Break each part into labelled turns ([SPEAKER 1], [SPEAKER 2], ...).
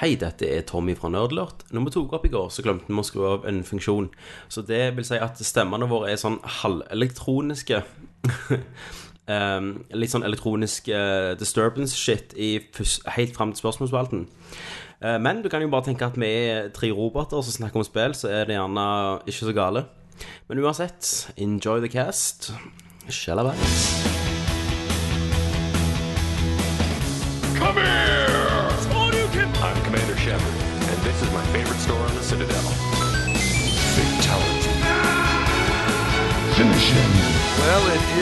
[SPEAKER 1] Hei, dette er Tommy fra Nerdlurt. Når vi tok opp i går, så glemte vi å skru av en funksjon. Så det vil si at stemmene våre er sånn halvelektroniske. Ehm, litt sånn elektronisk eh, disturbance shit i fus- helt fram til spørsmålsspalten. Eh, men du kan jo bare tenke at vi er tre roboter som snakker om spill, så er det gjerne ikke så gale. Men uansett, enjoy the cast. Shalabais.
[SPEAKER 2] Come here! I'm Commander Shepard, and this is my favorite store on the Citadel. Fatality.
[SPEAKER 3] Well, it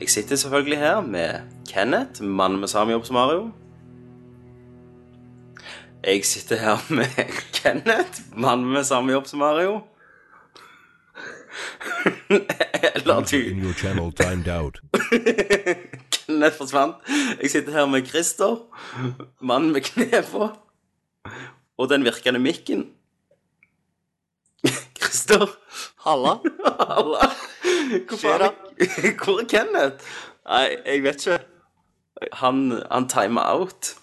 [SPEAKER 1] Jeg sitter selvfølgelig her med Kenneth, mannen med samme jobb som Mario. Jeg sitter her med Kenneth, mannen med samme jobb som Mario. Eller du.
[SPEAKER 4] Your channel timed out.
[SPEAKER 1] Nett forsvant. Jeg sitter her med Christer, mannen med kne på, og den virkende mikken. Christer,
[SPEAKER 5] Halla.
[SPEAKER 1] halla. Hvor faen
[SPEAKER 5] da?
[SPEAKER 1] er- Hvor er Kenneth?
[SPEAKER 5] Nei, jeg vet ikke.
[SPEAKER 1] Han, han timer out.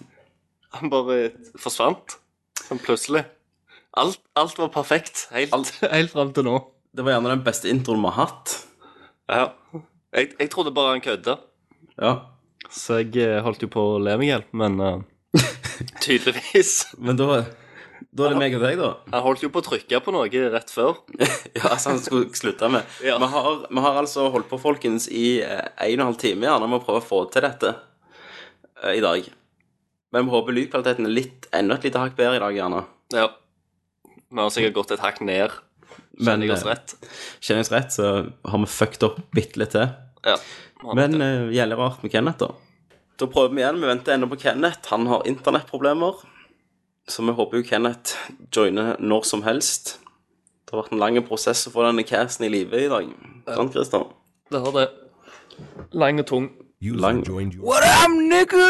[SPEAKER 5] Han bare forsvant. Sånn plutselig. Alt, alt var perfekt. Helt, helt fram til nå.
[SPEAKER 1] Det var gjerne den beste introen vi har hatt.
[SPEAKER 5] Ja. Jeg, jeg trodde bare han kødda,
[SPEAKER 1] Ja.
[SPEAKER 5] så jeg eh, holdt jo på å le meg i hjel, men eh, Tydeligvis.
[SPEAKER 1] Men da, da er det meg og deg, da.
[SPEAKER 5] Han holdt jo på å trykke på noe rett før.
[SPEAKER 1] Ja, altså han skulle slutte med.
[SPEAKER 5] Ja.
[SPEAKER 1] Vi, har, vi har altså holdt på, folkens, i eh, en og en halv time gjerne med å prøve å få til dette eh, i dag. Men vi håper lydkvaliteten er litt, enda et lite hakk bedre i dag, gjerne.
[SPEAKER 5] Ja. Vi har sikkert gått et hakk ned.
[SPEAKER 1] Men,
[SPEAKER 5] Kjenner jeg oss
[SPEAKER 1] eh,
[SPEAKER 5] rett?
[SPEAKER 1] Kjenner jeg oss rett, så har vi fucked opp bitte litt til.
[SPEAKER 5] Ja.
[SPEAKER 1] Men uh, gjelder rart med Kenneth, da. Da prøver vi igjen. Vi venter ennå på Kenneth. Han har internettproblemer. Så vi håper jo Kenneth joiner når som helst. Det har vært en lang prosess å få denne casten i live i dag. Sånn, Sant, Christian?
[SPEAKER 5] det har det. Lang og tung.
[SPEAKER 4] User
[SPEAKER 1] Lang-
[SPEAKER 4] joined your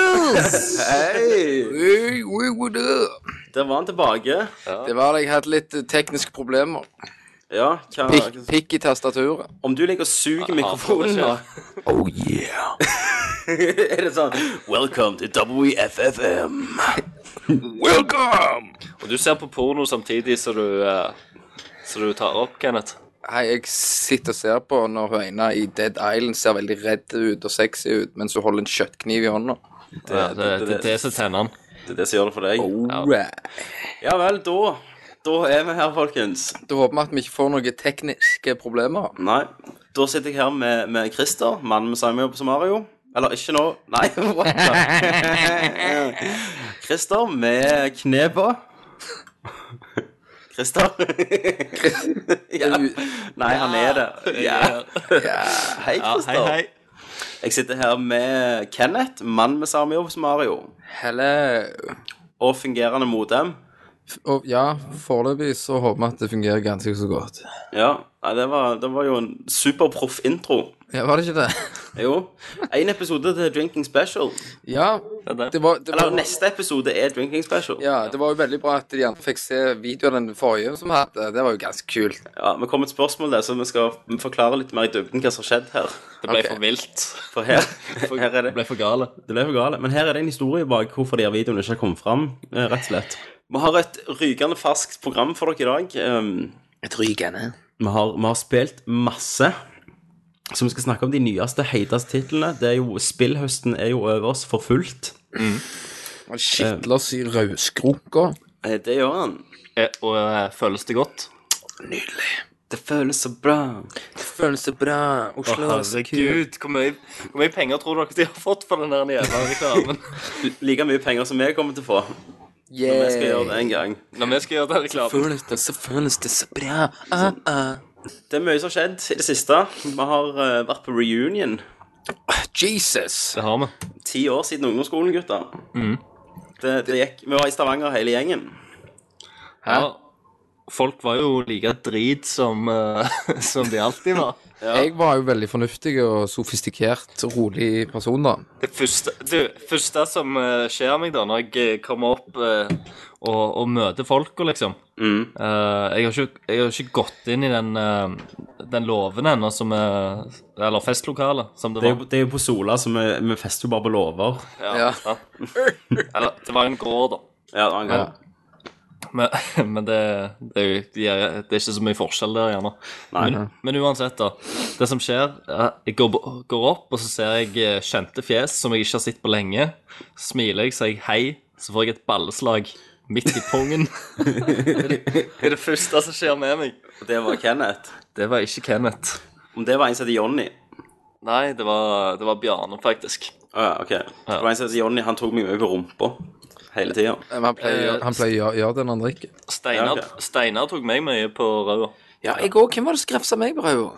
[SPEAKER 1] Hei!
[SPEAKER 6] Oi, oi, what up?
[SPEAKER 1] Der var han tilbake.
[SPEAKER 6] Det var da jeg hadde litt eh, tekniske problemer.
[SPEAKER 1] Ja, hva,
[SPEAKER 6] Pikk, pikk i tastaturet.
[SPEAKER 1] om du liker å suge mikrofonen da
[SPEAKER 5] Ja,
[SPEAKER 6] Oh yeah.
[SPEAKER 1] Er det sånn Welcome to WFFM
[SPEAKER 6] Welcome!
[SPEAKER 5] Og du ser på porno samtidig som du, eh, som du tar opp, Kenneth.
[SPEAKER 6] Hei, jeg sitter og ser på når hun ene i Dead Island ser veldig redd ut og sexy ut mens hun holder en kjøttkniv i hånda.
[SPEAKER 5] Ja, det er det, det, som tenner han.
[SPEAKER 1] Det er det som gjør det for deg
[SPEAKER 6] Oh. Alright.
[SPEAKER 1] Ja vel, da Da er vi her, folkens
[SPEAKER 6] Da håper vi at vi ikke får noen tekniske problemer.
[SPEAKER 1] Nei, da sitter jeg her med, med Christer Mannen med samme jobb som Mario Eller ikke nå Nei, what the Christer med kne på Christer ja. Nei, han er det ja. Hei, Christer Jeg sitter her med Kenneth, mann med samme jobb som Mario,
[SPEAKER 6] Hello.
[SPEAKER 1] og fungerende modem.
[SPEAKER 6] Og ja, foreløpig så håper vi at det fungerer ganske så godt.
[SPEAKER 1] Ja, nei, det var, det var jo en superproff intro.
[SPEAKER 6] Ja, var det ikke det?
[SPEAKER 1] Jo. Én episode til Drinking Special.
[SPEAKER 6] Ja.
[SPEAKER 5] det.
[SPEAKER 6] Det var, det var,
[SPEAKER 1] Eller neste episode er Drinking Special. Ja,
[SPEAKER 6] ja, det var jo veldig bra at de andre fikk se videoen av den forrige som vi hadde. Det var jo ganske kult.
[SPEAKER 1] Vi kom et spørsmål der, så vi skal forklare litt mer i dybden hva som har skjedd her.
[SPEAKER 5] Det ble
[SPEAKER 6] Ok.
[SPEAKER 5] for vilt.
[SPEAKER 1] For her, her er det
[SPEAKER 5] Det ble for gale.
[SPEAKER 1] Det ble for gale. Men her er det en historie bak hvorfor de her videoene ikke har kommet fram. eh, Rett og slett. Vi har et rykende ferskt program for dere i dag. Um,
[SPEAKER 6] Et rykende.
[SPEAKER 1] Vi har, vi har spilt masse. Så vi skal snakke om de nyeste, heiteste titlene. Det er jo, Spillhøsten er jo over oss for fullt.
[SPEAKER 6] Han skitler oss i rødskrunker.
[SPEAKER 1] Eh, Det gjør han.
[SPEAKER 5] Eh, Og eh, føles det godt?
[SPEAKER 6] Nydelig.
[SPEAKER 1] Det føles så bra.
[SPEAKER 6] Føles det bra. Oslo er så kult.
[SPEAKER 5] Herregud, hvor mye, hvor mye penger tror dere de har fått for den der jævla reklamen?
[SPEAKER 1] Like mye penger som vi kommer til å få. Når vi skal gjøre det en gang.
[SPEAKER 5] Når vi skal gjøre den reklamen
[SPEAKER 6] Føles det så føles det så bra. Ah, ah.
[SPEAKER 1] Det er mye som har skjedd i det siste. Vi har eh, vært på reunion.
[SPEAKER 6] Jesus.
[SPEAKER 5] Det har vi.
[SPEAKER 1] Ti år Mm. siden ungdomsskolen, gutter. Det, det gikk, vi var i Stavanger hele gjengen.
[SPEAKER 6] Hæ?
[SPEAKER 5] Ja, folk var jo like drit som, eh, som de alltid var.
[SPEAKER 6] Jeg var jo veldig fornuftig og sofistikert, rolig person, da.
[SPEAKER 7] Det første, du, første som eh, skjer meg da, når jeg eh, kommer opp eh,
[SPEAKER 5] Og, og møte folka, liksom. Eh, jeg, har ikke, jeg har ikke gått inn i den, eh, den låven ennå, som er Eller festlokalet, som det
[SPEAKER 1] Det er,
[SPEAKER 5] var.
[SPEAKER 1] jo, det er jo på Sola, så vi, vi fester jo bare på låver.
[SPEAKER 6] Ja.
[SPEAKER 7] Eller, det var en grå, da.
[SPEAKER 1] Ja, det var en gang.
[SPEAKER 5] Men, men det, det, er jo, de er, det er ikke så mye forskjell der, gjerne.
[SPEAKER 1] Nei.
[SPEAKER 5] Men, men uansett, da. Det som skjer, er at jeg går, bo- går opp, og så ser jeg eh, kjente fjes som jeg ikke har sett på lenge. Smiler jeg, sier jeg hei, så får jeg et balleslag midt i pungen.
[SPEAKER 7] Det er det første som skjer med meg.
[SPEAKER 1] Og det var Kenneth.
[SPEAKER 5] Det var ikke Kenneth.
[SPEAKER 1] Om det var en som heter Jonny
[SPEAKER 7] Nei, det var, det var Bjarne, faktisk.
[SPEAKER 1] Å ja, OK. Det var en som heter Jonny. Han tok meg med på rumpa hele tida.
[SPEAKER 6] Men Han pleier, han pleier å gjøre- gjøre det når han drikker.
[SPEAKER 7] Steinar,
[SPEAKER 1] Ja, ok.
[SPEAKER 7] Steinar tok meg mye på røda.
[SPEAKER 6] Ja, jeg òg. Hvem var det som grafsa meg på hodet?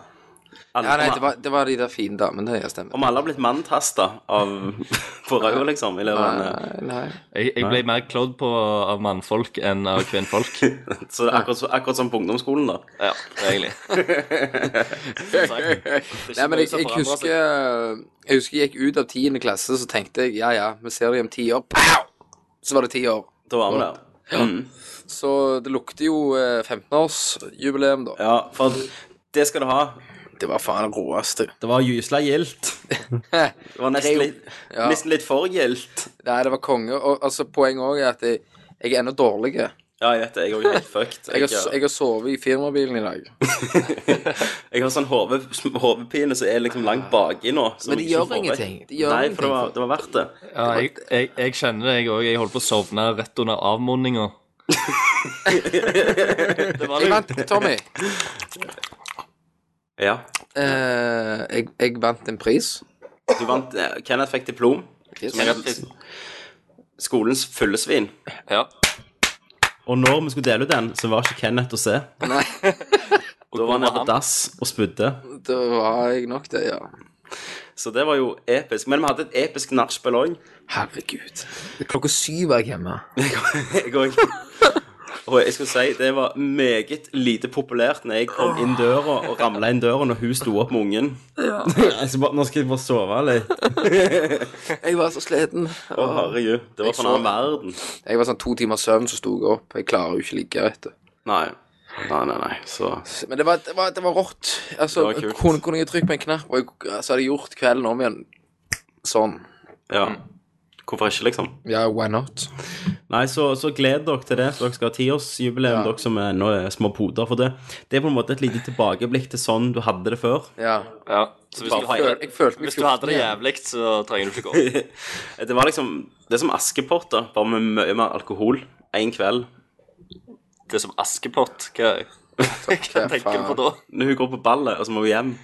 [SPEAKER 6] Ja, nei, det
[SPEAKER 1] Om
[SPEAKER 6] var, det var de der fine damene, det stemmer.
[SPEAKER 1] alle har blitt manntasta av på røda, liksom, i løpet av
[SPEAKER 6] Nei, nei.
[SPEAKER 5] Jeg, jeg ble mer klådd på av mannfolk enn av kvinnfolk.
[SPEAKER 1] en Så det er akkurat, så- akkurat som på ungdomsskolen, da.
[SPEAKER 7] Ja, egentlig.
[SPEAKER 6] Nei, men jeg, jeg, husker, eh, jeg husker jeg gikk ut av 10. klasse, så tenkte jeg ja, ja, vi ser deg om ti år. Pow! Så var det ti år.
[SPEAKER 1] Da var vi der.
[SPEAKER 6] Så det lukter jo eh, 15-årsjubileum, da.
[SPEAKER 1] Ja, for det skal du ha.
[SPEAKER 6] Det var faen det råeste.
[SPEAKER 1] Det var gysla gildt. Det var nesten litt,
[SPEAKER 6] Ja.
[SPEAKER 1] nesten litt for gildt.
[SPEAKER 6] Nei, det var konge. Og altså, poenget òg er at jeg, jeg er ennå dårlig. Jeg
[SPEAKER 1] Ja, jeg vet det. Jeg er jo helt fucked.
[SPEAKER 6] har, jeg har sovet i firmabilen i dag.
[SPEAKER 1] Jeg har sånn hove- hodepine som er liksom langt baki nå. som
[SPEAKER 6] Ah. Men
[SPEAKER 1] jeg
[SPEAKER 6] det
[SPEAKER 1] ikke
[SPEAKER 6] gjør
[SPEAKER 1] får vekk.
[SPEAKER 6] ingenting. Det gjør
[SPEAKER 1] Nei, for
[SPEAKER 6] ingenting
[SPEAKER 1] det var, det var verdt det.
[SPEAKER 5] Ja, jeg, jeg, jeg kjenner det, jeg òg. Jeg holdt på å sovne rett under avmodninga.
[SPEAKER 6] Jeg vant, Tommy.
[SPEAKER 1] Ja.
[SPEAKER 6] Eh, jeg, jeg vant en pris.
[SPEAKER 1] Du vant eh, Kenneth fikk diplom.
[SPEAKER 6] Yes.
[SPEAKER 1] Som er skolens fyllesvin.
[SPEAKER 7] Ja.
[SPEAKER 1] Og når vi skulle dele ut den, så var ikke Kenneth å se.
[SPEAKER 6] Nei,
[SPEAKER 1] Da var han nede på dass og spydde.
[SPEAKER 6] da var jeg nok det, ja.
[SPEAKER 1] Så det var jo episk. Men vi hadde et episk nachspiel òg.
[SPEAKER 6] Herregud. Klokka syv er jeg hjemme.
[SPEAKER 1] Jeg òg. Og jeg skulle si, det var meget lite populært når jeg kom inn døra og ramla inn døra når hun sto opp med ungen. Jeg skal bare, nå skal jeg bare sove litt.
[SPEAKER 6] Jeg var så sliten.
[SPEAKER 1] Å, herregud. Det var
[SPEAKER 6] Jeg
[SPEAKER 1] fra en annen verden.
[SPEAKER 6] Jeg var sånn to timer søvn, så sto jeg opp. Jeg klarer jo ikke å ligge, vet du.
[SPEAKER 1] Nei. Nei, nei, nei. Så
[SPEAKER 6] Men det var, det var, det var rått. Altså,
[SPEAKER 1] Det var kult.
[SPEAKER 6] kunne, kunne jeg trykke på en knapp, og jeg, så hadde jeg gjort kvelden om igjen. Sånn.
[SPEAKER 1] ja. Hvorfor ikke, liksom?
[SPEAKER 6] Ja, why not?
[SPEAKER 1] Nei, så, så gled dere til det. Dere skal ha tiårsjubileum, dere som er nå er små poder for det. Det er på en måte et lite tilbakeblikk til sånn du hadde det før.
[SPEAKER 6] Ja.
[SPEAKER 7] ja. Så hvis
[SPEAKER 1] Bare
[SPEAKER 7] du,
[SPEAKER 1] ha-
[SPEAKER 6] Jeg, føl- jeg følte meg
[SPEAKER 7] hvis du hadde
[SPEAKER 6] 14
[SPEAKER 7] det
[SPEAKER 6] igjen.
[SPEAKER 7] jævlig, så trenger du ikke gå.
[SPEAKER 1] Det var liksom Det er som Askepott, da, bare med mye mer alkohol. Én kveld.
[SPEAKER 7] Det er som Askepott. Hva, hva tenker du på da?
[SPEAKER 1] Når hun går på ballet, og så må hun hjem.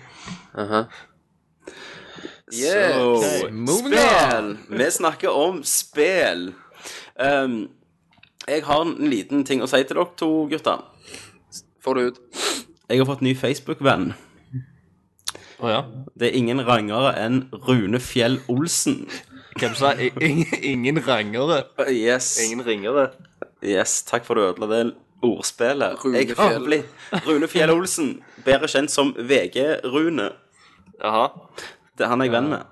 [SPEAKER 1] Så-
[SPEAKER 6] Yeah. Okay. Moving on.
[SPEAKER 1] Spel! Vi snakker om spel. Ehm, jeg har en liten ting å si til dere to, gutter.
[SPEAKER 6] Får det ut.
[SPEAKER 1] Jeg har fått ny Facebook-venn.
[SPEAKER 5] Å ja.
[SPEAKER 1] Det er ingen rangere enn Rune Fjell Olsen.
[SPEAKER 5] Hvem sa i- ing- ingen rangere?
[SPEAKER 1] Uh, Yes.
[SPEAKER 7] Ingen ringere.
[SPEAKER 1] Yes, takk for at du ødela det ordspillet.
[SPEAKER 6] Rune
[SPEAKER 1] jeg har
[SPEAKER 6] Fjell.
[SPEAKER 1] blitt Rune Fjell Olsen, bedre kjent som VG-Rune.
[SPEAKER 7] Jaha.
[SPEAKER 1] Det er han jeg er venn med.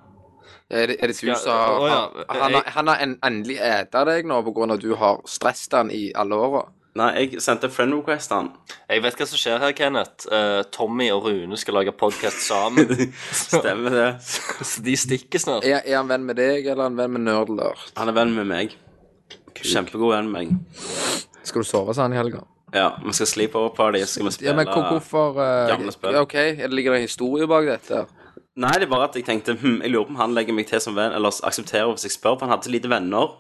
[SPEAKER 6] Er det, er det du
[SPEAKER 7] Ja,
[SPEAKER 6] som
[SPEAKER 5] å ja,
[SPEAKER 6] har-
[SPEAKER 5] jeg-
[SPEAKER 6] Han har- han har en- endelig eta deg nå på grunn av at du har stresset han i alle åra?
[SPEAKER 1] Nei, jeg sendte friend request til han.
[SPEAKER 7] Jeg vet hva som skjer her, Kenneth. Eh, Tommy og Rune skal lage podkast sammen.
[SPEAKER 1] Stemmer det.
[SPEAKER 7] Så de stikker snart.
[SPEAKER 6] Er, er han venn med deg, eller er han venn med nerdlert?
[SPEAKER 1] Han er venn med meg. Kjempegod venn med meg.
[SPEAKER 6] Skal du sove sånn i helga?
[SPEAKER 1] Ja, vi skal sleepover party, så skal vi spille
[SPEAKER 6] Ja, men hvor- hvorfor eh,
[SPEAKER 1] Gamle spill.
[SPEAKER 6] Ja, OK, er det ligger det en historie bak dette?
[SPEAKER 1] Nei, det er bare at jeg tenkte hm, Jeg lurer på om han legger meg til som venn, eller aksepterer hvis jeg spør, for han hadde så lite venner.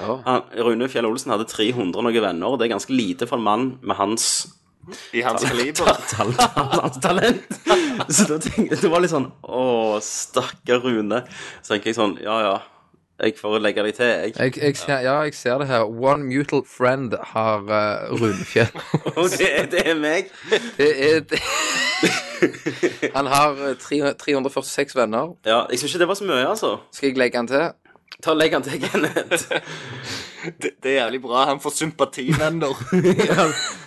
[SPEAKER 6] Ja.
[SPEAKER 1] Han, Rune Fjell Olsen hadde 300 noen venner, og det er ganske lite for en mann med hans
[SPEAKER 7] I hans kaliber.
[SPEAKER 1] ta- tal- hans talent. Så da tenkte jeg, det var litt sånn Å, stakkar Rune. Så tenker jeg sånn Ja, ja, jeg får legge deg til, jeg.
[SPEAKER 6] Jeg, jeg ser, ja, jeg ser det her. One mutual friend har uh, Runefjell.
[SPEAKER 1] Og det, er- det er meg.
[SPEAKER 6] Det er det. Han har eh, tre- 346 venner.
[SPEAKER 1] Ja, jeg syns ikke det var så mye, altså.
[SPEAKER 6] Skal jeg legge han til? Ta og Legg den til Kenneth.
[SPEAKER 5] Det, det er jævlig bra. Han får sympativenner.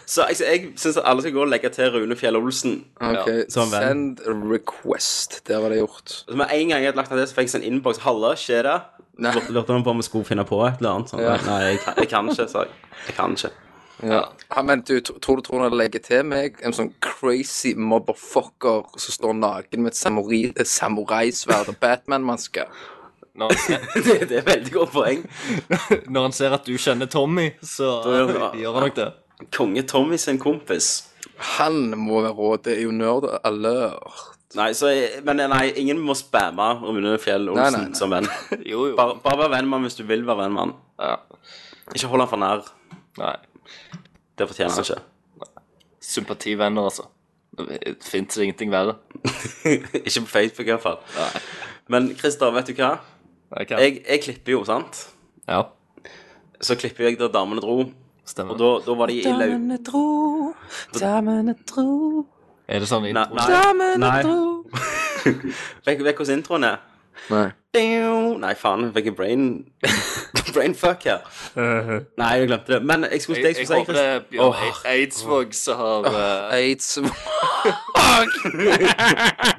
[SPEAKER 1] Så jeg, jeg syns at alle skal gå og legge til Rune Fjell Olsen.
[SPEAKER 6] Ok,
[SPEAKER 4] som venn.
[SPEAKER 6] Send request. Der var det gjort.
[SPEAKER 1] Så med en gang jeg hadde lagt ned det, så fikk jeg sånn innboks. Halla, skjer det?
[SPEAKER 6] Nei.
[SPEAKER 4] Lurte- Lurte han på om vi skulle finne på et eller annet. Sånn.
[SPEAKER 6] Ja.
[SPEAKER 4] Nei, jeg
[SPEAKER 1] Nei, Jeg kan ikke, sa jeg. Jeg kan ikke.
[SPEAKER 6] Han mente jo, tro- tror du tror han legger til meg en sånn crazy motherfucker som står naken med et samuri- eh, samuraisverd og Batman-maske?
[SPEAKER 8] Når han, ser,
[SPEAKER 1] Det, det er et veldig godt poeng.
[SPEAKER 8] når han ser at du kjenner Tommy, så
[SPEAKER 1] Da gjør han det.
[SPEAKER 8] gjør han nok det.
[SPEAKER 1] Konge Tommy sin kompis.
[SPEAKER 6] Han må være rå. Det er jo nerd alert.
[SPEAKER 1] Nei, så, men nei, ingen må spamme Rune Fjell Olsen
[SPEAKER 6] Nei, nei, nei.
[SPEAKER 1] som venn.
[SPEAKER 8] Jo, jo.
[SPEAKER 1] Bare, bare vær venn med han hvis du vil være venn med han.
[SPEAKER 8] Ja.
[SPEAKER 1] Ikke hold han for nær.
[SPEAKER 8] Nei.
[SPEAKER 1] Det fortjener han ikke.
[SPEAKER 8] Sympativenner, altså. Det fins ingenting verre.
[SPEAKER 1] ikke på Facebook i hvert fall. Men Christer, vet du hva?
[SPEAKER 8] Nei, hva?
[SPEAKER 1] Jeg, jeg klipper jo, sant?
[SPEAKER 8] Ja,
[SPEAKER 1] Så klipper jeg da damene dro.
[SPEAKER 8] stemmer.
[SPEAKER 1] Og da, da var de i lau...
[SPEAKER 8] er det sånn i
[SPEAKER 1] Nei, nei. nei. Vet vet hvordan introen er?
[SPEAKER 6] Nei.
[SPEAKER 1] Deo. Nei, faen. Fikk jeg brain brainfuck her.
[SPEAKER 4] Uh-huh.
[SPEAKER 1] Nei, jeg glemte det. Men jeg skulle, det jeg
[SPEAKER 5] Jeg
[SPEAKER 1] skulle si
[SPEAKER 5] håper det
[SPEAKER 1] Christer.
[SPEAKER 5] er Bjørn Ei- Eidsvåg som har eh,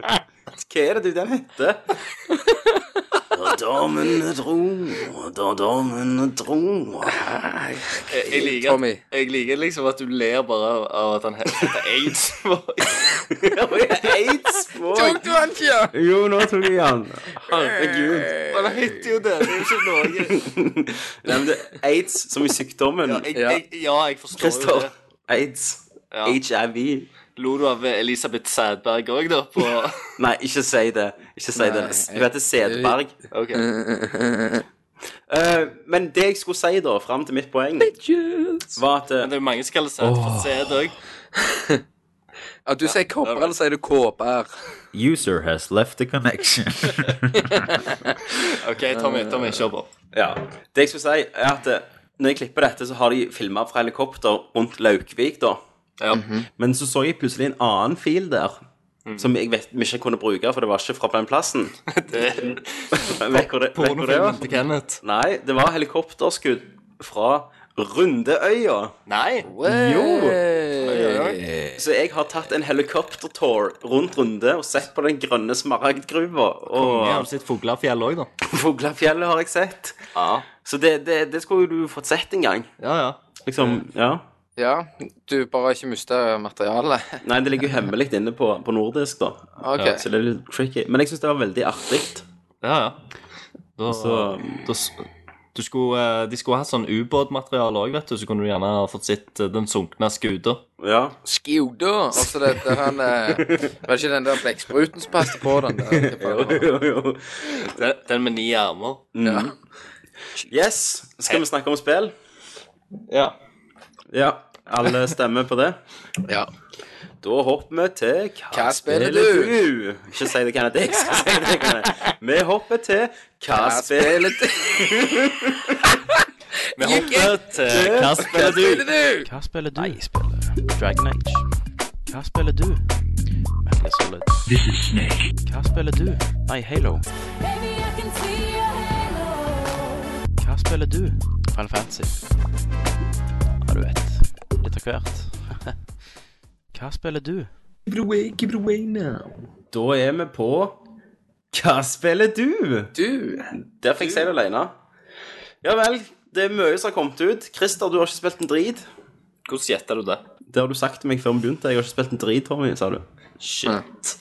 [SPEAKER 6] Aids
[SPEAKER 1] Hva er det du den heter? Da damene dro, da damene dro
[SPEAKER 5] Jeg, jeg, liker,
[SPEAKER 6] Tommy.
[SPEAKER 5] jeg liker liksom at du ler bare av, av at han heter Eidsvåg.
[SPEAKER 1] Eidsvåg!
[SPEAKER 6] du han ikke?
[SPEAKER 4] Jo, nå tok jeg han.
[SPEAKER 1] Herregud.
[SPEAKER 5] Men han heter jo det. Det er jo ikke Norge.
[SPEAKER 1] Nei, men det er aids som i sykdommen.
[SPEAKER 5] Jeg, jeg, ja, jeg forstår jo
[SPEAKER 1] Christer.
[SPEAKER 5] det.
[SPEAKER 1] Aids.
[SPEAKER 5] Ja.
[SPEAKER 1] HIV.
[SPEAKER 5] Lo du av Elisabeth Sædberg òg, da? På
[SPEAKER 1] Nei, ikke si det. Ikke si det. Hun heter Sedberg.
[SPEAKER 5] Ok.
[SPEAKER 1] Mm. Eh, men det jeg skulle si, da, fram til mitt poeng, var at eh,
[SPEAKER 5] Men det er jo mange som kaller sæd for sæd òg.
[SPEAKER 6] Ja, du sier kopper, eller sier du kåper?
[SPEAKER 9] User has left the connection.
[SPEAKER 5] OK, Tommy, Tommy, kjør på.
[SPEAKER 1] Ja. Det jeg skulle si, er at eh, når jeg klipper dette, så har de filma fra helikopter rundt Laukvik, da. Mhm.
[SPEAKER 5] Ja.
[SPEAKER 1] Men så så jeg plutselig en annen fil der.
[SPEAKER 5] Mhm.
[SPEAKER 1] Som jeg vet vi ikke kunne bruke, for det var ikke fra den plassen. Vet hvor det- vet hvor det var?
[SPEAKER 5] Pornofilmen til Kenneth.
[SPEAKER 1] Nei, det var helikopterskudd fra Rundeøya.
[SPEAKER 5] Nei.
[SPEAKER 1] Eh. Så jeg har tatt en helikoptertour rundt Runde og sett på den grønne smaragdgruva.
[SPEAKER 8] Jeg har
[SPEAKER 1] Og
[SPEAKER 8] sett Fuglafjell òg, da.
[SPEAKER 1] Fuglafjellet har jeg sett.
[SPEAKER 5] Ja.
[SPEAKER 1] Så det, det, det skulle jo du fått sett en gang.
[SPEAKER 8] Ja, ja.
[SPEAKER 1] Liksom, ja.
[SPEAKER 6] Ja, du bare ikke mista materialet.
[SPEAKER 1] Nei, det ligger jo hemmelig inne på, på nordisk, da.
[SPEAKER 6] Ok.
[SPEAKER 1] Så det er litt tricky. Men jeg syns det var veldig artig.
[SPEAKER 8] ja, ja. Da,
[SPEAKER 1] Så-
[SPEAKER 8] da s- du skulle, eh, de skulle ha sånn ubåtmateriale òg, vet du, så kunne du gjerne ha fått sett eh, den sunkne skuta.
[SPEAKER 1] Ja.
[SPEAKER 6] Skjuda! Altså, det, det han eh, Var det ikke den der blekkspruten som passet på den? Der?
[SPEAKER 1] Jo, jo.
[SPEAKER 5] Den, den med ni armer.
[SPEAKER 1] Yes. Skal vi snakke om spill?
[SPEAKER 8] Ja.
[SPEAKER 1] Eh. Ja. Alle stemmer på det?
[SPEAKER 6] Ja.
[SPEAKER 1] Da hopper vi til Hva,
[SPEAKER 6] Hva spiller du?
[SPEAKER 1] Ikke si det, Kenneth. Jeg skal si det, Kenneth. Vi hopper til Hva,
[SPEAKER 6] Hva
[SPEAKER 1] spiller
[SPEAKER 6] spiller du?
[SPEAKER 8] Vi hopper til Hva spiller du?
[SPEAKER 6] Spiller du?
[SPEAKER 10] Hva spiller du? Jeg spiller Dragon Age. Hva spiller du? Metal Solid. This is Snake. Hva spiller du? Nei, Halo. Hva spiller du? Final Fantasy. Ja, du vet. Litt av hvert. Hva spiller du?
[SPEAKER 1] Da er vi på Hva spiller du?
[SPEAKER 6] Du?
[SPEAKER 1] Der fikk jeg si det alene. Ja vel. Det er mye som har kommet ut. Christer, du har ikke spilt en drit.
[SPEAKER 5] Hvordan gjetta du det?
[SPEAKER 1] Det har du sagt til meg før vi begynte. Jeg har ikke spilt en drit, Tommy, sa du.
[SPEAKER 5] Shit.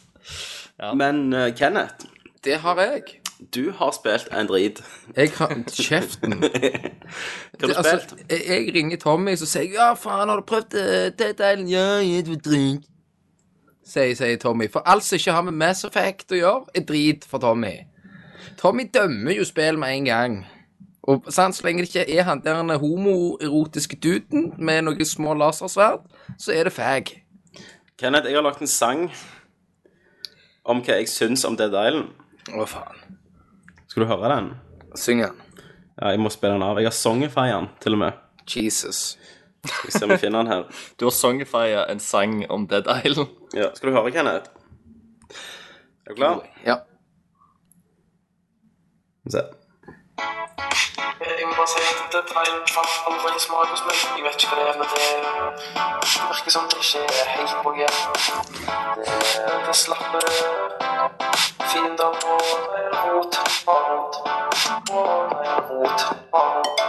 [SPEAKER 1] Men eh, Kenneth,
[SPEAKER 6] Det har jeg.
[SPEAKER 1] du har spilt en drit.
[SPEAKER 6] Jeg har Kjeften.
[SPEAKER 1] Hva har du spilt?
[SPEAKER 6] Altså, jeg, jeg ringer Tommy, så sier jeg 'Ja, faen, har du prøvd eh, det delen?' 'Ja, jeg vil drink', sier, sier Tommy. For alt som ikke har med Mass Effect å gjøre, er drit for Tommy. Tommy dømmer jo spill med en gang. Og sant, Så lenge det ikke er han der han homoerotiske duden med noen små lasersverd, så er det fag.
[SPEAKER 1] Kenneth, jeg har lagt en sang om hva jeg syns om Dead Island.
[SPEAKER 6] Å, faen.
[SPEAKER 1] Skal du høre den?
[SPEAKER 6] Syng han.
[SPEAKER 1] Ja, jeg må spille den av. Jeg har Songify den, til og med.
[SPEAKER 6] Jesus.
[SPEAKER 1] Skal vi se om vi finner den her.
[SPEAKER 5] Du har songifia en sang om Dead Island.
[SPEAKER 1] Ja. Skal du høre, Kenneth? Er du klar?
[SPEAKER 6] Ja.
[SPEAKER 1] Skal vi se.
[SPEAKER 11] ventet var i hvert fall på en smakus, men jeg vet ikke hva det er. Men det virker som det ikke er helt på G. Det, det slapper fiender og rot og rot og rot og rot.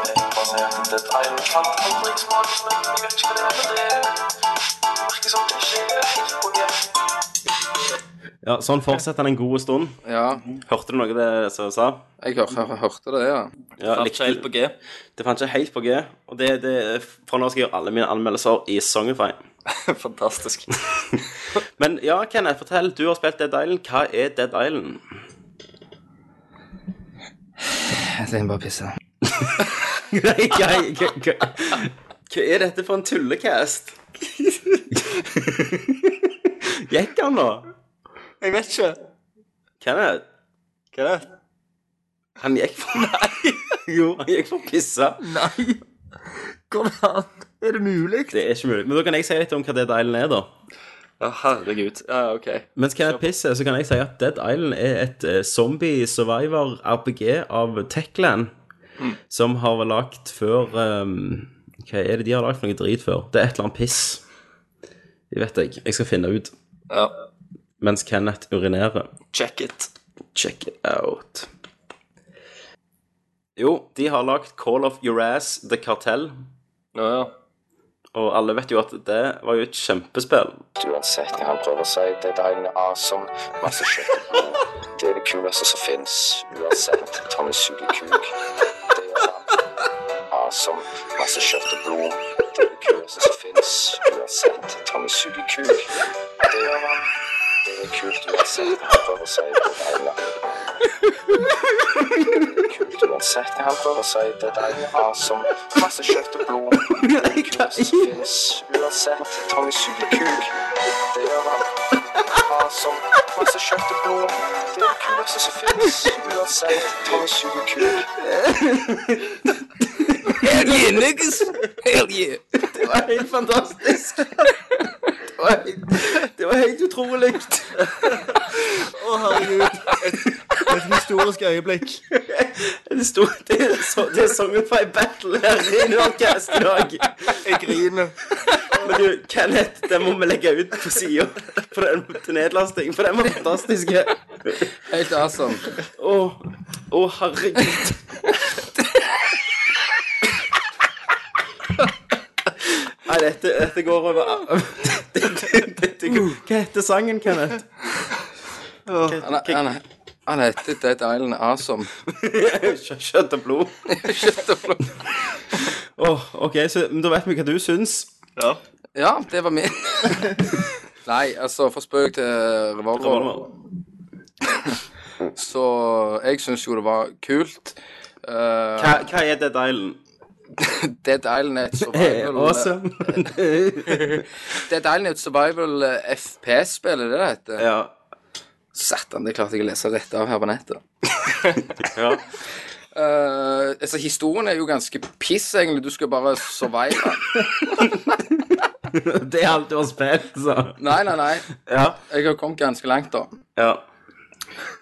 [SPEAKER 11] Jeg vil bare si at det er i hvert fall på en smakus, men jeg vet ikke hva det er. Men det virker som det ikke er helt på G.
[SPEAKER 1] Ja, sånn fortsetter den en god stund.
[SPEAKER 6] Ja,
[SPEAKER 1] Hørte du noe av det som jeg sa?
[SPEAKER 6] jeg hør- hør- hørte det, ja.
[SPEAKER 1] Ja, likte-
[SPEAKER 8] Fant ikke helt på G.
[SPEAKER 1] Det fant ikke helt på G. Og det, det, fra nå skal jeg gjøre alle mine anmeldelser i Songify.
[SPEAKER 8] Fantastisk.
[SPEAKER 1] Men ja, Kenneth, fortell. Du har spilt Dead Island. Hva er Dead Island?
[SPEAKER 6] Jeg skal bare pisse.
[SPEAKER 1] Nei, hva, hva, hva, hva er dette for en tullecast? Gikk han nå?
[SPEAKER 5] Jeg vet ikke.
[SPEAKER 1] Kenneth?
[SPEAKER 5] Hva er det?
[SPEAKER 1] Han gikk for Nei! Jo, han gikk for å pisse.
[SPEAKER 6] Nei! Går det an? Er det mulig?
[SPEAKER 1] Det er ikke mulig. Men da kan jeg si litt om hva Dead Island er, da.
[SPEAKER 5] Ja, herregud. Ja, ja, ok.
[SPEAKER 1] Mens Kenneth pisser, så kan jeg si at Dead Island er et eh, zombie survivor RPG av Techland. Som har vært lagt før ehm, Hva er det de har lagt for noe drit før? Det er et eller annet piss. Det vet jeg. Jeg skal finne ut.
[SPEAKER 5] Ja.
[SPEAKER 1] Mens Kenneth urinerer.
[SPEAKER 5] Check it.
[SPEAKER 1] Check it out. Jo, de har lagt Call of Uraz The Cartel.
[SPEAKER 5] Nå, ja.
[SPEAKER 1] Og alle vet jo at det var jo et kjempespill.
[SPEAKER 11] Uansett hva han prøver å si, det er en awesome, masse kjøttbrød. Det er det kuleste som fins. Uansett, Tommy suger kuk. Det gjør han. Awesome, masse kjøtt og blod. Det er det kuleste som fins. Uansett, Tommy suger kuk. Det gjør han. Det er kult uansett hva han prøver å si. Det er deilig. Det er kult uansett hva han prøver å si. Det er deilig. Awesome, masse kjøtt og blod. Det er det kuleste som fins. Uansett, Tommy suger kuk. Det gjør han. Awesome. Masse kjøtt og blod. Det er det kuleste som finnes. Uansett, Tommy suger kuk.
[SPEAKER 6] Hell yeah, niggas! Hell yeah!
[SPEAKER 1] Det var helt fantastisk. Det var helt, det var helt utrolig.
[SPEAKER 5] Et historisk øyeblikk.
[SPEAKER 1] Det, sto, det, er så, det er Song of My Battle her i Nordcast i dag.
[SPEAKER 5] Jeg griner.
[SPEAKER 1] Men du, Kenneth, den må vi legge ut på sida til nedlasting, for den var fantastisk.
[SPEAKER 6] Helt awesome.
[SPEAKER 1] Å, å, herregud. Nei, dette, dette går over dette, dette, går- Hva heter sangen, Kenneth?
[SPEAKER 6] Han, er- han, er- han heter Dead Island Awesome.
[SPEAKER 1] Kjøtt og blod.
[SPEAKER 6] Kjøtt og blod.
[SPEAKER 1] Åh, ok, så men da vet vi hva du syns.
[SPEAKER 6] Ja, det var min. Nei, altså, for spøk til revolver, så Jeg syns jo det var kult. Eh,
[SPEAKER 1] Hva, hva er Dead Island?
[SPEAKER 6] Dead Island er et survival Dead Island er et survival eh, FPS-spill, er det det heter?
[SPEAKER 1] ja.
[SPEAKER 6] Satan, det klarte jeg å lese rett av her på nettet.
[SPEAKER 1] ja.
[SPEAKER 6] Eh, altså, historien er jo ganske piss, egentlig. Du skal bare survive.
[SPEAKER 1] Det er alt du har spilt, så.
[SPEAKER 6] Nei, nei, nei.
[SPEAKER 1] Ja.
[SPEAKER 6] Jeg har kommet ganske langt, da.
[SPEAKER 1] ja.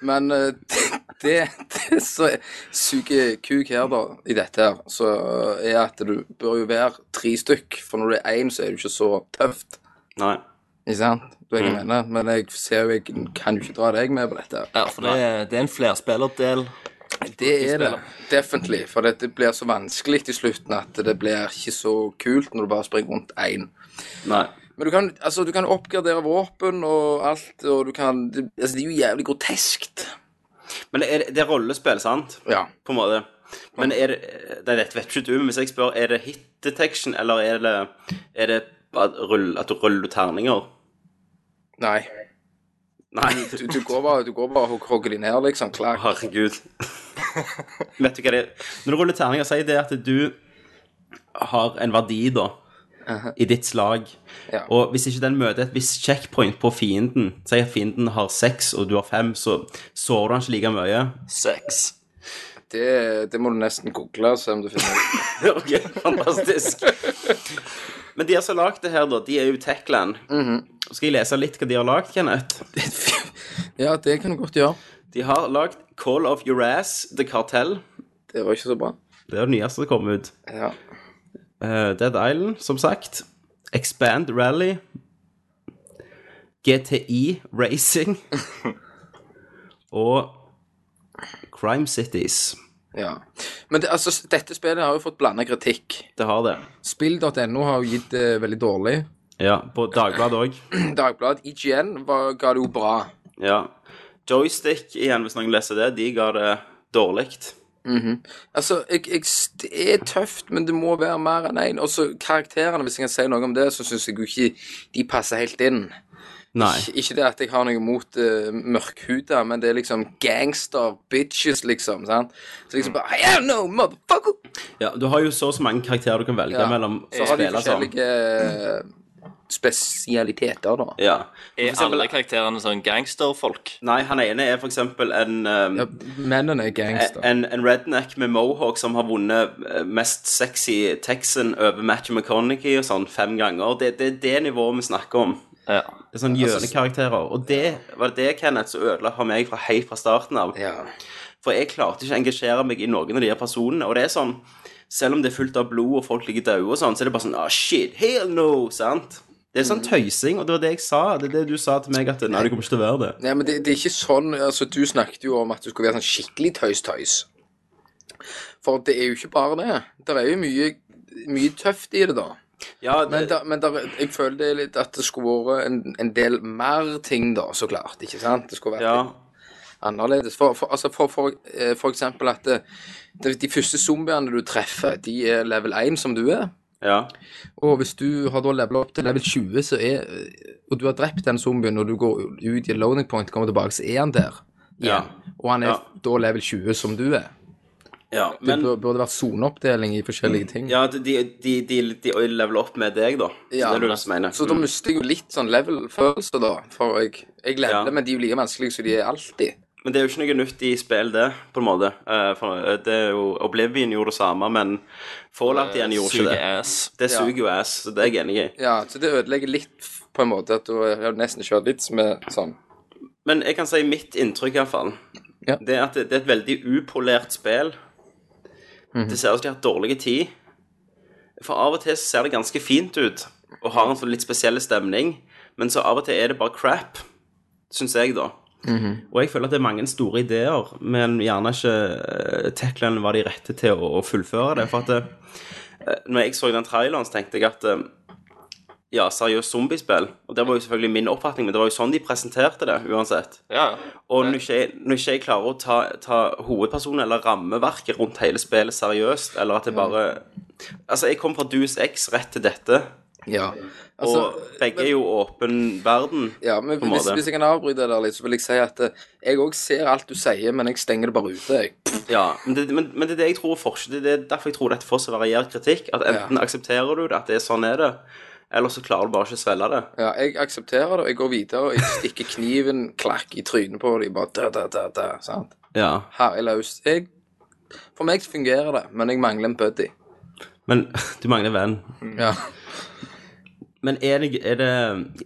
[SPEAKER 6] Men eh, det, det som suger kuk her, da, i dette her, så er at du bør jo være tre stykk. For når du er én, så er du ikke så tøft.
[SPEAKER 1] Nei.
[SPEAKER 6] Ikke sant? Du vet hva jeg mener? Men jeg ser jo jeg kan jo ikke dra deg med på dette. her.
[SPEAKER 8] Ja, for det, er- det er en flerspillerdel.
[SPEAKER 6] Det er det. Definitely. For det, det blir så vanskelig i slutten at det blir ikke så kult når du bare springer rundt én.
[SPEAKER 1] Nei.
[SPEAKER 6] Men du kan, altså, du kan oppgradere våpen og alt, og du kan det, Altså, det er jo jævlig groteskt.
[SPEAKER 1] Men det er, det er rollespill, sant?
[SPEAKER 6] Ja.
[SPEAKER 1] På en måte. Men er det, det vet vet ikke du, men hvis jeg spør, er det hit detection, eller er det, er det at, rull, at du ruller terninger?
[SPEAKER 6] Nei.
[SPEAKER 1] Nei.
[SPEAKER 6] Du, du går bare, du går bare og hogger de ned, liksom. Klakk.
[SPEAKER 1] Herregud. vet du hva det er? Når du ruller terninger, sier det at du har en verdi, da, i ditt slag.
[SPEAKER 6] Ja.
[SPEAKER 1] Og hvis ikke den møter et visst checkpoint på fienden, si at fienden har seks og du har fem, så sårer du han ikke like mye.
[SPEAKER 8] Sex.
[SPEAKER 6] Det, det må du nesten google og se om du finner ut.
[SPEAKER 1] ok, fantastisk. Men de som har lagd det her, da, de er jo Techland. Skal jeg lese litt hva de har lagd, Kenneth?
[SPEAKER 6] Ja, det kan du godt gjøre.
[SPEAKER 1] De har lagd Call of Uraz, The Cartel.
[SPEAKER 6] Det var ikke så bra.
[SPEAKER 1] Det er det nyeste som kom ut.
[SPEAKER 6] Ja.
[SPEAKER 1] Eh, Dead Island, som sagt. Expand Rally. GTI Racing. og Crime Cities.
[SPEAKER 6] Ja. Men det, altså, dette spillet har jo fått blanda kritikk.
[SPEAKER 1] Det har det.
[SPEAKER 6] Spill.no har jo gitt det veldig dårlig.
[SPEAKER 1] Ja, på Dagbladet òg.
[SPEAKER 6] Dagbladet E IGN var, ga det jo bra.
[SPEAKER 1] Ja. Joystick, igjen, hvis noen leser det, de ga det dårlig.
[SPEAKER 6] Mhm. Altså, jeg, jeg, det er tøft, men det må være mer enn én. Og så karakterene, hvis jeg kan si noe om det, så syns jeg jo ikke de passer helt inn.
[SPEAKER 1] Nei.
[SPEAKER 6] Ik- Ikke det at jeg har noe mot uh, mørkhuda, men det er liksom gangster bitches, liksom. sant? Så
[SPEAKER 1] Mm.
[SPEAKER 6] liksom bare I don't know, motherfucker!
[SPEAKER 1] Ja, du har jo så og så mange karakterer du kan velge
[SPEAKER 6] Ja.
[SPEAKER 1] mellom.
[SPEAKER 6] Så har de forskjellige eh, spesialiteter, da.
[SPEAKER 1] Ja.
[SPEAKER 8] Er alle karakterene sånn gangsterfolk?
[SPEAKER 1] Nei, han ene er for eksempel en, um,
[SPEAKER 6] Mennene er gangster.
[SPEAKER 1] en, en redneck med mohawk som har vunnet eh, mest sexy Texan over Matthew McConaughey og sånn fem ganger. Det, det er det nivået vi snakker om. Det er sånn hjørnekarakterer. Og det var det, Kenneth, som ødela for meg fra helt fra starten av. For jeg klarte ikke å engasjere meg i noen av de her personene. Og det er sånn, selv om det er fullt av blod og folk ligger døde og sånn, så er det bare sånn ah, shit, hell no, sant? Det er sånn tøysing, og det var det jeg sa. Det er det du sa til meg, at nei, det kommer ikke til å være det.
[SPEAKER 6] Nei, men det, det er ikke sånn altså, Du snakket jo om at du skulle være sånn skikkelig tøys-tøys. For det er jo ikke bare det. Det er jo mye, mye tøft i det, da. Men, der, men der, jeg føler det er litt at det skulle vært en, en del mer ting, da, så klart. Ikke sant? Det skulle vært litt annerledes. For, for, altså for, for, eh, for eksempel at det, det, de første zombiene du treffer, de er level 1, som du er.
[SPEAKER 1] Ja.
[SPEAKER 6] Og hvis du har da levelet opp til level 20, så er, og du har drept den zombien, og du går ut i loading point, kommer tilbake, så er han der.
[SPEAKER 1] Ja.
[SPEAKER 6] Og han er
[SPEAKER 1] Ja.
[SPEAKER 6] da level 20, som du er.
[SPEAKER 1] Ja,
[SPEAKER 6] Det
[SPEAKER 1] men
[SPEAKER 6] bur- burde vært soneoppdeling i forskjellige ting.
[SPEAKER 1] ja, de, de, de, de, de leveler opp med deg, da.
[SPEAKER 6] Ja.
[SPEAKER 1] Så det er det du mener.
[SPEAKER 6] Så da
[SPEAKER 1] Mm.
[SPEAKER 6] mister jeg jo litt sånn level-følelse, da. For jeg, jeg leveler, men de er jo like vanskelige som de er alltid.
[SPEAKER 1] Men det er jo ikke noe nytt i spill, det, på en måte. Eh, for eh, det er jo, Oblivion gjorde det samme, men Fallout
[SPEAKER 5] Eh,
[SPEAKER 1] igjen gjorde ikke det. Det
[SPEAKER 6] Ja.
[SPEAKER 1] suger jo ass, så det er jeg enig i.
[SPEAKER 6] Ja, så det ødelegger litt, f- på en måte, at du har nesten kjørt litt med sånn
[SPEAKER 1] Men jeg kan si mitt inntrykk, iallfall.
[SPEAKER 6] Ja.
[SPEAKER 1] Det er at det, det er et veldig upolert spill. Det ser ut som de har hatt dårlig tid. For av og til så ser det ganske fint ut og har en sånn litt spesiell stemning, men så av og til er det bare crap, syns jeg, da. Og jeg føler at det er mange store ideer, men gjerne ikke eh, Techland var de rette til å, å fullføre det. For at eh, når jeg så den traileren, så tenkte jeg at eh, ja, seriøst zombiespill. Og det var jo selvfølgelig min oppfatning, men det var jo sånn de presenterte det, uansett.
[SPEAKER 8] Ja.
[SPEAKER 1] Og når ikke jeg, når ikke jeg klarer å ta, ta hovedpersonen eller rammeverket rundt hele spillet seriøst, eller
[SPEAKER 8] Mm.
[SPEAKER 1] at det bare Altså, jeg kom fra Deus X rett til dette,
[SPEAKER 6] Ja. Altså,
[SPEAKER 1] og
[SPEAKER 8] Altså,
[SPEAKER 1] begge er jo åpen verden,
[SPEAKER 6] Ja, men
[SPEAKER 1] på en
[SPEAKER 6] hvis,
[SPEAKER 1] måte.
[SPEAKER 6] hvis jeg kan avbryte deg der litt, så vil jeg si at eh, jeg òg ser alt du sier, men jeg stenger det bare ute, jeg.
[SPEAKER 1] Ja, men det, men, men det er det jeg tror er forskjell. Det er derfor jeg tror dette får så variert kritikk. At enten aksepterer du det, at det er sånn er det, eller så klarer du bare ikke å svelge det.
[SPEAKER 6] Ja, jeg aksepterer det, og jeg går videre, og jeg stikker kniven klakk i trynet på dem, bare da, da, da, da, sant?
[SPEAKER 1] Ja.
[SPEAKER 6] Herlig løs. Jeg, for meg så fungerer det, men jeg mangler en buddy.
[SPEAKER 1] Men du mangler venn.
[SPEAKER 6] Ja.
[SPEAKER 1] Men er det, er, det,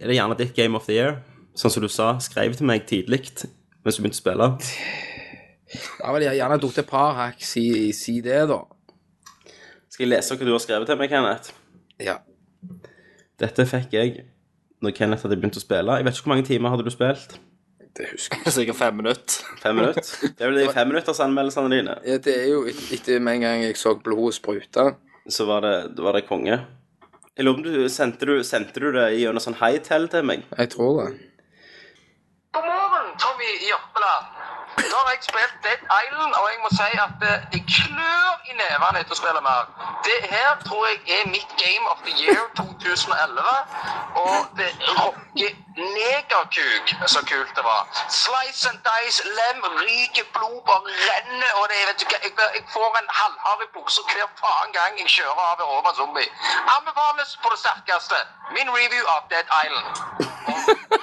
[SPEAKER 1] er det gjerne ditt game of the year? Sånn som du sa, skrev til meg tidlig mens du begynte å spille.
[SPEAKER 6] Ja, vel, jeg har gjerne drukket et par hakk, si, si det, da.
[SPEAKER 1] Skal jeg lese hva du har skrevet til meg, Kenneth?
[SPEAKER 6] Ja.
[SPEAKER 1] Dette fikk jeg når Kenneth hadde begynt å spille. Jeg vet ikke hvor mange timer hadde du spilt?
[SPEAKER 6] Det husker jeg.
[SPEAKER 8] Sikkert fem minutter.
[SPEAKER 1] Fem minutter? Det er vel de femminuttersanmeldelsene dine.
[SPEAKER 6] Ja, det er jo et- etter med en gang jeg så blodet sprute.
[SPEAKER 1] Så var det, var det konge. Jeg lurer på om du sendte, du sendte du det gjennom sånn high-tell til meg?
[SPEAKER 6] Jeg tror det.
[SPEAKER 11] God morgen, Tommy Jørpeland. Nå har jeg spilt Dead Island, og jeg må si at eh, det klør i nevene etter å spille mer. Det her tror jeg er mitt Game of the Year 2011, og det rocker negerkuk så kult det var. Slice and dice, lem, ryker, blod bare renner, og det, er- vet du hva, jeg, jeg får en halvhard i buksa hver faen gang jeg kjører av en over en zombie. Anbefales på det sterkeste. Min review av Dead Island.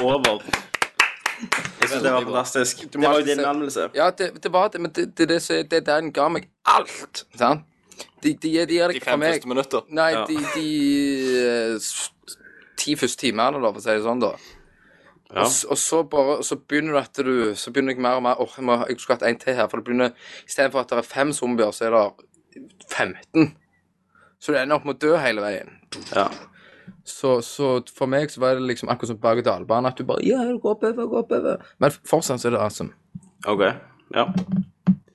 [SPEAKER 1] Over. Jeg synes det var fantastisk. Det var jo din anmeldelse.
[SPEAKER 6] Ja, det, det var det, men det, det er det som er det der den ga meg alt, sant? De, de, de, de,
[SPEAKER 8] De fem første minutter.
[SPEAKER 6] Nei,
[SPEAKER 1] Ja.
[SPEAKER 6] de, de eh, s- ti første timene, da, for å si det sånn, da. Og, s- og så bare, og så begynner du at du Så begynner jeg mer og mer Åh, jeg, må- jeg skulle hatt en til her. For det begynner Istedenfor at det er fem zombier, så er det 15. Så du ender opp med å dø hele veien.
[SPEAKER 5] Ja.
[SPEAKER 6] Så, så for meg så var det liksom akkurat som berg-og-dal-bane. At du bare Ja, gå oppover, gå oppover. Men fortsatt så er det awesome.
[SPEAKER 1] OK. Ja.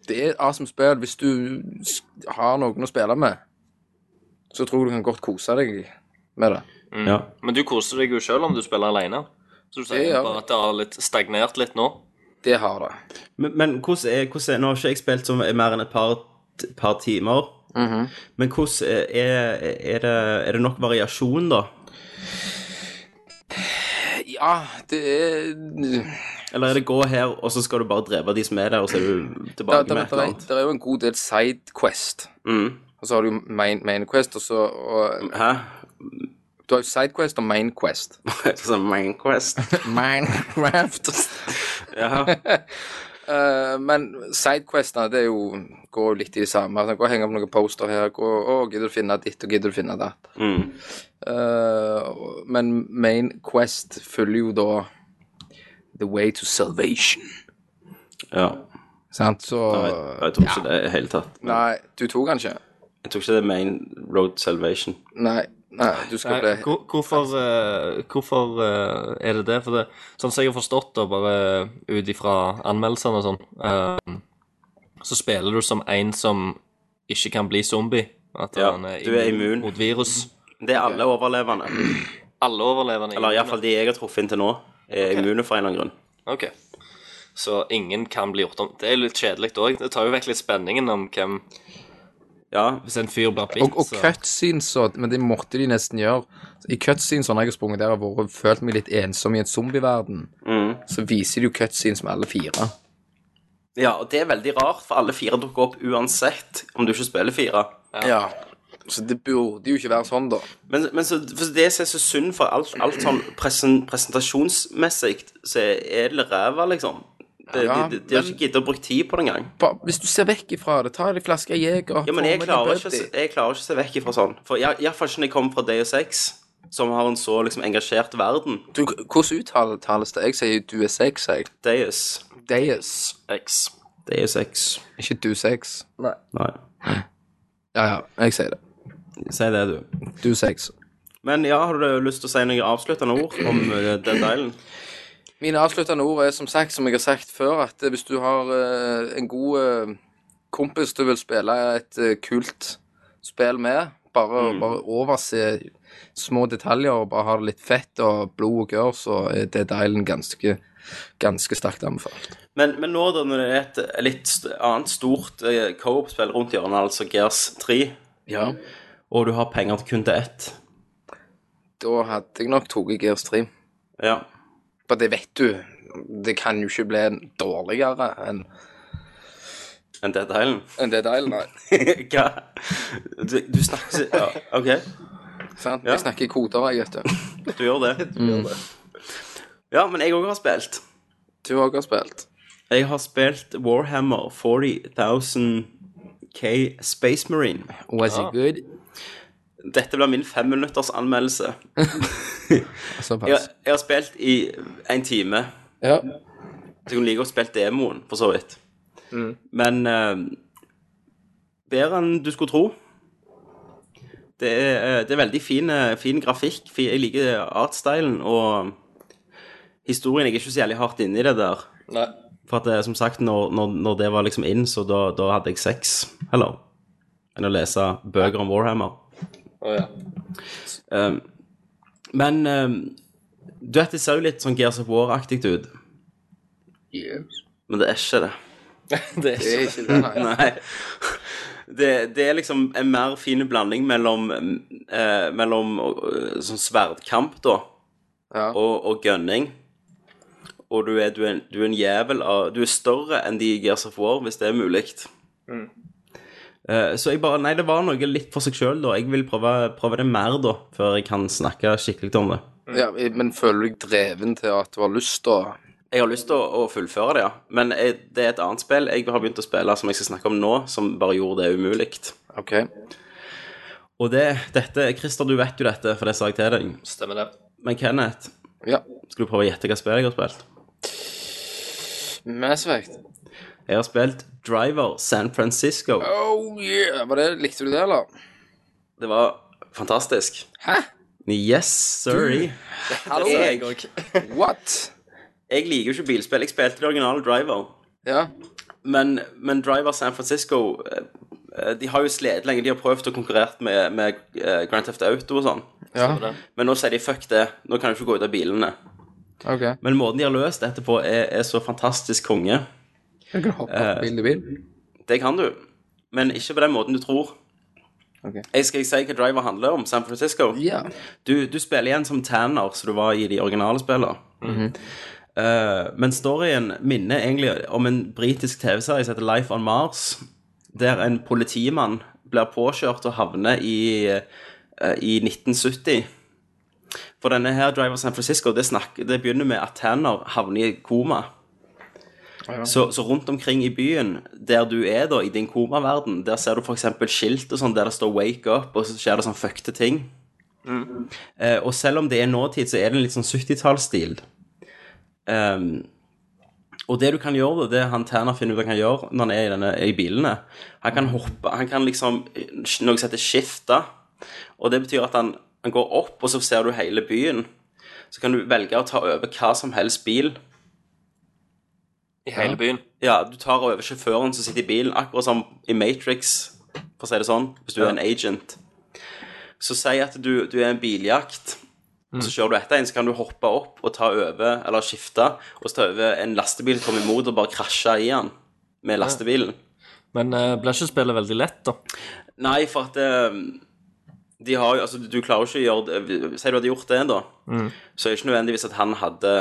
[SPEAKER 6] Det er et awesome spill hvis du s- har noen å spille med. Så tror jeg du kan godt kose deg med det.
[SPEAKER 8] Mm. Men du koser deg jo sjøl om du spiller aleine. Så du sier
[SPEAKER 6] Det gjør
[SPEAKER 8] bare at det har litt stagnert litt nå.
[SPEAKER 6] Det har det.
[SPEAKER 1] Men, men hvordan er, hvordan er Nå har ikke jeg spilt som mer enn et par, par timer. Mhm. Men hvordan er, er, er, det, er det nok variasjon, da?
[SPEAKER 6] Ja, det er
[SPEAKER 1] Eller er det gå her, og så skal du bare drepe de som er der, og så er du tilbake
[SPEAKER 6] Det
[SPEAKER 1] med et eller annet?
[SPEAKER 6] er jo en god del sidequest.
[SPEAKER 1] Mm.
[SPEAKER 6] Og så har du jo main, main quest, og så og,
[SPEAKER 1] Hæ?
[SPEAKER 6] Du har jo sidequest og main quest.
[SPEAKER 1] Så Minecraft.
[SPEAKER 6] Minecraft.
[SPEAKER 1] Ja.
[SPEAKER 6] Eh, men sidequestene, det er jo går jo litt i det samme. Altså, gå og henge opp noen poster her. Gå, å, gidder du finne ditt, og gidder du finne datt.
[SPEAKER 1] Mm.
[SPEAKER 6] Eh, og- men main quest følger jo da The way to salvation.
[SPEAKER 1] ja.
[SPEAKER 6] Sant, så
[SPEAKER 1] Nei, jeg tok ikke det i det hele tatt.
[SPEAKER 6] Nei, du tok den ikke.
[SPEAKER 1] Jeg tok ikke det main road salvation.
[SPEAKER 6] Nei, nei du skal
[SPEAKER 8] Nei,
[SPEAKER 6] bli
[SPEAKER 8] hvor- hvorfor eh, hvorfor eh, er det det? For det, sånn som jeg har forstått det, bare ut ifra anmeldelsene og sånn, eh, så spiller du som en som ikke kan bli zombie. At
[SPEAKER 1] Ja,
[SPEAKER 8] han er
[SPEAKER 1] du er
[SPEAKER 8] immun
[SPEAKER 1] immun.
[SPEAKER 8] mot virus.
[SPEAKER 1] Det er alle overlevende.
[SPEAKER 8] Alle overlevende
[SPEAKER 1] Eller iallfall de jeg har truffet inntil nå, er immune for en eller annen grunn.
[SPEAKER 8] Ok. Så ingen kan bli gjort om. Det er litt kjedelig òg. Det tar jo vekk litt spenningen om hvem
[SPEAKER 1] Ja.
[SPEAKER 8] Hvis en fyr blir bitt,
[SPEAKER 6] Og, og cutscenes og Men det måtte de nesten gjøre. I cutscenes når jeg har sprunget der og vært- følt meg litt ensom i en zombieverden,
[SPEAKER 1] Mm.
[SPEAKER 6] så viser de jo cutscenes med alle fire.
[SPEAKER 1] Ja, og det er veldig rart, for alle fire dukker opp uansett om du ikke spiller fire.
[SPEAKER 6] Ja. Så det burde jo ikke være sånn, da.
[SPEAKER 1] Men, men så, for det som er så synd for alt, alt sånn presen, presentasjonsmessig, så er det ræva, liksom. Det,
[SPEAKER 6] Ja,
[SPEAKER 1] de, de, de har
[SPEAKER 6] men-
[SPEAKER 1] ikke giddet å bruke tid på det engang.
[SPEAKER 6] Bare, hvis du ser vekk ifra det, ta deg en flaske Jeger
[SPEAKER 1] Ja, men jeg klarer, ikke, å se- jeg klarer ikke å se vekk ifra sånn. For Iallfall ikke når jeg kommer fra Deus Ex, som har en så liksom engasjert verden.
[SPEAKER 6] du, Hvordan uttales det? Jeg sier du er sex, jeg.
[SPEAKER 1] Deus
[SPEAKER 6] Deus.
[SPEAKER 8] X.
[SPEAKER 1] Deus Ex.
[SPEAKER 6] Ikke du sex. Nei.
[SPEAKER 1] Nei.
[SPEAKER 6] Ja, ja. Jeg sier det.
[SPEAKER 1] Si det, du.
[SPEAKER 6] Du sex.
[SPEAKER 1] Men ja, har du lyst til å si noen avsluttende ord om eh, Dead Island?
[SPEAKER 6] Mine avsluttende ord er som sagt, som jeg har sagt før, at eh, hvis du har eh, en god eh, kompis du vil spille et eh, kult spill med, bare, bare overse små detaljer og bare ha det litt fett og blod og gørr, så er Dead Island ganske, ganske sterkt anbefalt.
[SPEAKER 1] Men, men nå da, når det er et litt st- annet stort eh, co-op-spill rundt hjørnet, altså Gears 3,
[SPEAKER 6] Ja.
[SPEAKER 1] og du har penger til kun til ett
[SPEAKER 6] Da hadde jeg nok tatt Gears 3.
[SPEAKER 1] Ja.
[SPEAKER 6] For det vet du, det kan jo ikke bli dårligere enn
[SPEAKER 1] Enn Dead Island?
[SPEAKER 6] enn Dead Island. Nei.
[SPEAKER 1] Hva? Du, du snakker så ja, OK,
[SPEAKER 6] Sant?
[SPEAKER 1] Ja.
[SPEAKER 6] Jeg snakker i koder, jeg, vet du.
[SPEAKER 1] du gjør det. Ja, men jeg òg har spilt.
[SPEAKER 6] Du har også spilt.
[SPEAKER 1] Jeg har spilt Warhammer 40.000 K Space Marine.
[SPEAKER 6] Was it good?
[SPEAKER 1] Dette blir min femminutters anmeldelse. Jeg,
[SPEAKER 6] Såpass.
[SPEAKER 1] jeg har spilt i en time.
[SPEAKER 6] Ja.
[SPEAKER 1] Så jeg kunne like godt spilt demoen, for så vidt. Men eh, bedre enn du skulle tro. Det er, eh, det er veldig fin, eh, fin grafikk. fi- Jeg liker artstylen og historien. Jeg er ikke så jævlig hardt inne i det der.
[SPEAKER 8] Nei.
[SPEAKER 1] For at, eh, som sagt, når, når, når det var liksom inn, så da, da hadde jeg sex, eller, enn å lese bøker om Warhammer.
[SPEAKER 8] Å ja.
[SPEAKER 1] Eh, men eh, du vet, det ser jo litt sånn Gears of War-aktig ut. Men det er ikke det.
[SPEAKER 8] Det
[SPEAKER 6] Det
[SPEAKER 8] er ikke
[SPEAKER 6] er ikke det, nei.
[SPEAKER 1] Nei. Det, det er liksom en mer fin blanding mellom, eh, mellom eh, sånn sverdkamp, da,
[SPEAKER 6] Ja.
[SPEAKER 1] og, og gunning. Og du er, du er, du er en jævel av Du er større enn de i Gears of War, hvis det er mulig. Mm. Eh, så jeg bare Nei, det var noe litt for seg sjøl, da. Jeg vil prøve, prøve det mer, da, før jeg kan snakke skikkelig om det.
[SPEAKER 8] Mm.
[SPEAKER 6] Ja, men føler du deg dreven til at du har lyst til å
[SPEAKER 1] Jeg har lyst til å, å fullføre det, ja. Men jeg, det er et annet spill jeg har begynt å spille som jeg skal snakke om nå, som bare gjorde det umulig.
[SPEAKER 6] OK.
[SPEAKER 1] Og det, dette Christer, du vet jo dette, for det sa jeg til deg.
[SPEAKER 8] Stemmer det.
[SPEAKER 1] Men Kenneth,
[SPEAKER 6] Ja.
[SPEAKER 1] Skal du prøve å gjette hva spill jeg har spilt?
[SPEAKER 6] Mass Effect.
[SPEAKER 1] Jeg har spilt Driver San Francisco.
[SPEAKER 6] Oh yeah! Var det, likte du det, eller?
[SPEAKER 1] Det var fantastisk.
[SPEAKER 6] Hæ?
[SPEAKER 1] Yes, sorry.
[SPEAKER 6] Hallo?
[SPEAKER 1] Jeg,
[SPEAKER 6] What?
[SPEAKER 1] altså- jeg liker jo ikke bilspill. Jeg spilte det originale Driver.
[SPEAKER 6] Ja.
[SPEAKER 1] Men, men Driver San Francisco eh, eh, De har jo slitt lenge. De har prøvd å konkurrere med, med eh, Grand Theft Auto og sånn.
[SPEAKER 6] Ja.
[SPEAKER 1] Men nå sier de fuck det. Nå kan du ikke gå ut av bilene.
[SPEAKER 6] OK.
[SPEAKER 1] Men måten de har løst dette på, er, er så fantastisk konge.
[SPEAKER 6] Jeg kan hoppe
[SPEAKER 8] Eh.
[SPEAKER 6] fra bil til bil.
[SPEAKER 1] Det kan du. Men ikke på den måten du tror.
[SPEAKER 6] Ok.
[SPEAKER 1] Jeg skal jeg si hva Driver handler om, San Francisco.
[SPEAKER 6] Ja.
[SPEAKER 1] Du, du spiller igjen som Tanner, som du var i de originale spillene. Eh, men storyen minner egentlig om en britisk TV-serie som heter Life on Mars, der en politimann blir påkjørt og havner i, eh, i 1970. For denne her Driver San Francisco, det, snakk- det begynner med at Tanner havner i koma. Så, så rundt omkring i byen, der du er da, i din komaverden, der ser du f.eks. skilt og sånn, der det står 'wake up', og så skjer det sånn fuckte ting. Eh, og selv om det er nåtid, så er det en litt sånn 70-tallsstil. Ehm, og det du kan gjøre, da, det han Tanner finner ut han kan gjøre når han er i, denne, i bilene Han kan hoppe, han kan liksom eh, noe som heter skifte. Og det betyr at han, han går opp, og så ser du hele byen. Så kan du velge å ta over hva som helst bil.
[SPEAKER 8] I hele byen.
[SPEAKER 1] Ja, du tar over sjåføren som sitter i bilen, akkurat som i Matrix, for å si det sånn, hvis du er en agent. Så si at du, du er en biljakt, og så kjører du etter en, så kan du hoppe opp og ta over, eller skifte, og så ta over en lastebil som kommer imot og bare krasje i han med lastebilen.
[SPEAKER 8] Men uh, blir ikke spillet veldig lett, da?
[SPEAKER 1] Nei, for at eh, de har jo, altså du klarer jo ikke å gjøre det, si du hadde gjort det da, så er det ikke nødvendigvis at han hadde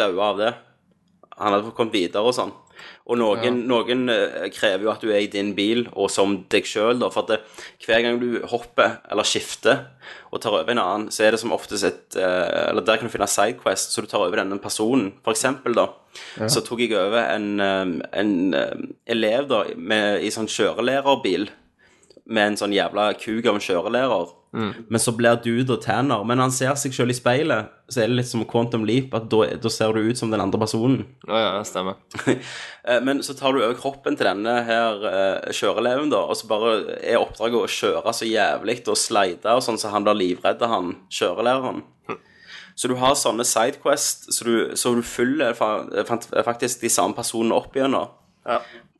[SPEAKER 1] daua av det. Han hadde kommet videre og sånn. Og noen, noen eh, krever jo at du er i din bil og som deg sjøl, da. For at det, hver gang du hopper eller skifter og tar over en annen, så er det som oftest et eh, Eller der kan du finne Sidequest, så du tar over denne personen. For eksempel, da, så tok jeg over en, eh, en eh, elev da med, i sånn kjørelærerbil med en sånn jævla kuk av en kjørelærer. Men så blir du da Tanner. Men når han ser seg sjøl i speilet, så er det litt som Quantum Leap, at da da ser du ut som den andre personen.
[SPEAKER 8] Ja, ja, det stemmer.
[SPEAKER 1] Eh, Men så tar du over kroppen til denne her eh, kjøreleven, da, og så bare er oppdraget å kjøre så jævlig og slide og sånn, så han blir livredd av han kjørelæreren. Så du har sånne sidequest, så du, så du følger fa fant- faktisk de samme personene opp igjennom.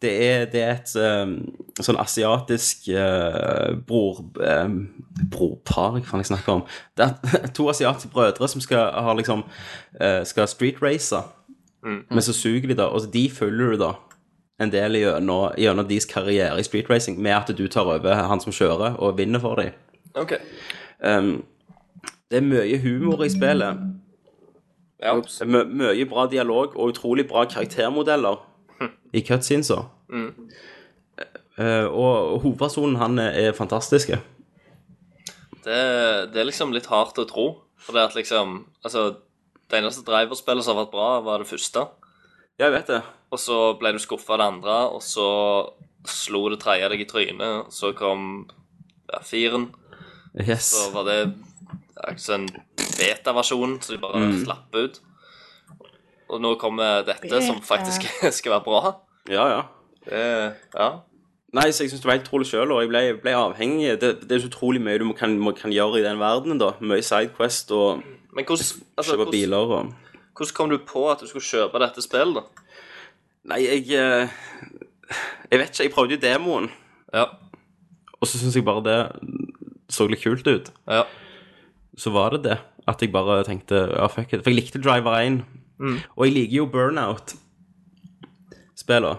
[SPEAKER 1] Det er, det er et eh, sånn asiatisk eh, bror... eh, brorpar, hva faen jeg snakker om? Det er to asiatiske brødre som skal, ha liksom, eh, skal street race. Men så suger de, da. Og så de følger du, da, en del gjennom, gjennom deres karriere i street racing med at du tar over han som kjører, og vinner for dem.
[SPEAKER 8] Ok.
[SPEAKER 1] Um, det er mye humor i spillet.
[SPEAKER 8] Ja.
[SPEAKER 1] Det er mø- Mye bra dialog og utrolig bra karaktermodeller i cutscenesa. Mm. Eh, og hovedpersonen, han er- er fantastisk.
[SPEAKER 8] Det, det er liksom litt hardt å tro. For det at liksom Altså, det eneste driverspillet som har vært bra, var det første.
[SPEAKER 1] Ja, jeg vet det.
[SPEAKER 8] Og så ble du skuffa av det andre, og så slo det tredje deg i trynet. og Så kom ja, firen.
[SPEAKER 1] Yes.
[SPEAKER 8] Så var det ja, sånn beta-versjon, så de bare slapp ut. Og nå kommer dette, som faktisk skal være bra.
[SPEAKER 1] Ja, ja.
[SPEAKER 8] Det, ja.
[SPEAKER 1] Nei, så jeg synes det var helt utrolig sjøl, og jeg ble, ble avhengig. Det, det er så utrolig mye du må, kan, må, kan gjøre i den verdenen, da. Mye Sidequest og
[SPEAKER 8] Men hvordan, altså,
[SPEAKER 1] kjøpe
[SPEAKER 8] hvordan,
[SPEAKER 1] biler og
[SPEAKER 8] hvordan kom du på at du skulle kjøpe dette spillet, da?
[SPEAKER 1] Nei, jeg eh, Jeg vet ikke. Jeg prøvde jo demoen,
[SPEAKER 8] Ja.
[SPEAKER 1] og så syns jeg bare det så litt kult ut.
[SPEAKER 8] ja.
[SPEAKER 1] Så var det det. At jeg bare tenkte ja, fuck it. For jeg likte Driver 1. Og jeg liker jo Burnout-spillene.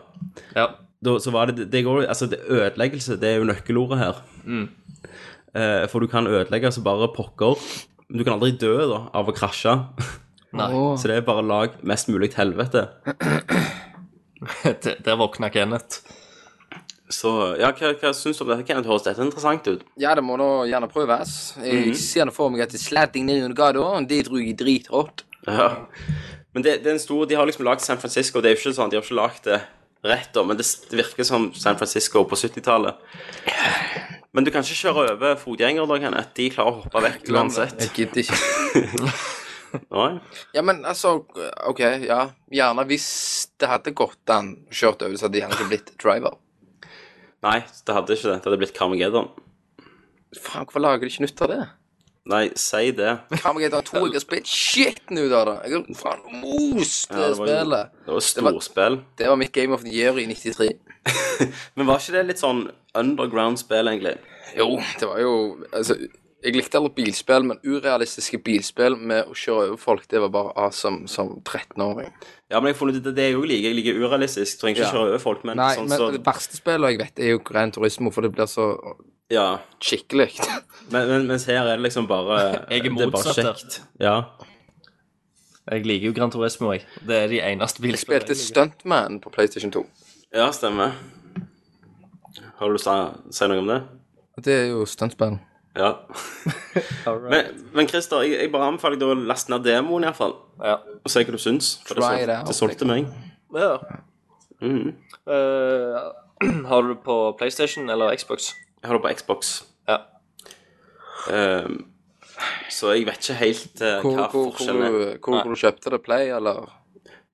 [SPEAKER 8] ja.
[SPEAKER 1] da, så var det, det går, jo- altså det, Ødeleggelse, det er jo nøkkelordet her. Eh, for du kan ødelegge så bare pokker. Men du kan aldri dø da, av å krasje.
[SPEAKER 6] Åh.
[SPEAKER 1] Så det er bare lag mest mulig til helvete.
[SPEAKER 8] Der der våkna Kenneth.
[SPEAKER 1] Så ja, hva, hva syns du om dette? Kenneth, høres dette interessant ut?
[SPEAKER 6] Ja, det må da gjerne prøves.
[SPEAKER 8] Mhm.
[SPEAKER 6] Jeg ser nå for meg at det er slatting ned under gata, og det tror jeg er dritrått.
[SPEAKER 1] Ja. Men det, det er en stor, de har liksom lagd San Francisco. Det er jo ikke sånn, De har ikke lagd det rett, da, men det s- det virker som San Francisco på 70-tallet. Men du kan ikke kjøre over fotgjengere, da, Kenneth. De klarer å hoppe vekk uansett.
[SPEAKER 6] Jeg gidder ikke.
[SPEAKER 1] Nei.
[SPEAKER 6] Ja, men altså, OK, ja. Gjerne hvis det hadde gått an å kjørt over, så hadde det gjerne ikke blitt driver.
[SPEAKER 1] Nei, det hadde ikke det. Det hadde blitt Carmageddon.
[SPEAKER 6] Faen, hvorfor lager de ikke nytt av det?
[SPEAKER 1] Nei, si det.
[SPEAKER 6] Carmageddon 2, jeg har spilt skitten ut av det. Jeg har faen most
[SPEAKER 1] Ja,
[SPEAKER 6] det
[SPEAKER 1] det var jo-
[SPEAKER 6] spillet.
[SPEAKER 1] Det var storspill.
[SPEAKER 6] Det var mitt Game of the Year i 93.
[SPEAKER 1] Men var ikke det litt sånn underground-spill, egentlig?
[SPEAKER 6] Jo, det var jo Altså, jeg likte alle bilspill, men urealistiske bilspill med å kjøre over folk, det var bare awesome som 13-åring.
[SPEAKER 1] Ja, men jeg har funnet ut at det jeg òg liker. Jeg liker urealistisk. Trenger ikke
[SPEAKER 6] Ja.
[SPEAKER 1] kjøre over folk, men
[SPEAKER 6] Nei,
[SPEAKER 1] sånn
[SPEAKER 6] men
[SPEAKER 1] så
[SPEAKER 6] det verste spillet jeg vet, er jo Gran Turismo, for det blir så
[SPEAKER 1] Ja.
[SPEAKER 6] skikkelig.
[SPEAKER 1] Men, men, mens her er det liksom bare
[SPEAKER 5] Jeg er
[SPEAKER 1] det
[SPEAKER 5] motsatt
[SPEAKER 1] bare
[SPEAKER 5] der.
[SPEAKER 1] kjekt. Ja.
[SPEAKER 5] Jeg liker jo Gran Turismo, jeg. Det er de eneste
[SPEAKER 6] Jeg spilte
[SPEAKER 5] bilspillene.
[SPEAKER 6] Stuntman på PlayStation 2.
[SPEAKER 1] ja, stemmer. Har du lyst til å si noe om det?
[SPEAKER 6] Og Det er jo stuntspill.
[SPEAKER 1] Ja. Men, men Christer, jeg, jeg bare anbefaler deg å laste ned demoen, iallfall.
[SPEAKER 5] Ja.
[SPEAKER 1] Og se hva du syns. For det,
[SPEAKER 6] Try it
[SPEAKER 1] sol,
[SPEAKER 6] out,
[SPEAKER 1] det solgte meg.
[SPEAKER 5] Ja.
[SPEAKER 1] Mhm.
[SPEAKER 5] Eh, har du det på PlayStation eller Xbox?
[SPEAKER 1] Jeg har det på Xbox.
[SPEAKER 5] Ja.
[SPEAKER 1] Ehm, så jeg vet ikke helt eh,
[SPEAKER 6] Hvor,
[SPEAKER 1] hva
[SPEAKER 6] hvor, hvor,
[SPEAKER 1] forskjellen er.
[SPEAKER 6] hvor, hvor, du kjøpte det? Play, eller?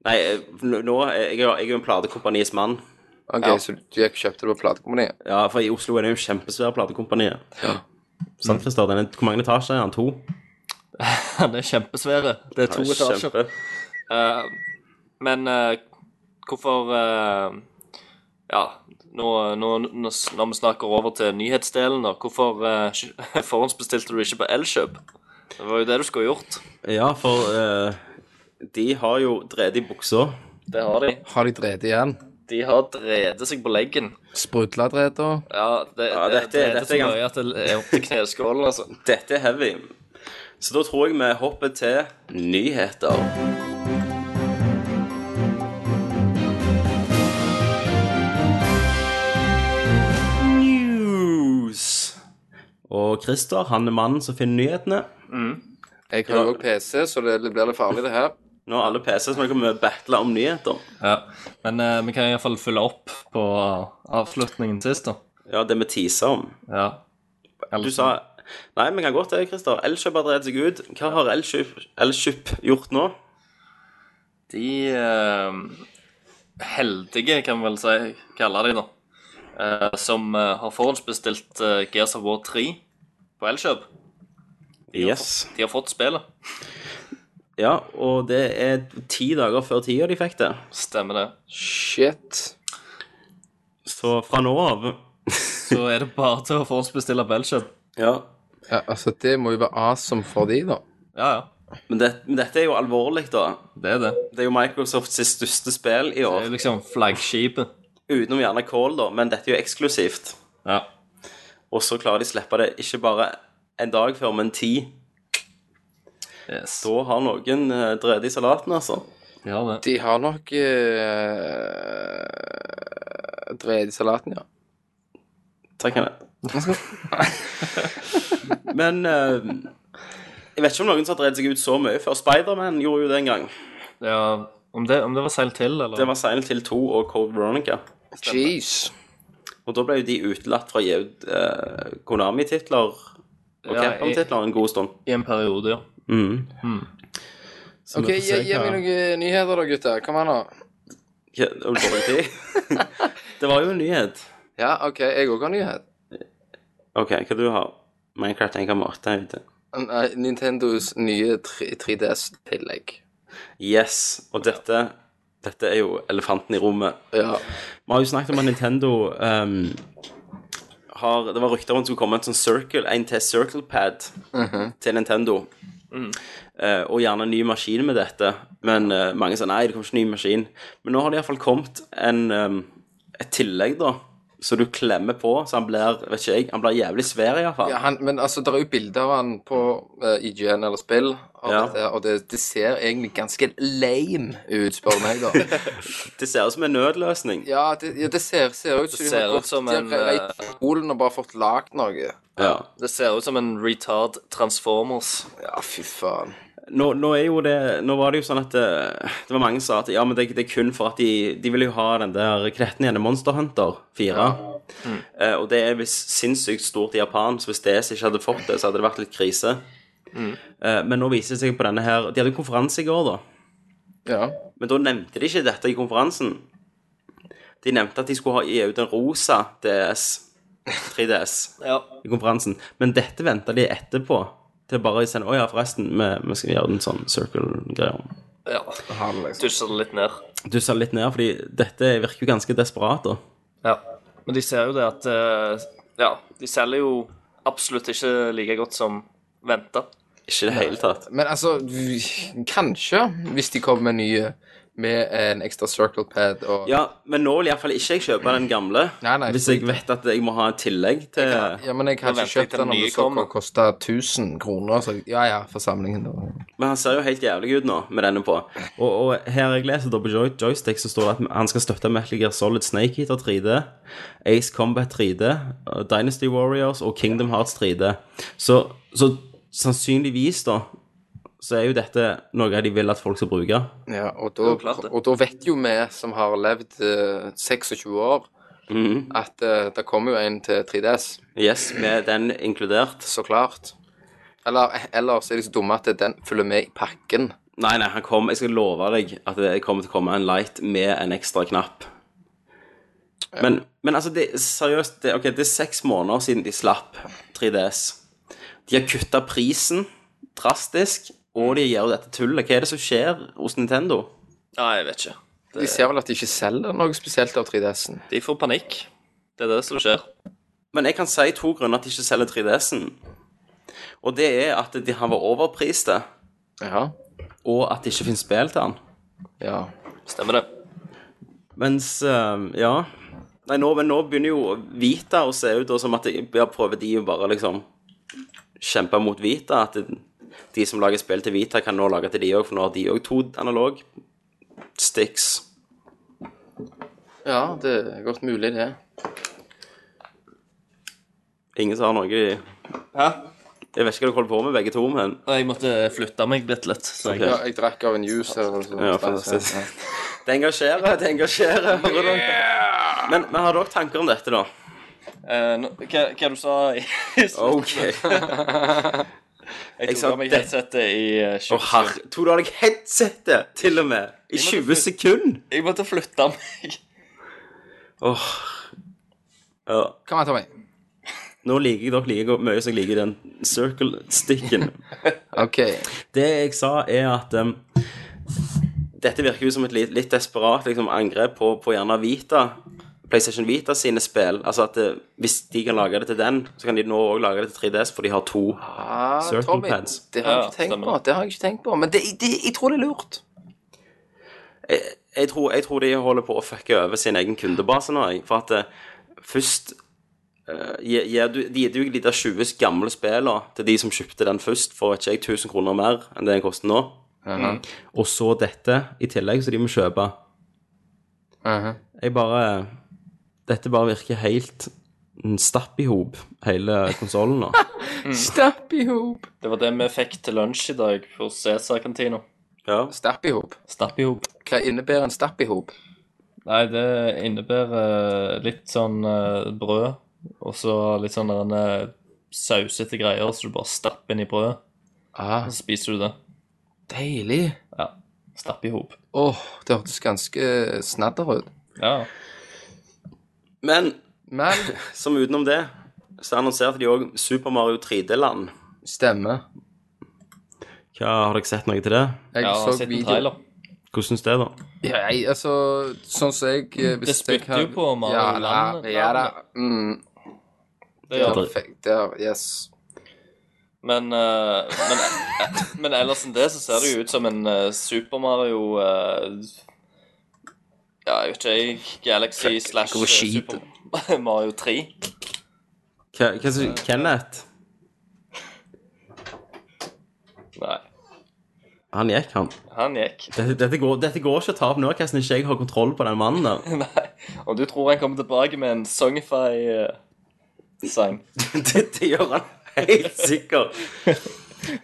[SPEAKER 1] Nei, eh, nå nå er jeg, jeg er jo en platekompaniets mann.
[SPEAKER 6] OK, så du gikk og kjøpte det på platekompaniet?
[SPEAKER 1] Ja, for i Oslo er det jo kjempesvære platekompanier. Sant, Christer? Den er- Hvor mange etasjer er den? To?
[SPEAKER 5] Han er kjempesvære. Det er to
[SPEAKER 1] Det er
[SPEAKER 5] etasjer.
[SPEAKER 1] kjempe.
[SPEAKER 5] Eh, men eh, hvorfor eh, Ja, nå, nå, nå, s- når vi snakker over til nyhetsdelen, da. Hvorfor eh, kjø- forhåndsbestilte du ikke på Elkjøp? Det var jo det du skulle gjort.
[SPEAKER 1] Ja, for eh, de har jo drevet i buksa.
[SPEAKER 5] Det har de.
[SPEAKER 6] Har de drevet igjen?
[SPEAKER 5] De har drevet seg på leggen.
[SPEAKER 6] Sprudla drevet òg?
[SPEAKER 5] Ja, det,
[SPEAKER 1] Ja,
[SPEAKER 5] det,
[SPEAKER 1] dette-
[SPEAKER 5] det,
[SPEAKER 1] dette er
[SPEAKER 5] er så
[SPEAKER 1] gans-
[SPEAKER 5] mye at det er opp til kneskålen, altså.
[SPEAKER 1] Dette er heavy. Så da tror jeg vi hopper til nyheter. News. Og Christer, han er mannen som finner nyhetene.
[SPEAKER 6] Jeg har jo også PC, så det blir litt farlig, det her.
[SPEAKER 1] Nå har alle PC-er som kommer til å battle om nyheter.
[SPEAKER 5] Ja. Men eh, vi kan iallfall følge opp på avslutningen sist, da.
[SPEAKER 1] Ja, det vi teaser om.
[SPEAKER 5] Ja.
[SPEAKER 1] Du sa Nei, vi kan godt det, Christer. Elkjøp har drevet seg ut. Hva har Elkjøp, Elkjøp gjort nå?
[SPEAKER 5] De eh, heldige, kan vi vel si, kaller de da, eh, som eh, har forhåndsbestilt eh, Gears of War 3 på Elkjøp.
[SPEAKER 1] Yes.
[SPEAKER 5] De har fått spillet.
[SPEAKER 1] Ja, og det er ti dager før tida de fikk det.
[SPEAKER 5] Stemmer det.
[SPEAKER 6] Shit.
[SPEAKER 1] Så fra nå av
[SPEAKER 5] Så er det bare til å forhåndsbestille på Elkjøp.
[SPEAKER 1] Ja.
[SPEAKER 6] Ja, altså, det må jo være awesome for de, da.
[SPEAKER 5] Ja, ja.
[SPEAKER 1] Men, det, men dette er jo alvorlig, da.
[SPEAKER 5] Det er det.
[SPEAKER 1] Det er jo Microsofts sitt største spill i
[SPEAKER 5] Det er
[SPEAKER 1] år.
[SPEAKER 5] jo liksom flaggskipet.
[SPEAKER 1] Utenom gjerne Call, da, men dette er jo eksklusivt.
[SPEAKER 5] Ja.
[SPEAKER 1] Og så klarer de å slippe det ikke bare en dag før, men ti.
[SPEAKER 5] Yes.
[SPEAKER 1] Da har noen eh, drevet i salaten, altså.
[SPEAKER 5] De har det.
[SPEAKER 6] De har nok eh, drevet i salaten, ja.
[SPEAKER 1] Takk, Hanne. men eh, jeg vet ikke om noen som har drevet seg ut så mye før. Spiderman gjorde jo det en gang.
[SPEAKER 5] Ja, om det, om det var seilt til, eller?
[SPEAKER 1] Det var Silent Hill 2 og Cold Veronica.
[SPEAKER 6] Jeez.
[SPEAKER 1] Og da ble jo de utelatt fra å gi ut eh, Konami-titler og
[SPEAKER 5] Ja,
[SPEAKER 1] Capcom-titler en god stund.
[SPEAKER 5] I en periode, ja.
[SPEAKER 1] Mm. Så
[SPEAKER 6] OK,
[SPEAKER 1] vi får se
[SPEAKER 6] gi, gi
[SPEAKER 1] hva-
[SPEAKER 6] meg noen eh, nyheter, da, gutter. Kom an, da.
[SPEAKER 1] hva- det var dårlig tid. Det var jo en nyhet.
[SPEAKER 6] Ja, OK, jeg òg har nyhet.
[SPEAKER 1] OK, hva du har Minecraft 1,8 er ute.
[SPEAKER 6] Nei, Nintendos nye 3- 3DS-tillegg.
[SPEAKER 1] Yes. Og dette dette er jo elefanten i rommet.
[SPEAKER 6] Ja.
[SPEAKER 1] Vi har jo snakket om at Nintendo ehm, har, Det var rykter om at det skulle komme en sånn circle, en til circle pad til Nintendo. Eh, og gjerne en ny maskin med dette. Men eh, mange sa nei, det kommer ikke en ny maskin. Men nå har det iallfall kommet en, ehm, et tillegg, da. Så du klemmer på, så han blir vet ikke jeg, han blir jævlig svær, iallfall.
[SPEAKER 6] ja
[SPEAKER 1] Ja.
[SPEAKER 6] han, men altså, det er jo bilder av han på eh, IGN eller spill, og,
[SPEAKER 1] Ja.
[SPEAKER 6] dette, og det, det ser egentlig ganske lame ut, spør du meg, da.
[SPEAKER 1] Det ser ut som en nødløsning.
[SPEAKER 6] ja, det, ja, det ser, ser ut som de har
[SPEAKER 5] Det ser ut
[SPEAKER 6] gått
[SPEAKER 5] som
[SPEAKER 6] til
[SPEAKER 5] en, eh,
[SPEAKER 6] Rei- Polen og bare fått lagd noe.
[SPEAKER 1] Ja.
[SPEAKER 5] Det ser ut som en retard Transformers.
[SPEAKER 6] Ja, fy faen.
[SPEAKER 1] Nå, nå er jo det Nå var det jo sånn at det, det var mange som sa at ja, men det, det er kun for at de De vil jo ha den der kretten igjen, Monster Hunter 4. Eh, og det er visst sinnssykt stort i Japan, så hvis DS ikke hadde fått det, så hadde det vært litt krise. Eh, Men nå viser det seg på denne her De hadde konferanse i går, da.
[SPEAKER 6] Ja.
[SPEAKER 1] Men da nevnte de ikke dette i konferansen. De nevnte at de skulle ha gi ut en rosa DS. 3DS
[SPEAKER 5] Ja.
[SPEAKER 1] i konferansen. Men dette venta de etterpå til bare å sende Å ja, forresten, vi, vi skal gjøre en sånn circle-greie.
[SPEAKER 5] ja.
[SPEAKER 6] liksom.
[SPEAKER 5] Dusja det litt ned.
[SPEAKER 1] Dussa litt ned, fordi dette virker jo ganske desperat, da.
[SPEAKER 5] Ja. Men de ser jo det at eh, Ja, de selger jo absolutt ikke like godt som venta.
[SPEAKER 1] Ikke i det hele tatt.
[SPEAKER 6] Men altså, vi- kanskje, hvis de kommer med nye med en ekstra circle pad og
[SPEAKER 1] Ja, men nå vil iallfall ikke jeg kjøpe den gamle.
[SPEAKER 6] Nei, nei,
[SPEAKER 1] hvis jeg vet at jeg må ha et tillegg til
[SPEAKER 6] Ja, men jeg har
[SPEAKER 5] Da
[SPEAKER 6] ikke
[SPEAKER 5] venter jeg
[SPEAKER 6] kjøpt
[SPEAKER 5] til
[SPEAKER 6] den
[SPEAKER 5] den
[SPEAKER 6] om
[SPEAKER 5] nye
[SPEAKER 6] det så
[SPEAKER 5] kommer.
[SPEAKER 6] kosta 1000 kroner. Så ja ja, for samlingen, da.
[SPEAKER 1] Men han ser jo helt jævlig ut nå med denne på. Og, og her jeg leser da på joy- joystick, så står det at han skal støtte Metal Gear Solid Snake Eater 3D, Ace Combat 3D, uh, Dynasty Warriors og Kingdom Hearts 3D. Så, så sannsynligvis, da, så er jo dette noe de vil at folk skal bruke.
[SPEAKER 6] Ja, og, da, og da vet jo vi som har levd eh, 26 år,
[SPEAKER 5] Mhm.
[SPEAKER 6] at eh, det kommer jo en til 3DS.
[SPEAKER 1] Yes, med den inkludert.
[SPEAKER 6] Så klart. Eller, eller så er de så dumme at den følger med i pakken.
[SPEAKER 1] Nei, nei, han kom, jeg skal love deg at det kommer til å komme en light med en ekstra knapp. Men, men altså, det, seriøst, det, ok, det er seks måneder siden de slapp 3DS. De har kutta prisen drastisk, og de gjør dette tullet. Hva er det som skjer hos Nintendo?
[SPEAKER 5] Nei, jeg vet ikke.
[SPEAKER 6] De ser vel at de ikke selger noe spesielt av 3DS-en.
[SPEAKER 5] De får panikk. Det er det som skjer.
[SPEAKER 1] Men jeg kan si to grunner at de ikke selger 3DS-en. Og det er at de, han var overpriste,
[SPEAKER 6] Ja.
[SPEAKER 1] og at det ikke finnes spill til han.
[SPEAKER 6] ja.
[SPEAKER 5] Stemmer det.
[SPEAKER 1] Mens, eh, ja Nei, nå, men nå begynner jo Vita å se ut da som at de, ja, prøver de å bare liksom kjempe mot Vita. At det, de som lager spill til Vita, kan nå lage til de òg, for nå har de òg to analog sticks.
[SPEAKER 6] Ja, det er godt mulig, det.
[SPEAKER 1] Ingen som har noe i-
[SPEAKER 5] Hæ?
[SPEAKER 1] Jeg vet ikke hva dere holder på med, begge to, men
[SPEAKER 5] Nei, Jeg måtte flytte meg bitte litt. Så jeg,
[SPEAKER 6] Ja, jeg drakk av en juice her. og så-
[SPEAKER 1] Ja, fantastisk. Det sånn. engasjerer, det engasjerer. Hører dere? Men, men har dere tanker om dette, da?
[SPEAKER 5] Eh, nå- hva, hva du sa i Jeg
[SPEAKER 1] OK. Å,
[SPEAKER 5] tok
[SPEAKER 1] Oh, sa
[SPEAKER 5] av meg
[SPEAKER 1] det-
[SPEAKER 5] headsetet i eh, 20
[SPEAKER 1] herre Tok du av deg headsetet, til og med? I 20 sekunder?
[SPEAKER 5] Jeg måtte flytte meg.
[SPEAKER 1] Åh. Ja.
[SPEAKER 6] Kom her, Tommy.
[SPEAKER 1] Nå liker jeg dere like godt- mye som jeg liker den circle-sticken.
[SPEAKER 6] OK.
[SPEAKER 1] Det jeg sa, er at em, dette virker jo som et litt, litt desperat liksom, angrep på, på gjerne Vita. PlayStation Vita sine spill. Altså at eh, Hvis de kan lage det til den, så kan de nå òg lage det til 3DS, for de har to.
[SPEAKER 6] Ah,
[SPEAKER 1] Circle
[SPEAKER 6] Tommy,
[SPEAKER 1] pads.
[SPEAKER 6] Det har jeg
[SPEAKER 5] Ja,
[SPEAKER 6] ikke tenkt
[SPEAKER 5] stemmer
[SPEAKER 6] på. Det har jeg ikke tenkt på. Men det, det, jeg tror det er lurt.
[SPEAKER 1] Jeg tror, jeg tror de holder på å fucke over sin egen kundebase nå. Jeg. For at eh, først eh, gir- gir du, De gir jo ikke de der 20 gamle spillene til de som kjøpte den først, for ikke jeg 1000 kroner mer enn det den koster nå. Mm. Og så dette i tillegg, så de må kjøpe.
[SPEAKER 6] Mhm.
[SPEAKER 1] Jeg bare Dette bare virker helt en stapp i hop, hele konsollen nå.
[SPEAKER 5] Mm.
[SPEAKER 6] Stapp i hop.
[SPEAKER 5] Det var det vi fikk til lunsj i dag på Cæsar-kantina.
[SPEAKER 1] ja.
[SPEAKER 6] Stapp i hop.
[SPEAKER 5] Stapp i hop.
[SPEAKER 6] Hva innebærer en stapp i hop?
[SPEAKER 5] Nei, det innebærer litt sånn eh, brød, og så litt sånn der en, eh, sausete greier, så du bare stapper inn i brød,
[SPEAKER 6] Ah,
[SPEAKER 5] så spiser du det.
[SPEAKER 6] deilig.
[SPEAKER 5] Ja. Stapp i hop.
[SPEAKER 6] Åh, det hørtes ganske snadder ut.
[SPEAKER 5] Ja.
[SPEAKER 1] Men
[SPEAKER 6] Men
[SPEAKER 1] som utenom det, så annonserte de òg Super Mario 3D-land.
[SPEAKER 6] stemmer.
[SPEAKER 1] Hva Har dere sett noe til det?
[SPEAKER 6] Jeg
[SPEAKER 5] ja,
[SPEAKER 6] så
[SPEAKER 5] sett en
[SPEAKER 6] video.
[SPEAKER 5] trailer.
[SPEAKER 1] Hvordan syns det, da?
[SPEAKER 6] Ja, jeg, altså, sånn som jeg eh, hvis
[SPEAKER 5] Mm, Det
[SPEAKER 6] jeg
[SPEAKER 5] spytter jo
[SPEAKER 6] har-
[SPEAKER 5] på Mario
[SPEAKER 6] ja, da,
[SPEAKER 5] Land-
[SPEAKER 6] ja da. Mm,
[SPEAKER 5] Det
[SPEAKER 6] ja,
[SPEAKER 5] gjør det.
[SPEAKER 6] perfekt. Der, yes.
[SPEAKER 5] Men, eh, men, eh, men ellers enn det så ser det jo ut som en eh, Super Mario eh, Ja, jeg vet ikke, jeg Galaxy slash eh, Super Mario 3.
[SPEAKER 1] Hva, hva syns Kenneth?
[SPEAKER 5] Nei,
[SPEAKER 1] Han gikk, han.
[SPEAKER 5] han gikk.
[SPEAKER 1] Dette, dette, går, dette går ikke å ta opp nå, Karsten. Ikke jeg har kontroll på den mannen der.
[SPEAKER 5] Nei. Og du tror han kommer tilbake med en eh, Songify-sang?
[SPEAKER 1] Dette gjør han helt sikker.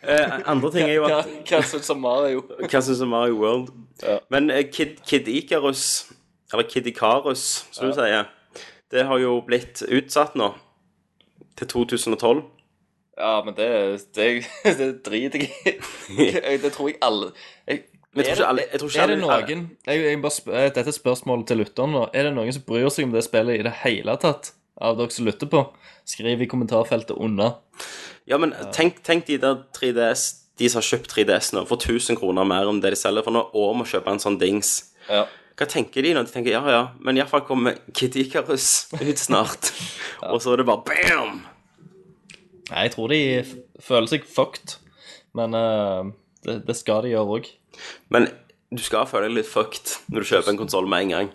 [SPEAKER 1] Eh, andre ting er jo
[SPEAKER 5] Hva
[SPEAKER 1] at
[SPEAKER 5] hva ser ut som Mario?
[SPEAKER 1] Hva syns du om Mario World? Men eh, Kid, Kid Icarus, eller Kid Icarus, som du sier, det har jo blitt utsatt nå. Til 2012.
[SPEAKER 5] Ja, men det, det, det driter jeg i. Det tror jeg alle jeg,
[SPEAKER 4] Men jeg tror ikke alle- jeg tror ikke
[SPEAKER 5] er det
[SPEAKER 4] alle-
[SPEAKER 5] noen jeg, jeg bare, sp- eh, Dette er spørsmålet til lytteren nå. Er det noen som bryr seg om det spillet i det hele tatt? Av dere som lytter på? Skriv i kommentarfeltet under.
[SPEAKER 1] Ja, men tenk, tenk de der 3DS De som har kjøpt 3DS nå For 1000 kroner mer enn det de selger For nå og må kjøpe en sånn dings
[SPEAKER 5] Ja.
[SPEAKER 1] Hva tenker de når de tenker, ja, ja Men i hvert fall kommer Kid Icarus ut snart Og så er det bare BAM
[SPEAKER 5] Nei, jeg tror de f føler seg fucked. Men eh, det, det skal de gjøre òg.
[SPEAKER 1] Men du skal føle deg litt fucked Når du kjøper en konsol med en gang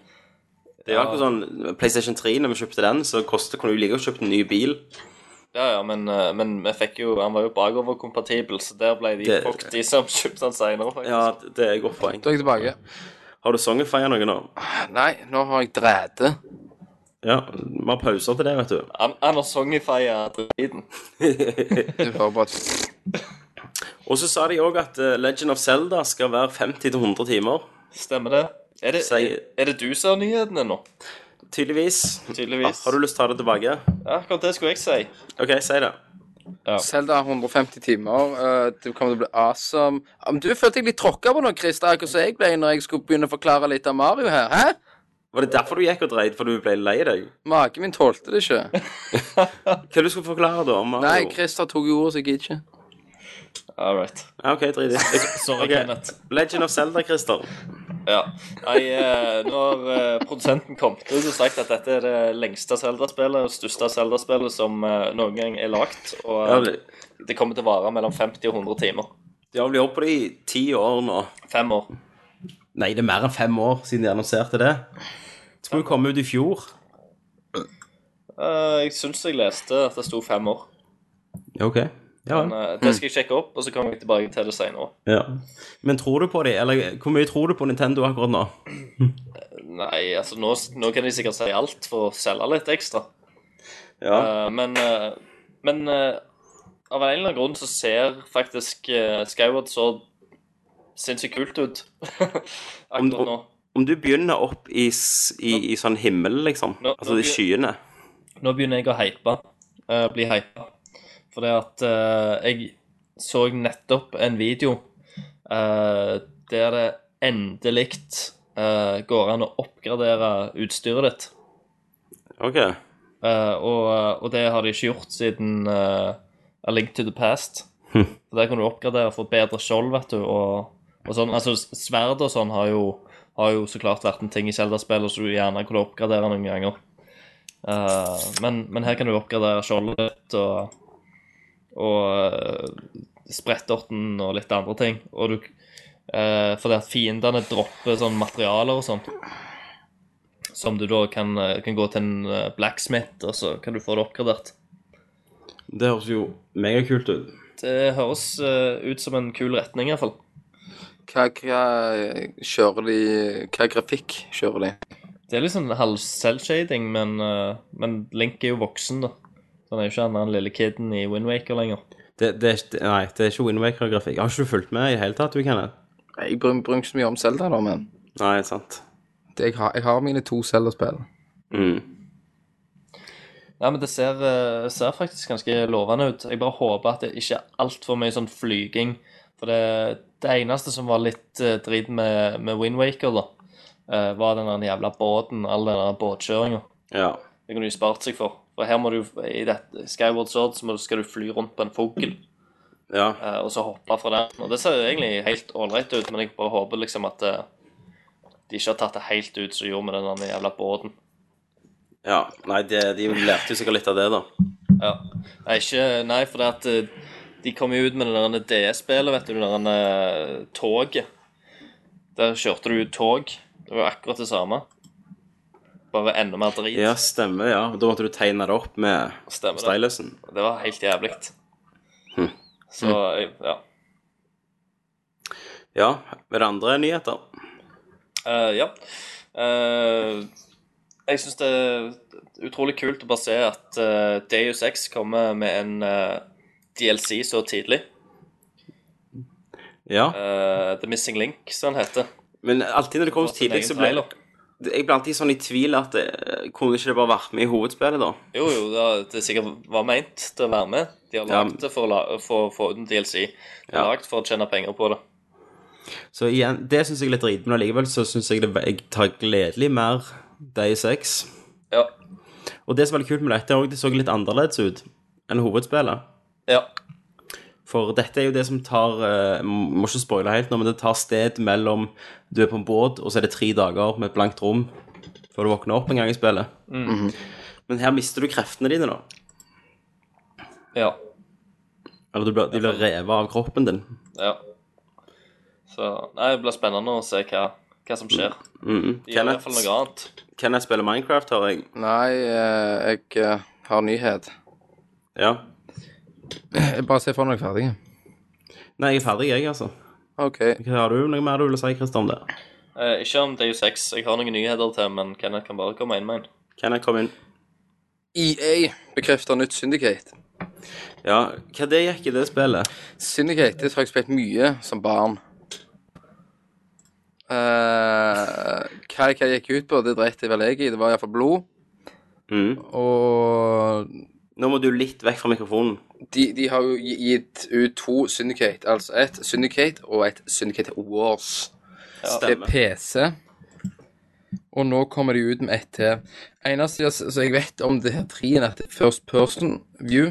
[SPEAKER 1] Det er jo akkurat sånn Playstation 3 når vi kjøpte den Så kostet, kunne du like å kjøpe en ny bil
[SPEAKER 5] Ja, ja, men, eh, men vi fikk jo, han var jo bakoverkompatibel, så der ble de
[SPEAKER 1] Det-
[SPEAKER 5] fucked, de som kjøpte han seinere, faktisk.
[SPEAKER 1] Ja, det er et godt poeng
[SPEAKER 6] Da er jeg tilbake.
[SPEAKER 1] Har du songfeier noe nå?
[SPEAKER 6] Nei, nå har jeg drete.
[SPEAKER 1] Ja, vi har pauser til det, vet du
[SPEAKER 5] Han, han har songifia driten.
[SPEAKER 6] Du hører bare
[SPEAKER 1] Og så sa de også at eh, Legend of Zelda skal være 50-100 timer
[SPEAKER 5] Stemmer det? Er det,
[SPEAKER 1] Sier-
[SPEAKER 5] er, er det du som har nyhetene nå?
[SPEAKER 1] Tydeligvis.
[SPEAKER 5] Tydeligvis.
[SPEAKER 1] Har du lyst til å ta det tilbake?
[SPEAKER 5] Ja, akkurat det skulle jeg si.
[SPEAKER 1] OK, si det.
[SPEAKER 6] Selda 150 timer. eh, det kommer til å bli awesome. Ja, Men du følte jeg litt tråkka på noe, Christer, akkurat som jeg ble når jeg skulle begynne å forklare litt av Mario her. Hæ?
[SPEAKER 1] Var det derfor du gikk og dreit? For du ble lei deg?
[SPEAKER 6] Maken min tålte det ikke.
[SPEAKER 1] Hva du skulle forklare da? om Mario?
[SPEAKER 6] Nei, Christer tok jo ordet, så jeg gidder ikke.
[SPEAKER 5] All right.
[SPEAKER 1] Ja, OK, drit i det.
[SPEAKER 5] Sorry,
[SPEAKER 1] Ok.
[SPEAKER 5] Kenneth.
[SPEAKER 1] Legend of Zelda, Christer.
[SPEAKER 5] Ja. Nei, eh, nå har eh, produsenten kommet ut og sagt at dette er det lengste Zelda-spillet og største Zelda-spillet som eh, noen gang er lagd. Og eh,
[SPEAKER 1] Ja, det-
[SPEAKER 5] det kommer til å vare mellom 50 og 100 timer.
[SPEAKER 1] De har vel jobbet på det i ti år nå.
[SPEAKER 5] Fem år.
[SPEAKER 1] Nei, det er mer enn fem år siden de annonserte det. Det Skulle jo komme ut i fjor.
[SPEAKER 5] Eh, jeg syns jeg leste at det sto fem år.
[SPEAKER 1] Ja, OK. Ja.
[SPEAKER 5] Men eh, det skal jeg sjekke opp, og så kommer jeg tilbake til det seinere.
[SPEAKER 1] ja. Men tror du på de, eller hvor mye tror du på Nintendo akkurat nå?
[SPEAKER 5] Nei, altså nå, nå kan de sikkert si alt for å selge litt ekstra.
[SPEAKER 1] Ja.
[SPEAKER 5] Eh, men eh, men eh, av en eller annen grunn så ser faktisk eh, Skyward så sinnssykt kult ut
[SPEAKER 1] Om-
[SPEAKER 5] akkurat nå.
[SPEAKER 1] Om du begynner opp i, s- i, i sånn himmel, liksom,
[SPEAKER 5] Nå-
[SPEAKER 1] altså
[SPEAKER 5] nå
[SPEAKER 1] de skyene
[SPEAKER 5] Nå begynner jeg å hype. eh, bli hypa. Fordi at eh, jeg så nettopp en video eh, der det endelig eh, går an å oppgradere utstyret ditt.
[SPEAKER 1] OK.
[SPEAKER 5] Eh, og, og det har de ikke gjort siden eh, A Link to the Past. For Der kan du oppgradere for bedre skjold, vet du. Og, og sånn, altså s- Sverd og sånn har jo, har jo så klart vært en ting i Zelda-spillet som du gjerne kunne oppgradere noen ganger. Eh, men, men her kan du oppgradere skjoldet ditt og, og eh, sprettorten og litt andre ting. Og du, eh, fordi at fiendene dropper sånn materialer og sånt som du da kan, eh, kan gå til en eh, blacksmith, og så kan du få det oppgradert.
[SPEAKER 1] Det høres jo megakult ut.
[SPEAKER 5] Det høres eh, ut som en kul retning, iallfall.
[SPEAKER 6] Hva, hva kjører de Hva grafikk kjører de?
[SPEAKER 5] Det er liksom halv-selvshading, men, eh, men Link er jo voksen, da. Så Han er jo ikke han den lille kiden i Windwaker lenger.
[SPEAKER 1] Det, det, er ikke- nei, det er ikke Windwaker-grafikk. Har ikke du fulgt med i det hele tatt, du, Kenneth?
[SPEAKER 6] Nei, Jeg bryr bryr meg ikke så mye om Zelda, da, men
[SPEAKER 1] Nei, sant.
[SPEAKER 6] det, jeg, har, jeg har mine to Zelda-spill.
[SPEAKER 1] Mm.
[SPEAKER 5] Nei, men det ser, eh, ser faktisk ganske lovende ut. Jeg bare håper at det ikke er altfor mye sånn flyging. For det, det eneste som var litt eh, drit med, med Windwaker, da, eh, var den der jævla båten, all den der båtkjøringa.
[SPEAKER 1] Ja.
[SPEAKER 5] Det kunne de spart seg for. For her må du, i dette Skyward Sword så må du, skal du fly rundt på en fogel
[SPEAKER 1] ja.
[SPEAKER 5] eh, og så hoppe fra den. Og det ser jo egentlig helt ålreit ut, men jeg bare håper liksom at eh, de ikke har tatt det helt ut som de gjorde med den der jævla båten.
[SPEAKER 1] Ja. Nei, det, de lærte jo sikkert litt av det, da.
[SPEAKER 5] Ja. Nei, ikke, nei for det at eh, de kom jo ut med det der DS-spillet, vet du, det der eh, toget. Der kjørte du tog. Det var akkurat det samme. Bare enda mer drit.
[SPEAKER 1] Ja, stemmer, ja. Da måtte du tegne det opp med
[SPEAKER 5] Stemmer det.
[SPEAKER 1] stylusen.
[SPEAKER 5] Det var helt jævlig.
[SPEAKER 1] Hm.
[SPEAKER 5] Så, eh, ja.
[SPEAKER 1] Ja. Er det andre nyheter?
[SPEAKER 5] Eh, ja. Eh, jeg syns det er utrolig kult å bare se at eh, Deus X kommer med en eh, DLC så tidlig.
[SPEAKER 1] Ja.
[SPEAKER 5] Eh, The Missing Link, som den heter.
[SPEAKER 1] Men alltid når det kommer så tidlig, så
[SPEAKER 5] ble
[SPEAKER 1] blir Jeg ble alltid sånn i tvil at eh, Kunne ikke det bare vært med i hovedspillet, da?
[SPEAKER 5] Jo, jo, det er- det er sikkert var ment til å være med. De har
[SPEAKER 1] Ja.
[SPEAKER 5] lagd det for å la- for å få ut en DLC. De har
[SPEAKER 1] Ja.
[SPEAKER 5] lagd for å tjene penger på det.
[SPEAKER 1] Så igjen, det syns jeg er litt drit, men allikevel så syns jeg det jeg tar gledelig mer Days X.
[SPEAKER 5] Ja.
[SPEAKER 1] Og det som er litt kult med dette, er også det så litt annerledes ut enn hovedspillet.
[SPEAKER 5] Ja.
[SPEAKER 1] For dette er jo det som tar eh, Må ikke spoile helt nå, men det tar sted mellom Du er på en båt, og så er det tre dager med et blankt rom før du våkner opp en gang i spillet. Men her mister du kreftene dine, da.
[SPEAKER 5] Ja.
[SPEAKER 1] Eller du blir, de blir revet av kroppen din.
[SPEAKER 5] ja. Så Nei, det blir spennende å se hva, hva som skjer.
[SPEAKER 1] Mhm.
[SPEAKER 5] De gjør i hvert fall noe annet.
[SPEAKER 1] Kan jeg spille Minecraft, har jeg?
[SPEAKER 6] Nei, eh, jeg eh, har nyhet.
[SPEAKER 1] Ja.
[SPEAKER 6] Jeg bare se for når jeg er ferdig.
[SPEAKER 1] Nei, jeg er ferdig, jeg, altså.
[SPEAKER 6] OK.
[SPEAKER 1] Har du noe mer du vil si, Christer, om det?
[SPEAKER 5] Eh, ikke om Deus Ex. Jeg har noen nyheter til, men Kenneth kan bare komme inn med en.
[SPEAKER 1] Kan jeg komme inn?
[SPEAKER 6] EA E bekrefter nytt Syndicate.
[SPEAKER 1] Ja, hva det gikk i det spillet?
[SPEAKER 6] Syndicate det har jeg spilt mye som barn. Eh, hva hva jeg gikk ut på, det dreit jeg vel jeg i. Det var iallfall blod.
[SPEAKER 1] Mhm.
[SPEAKER 6] Og
[SPEAKER 1] Nå må du litt vekk fra mikrofonen.
[SPEAKER 6] de, de har jo gi- gitt ut to Syndicate. Altså et Syndicate og et Syndicate Wars. Til
[SPEAKER 1] Stemmer.
[SPEAKER 6] PC. Og nå kommer de ut med et til. Eneste jeg, så jeg vet om det her trien, at det er first person view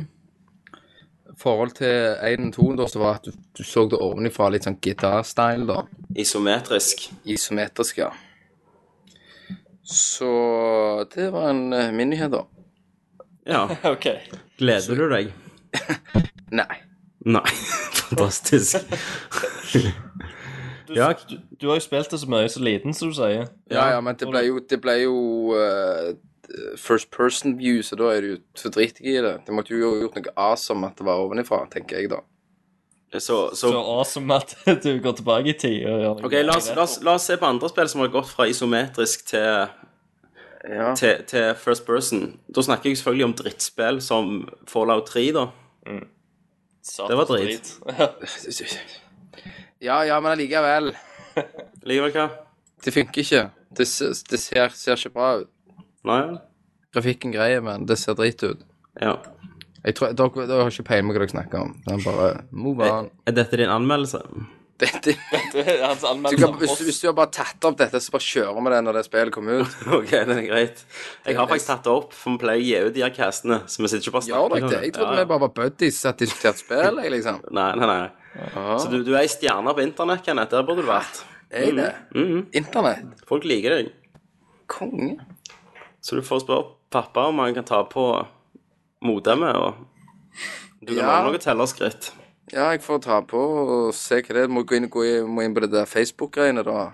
[SPEAKER 6] I forhold til 1 2 da, så var at du, du så det ovenifra, litt sånn gitarstyle, da.
[SPEAKER 1] Isometrisk.
[SPEAKER 6] Isometrisk, ja. Så det var en eh, min nyhet, da.
[SPEAKER 1] Ja.
[SPEAKER 5] OK.
[SPEAKER 1] Gleder du deg?
[SPEAKER 6] Nei.
[SPEAKER 1] Nei. Fantastisk.
[SPEAKER 5] Du,
[SPEAKER 1] Ja.
[SPEAKER 5] du, du har jo spilt det så mye så liten, som du sier.
[SPEAKER 6] Ja, ja, men det ble jo, det ble jo eh, first person view, så da er det jo så driter jeg i det. Det måtte jo gjort noe awesome at det var ovenifra, tenker jeg da.
[SPEAKER 1] Så,
[SPEAKER 5] Så
[SPEAKER 1] så
[SPEAKER 5] awesome at du går tilbake i tid og gjør noe
[SPEAKER 1] OK, la oss, la, oss, la oss se på andre spill som har gått fra isometrisk til,
[SPEAKER 6] Ja.
[SPEAKER 1] til, til first person. Da snakker jeg selvfølgelig om drittspill som Fallout 3, da.
[SPEAKER 5] Satans
[SPEAKER 1] det var drit.
[SPEAKER 6] Ja, ja, men allikevel.
[SPEAKER 1] Likevel hva?
[SPEAKER 6] Det funker ikke. Det, s- det ser, ser ikke bra ut.
[SPEAKER 1] Nei?
[SPEAKER 6] Grafikken greier, men det ser drit ut.
[SPEAKER 1] Ja.
[SPEAKER 6] Jeg tror, dere, dere har ikke peiling på hva dere snakker om. Det er bare move on.
[SPEAKER 1] Er dette din anmeldelse?
[SPEAKER 6] Dette,
[SPEAKER 5] Det er Hans
[SPEAKER 6] du
[SPEAKER 5] anmeldelse
[SPEAKER 6] kan,
[SPEAKER 5] av
[SPEAKER 6] hvis, du-
[SPEAKER 5] oss.
[SPEAKER 6] hvis du har bare tatt opp dette, så bare kjører vi det når det spillet kommer ut.
[SPEAKER 1] OK, det er greit. Jeg har faktisk tatt det opp, for vi pleier å gi ut de her castene. Så vi sitter ikke bare og
[SPEAKER 6] Gjør
[SPEAKER 1] snakker
[SPEAKER 6] dere det? Jeg trodde
[SPEAKER 1] Ja, ja.
[SPEAKER 6] vi bare var buddies som diskuterte spill, jeg, liksom.
[SPEAKER 1] Nei, nei, nei. Så du, du er ei stjerne på internett, Kenneth. Der burde du vært.
[SPEAKER 6] Ah,
[SPEAKER 1] Mhm.
[SPEAKER 6] Er det? Internett?
[SPEAKER 1] Folk liker deg.
[SPEAKER 6] Konge.
[SPEAKER 1] Så du får spørre pappa om han kan ta på modemet, og du kan
[SPEAKER 6] Ja.
[SPEAKER 1] lage noen tellerskritt.
[SPEAKER 6] Ja, jeg får ta på og se hva det er. Må gå inn, gå inn, må inn på det der Facebook-greiene, da.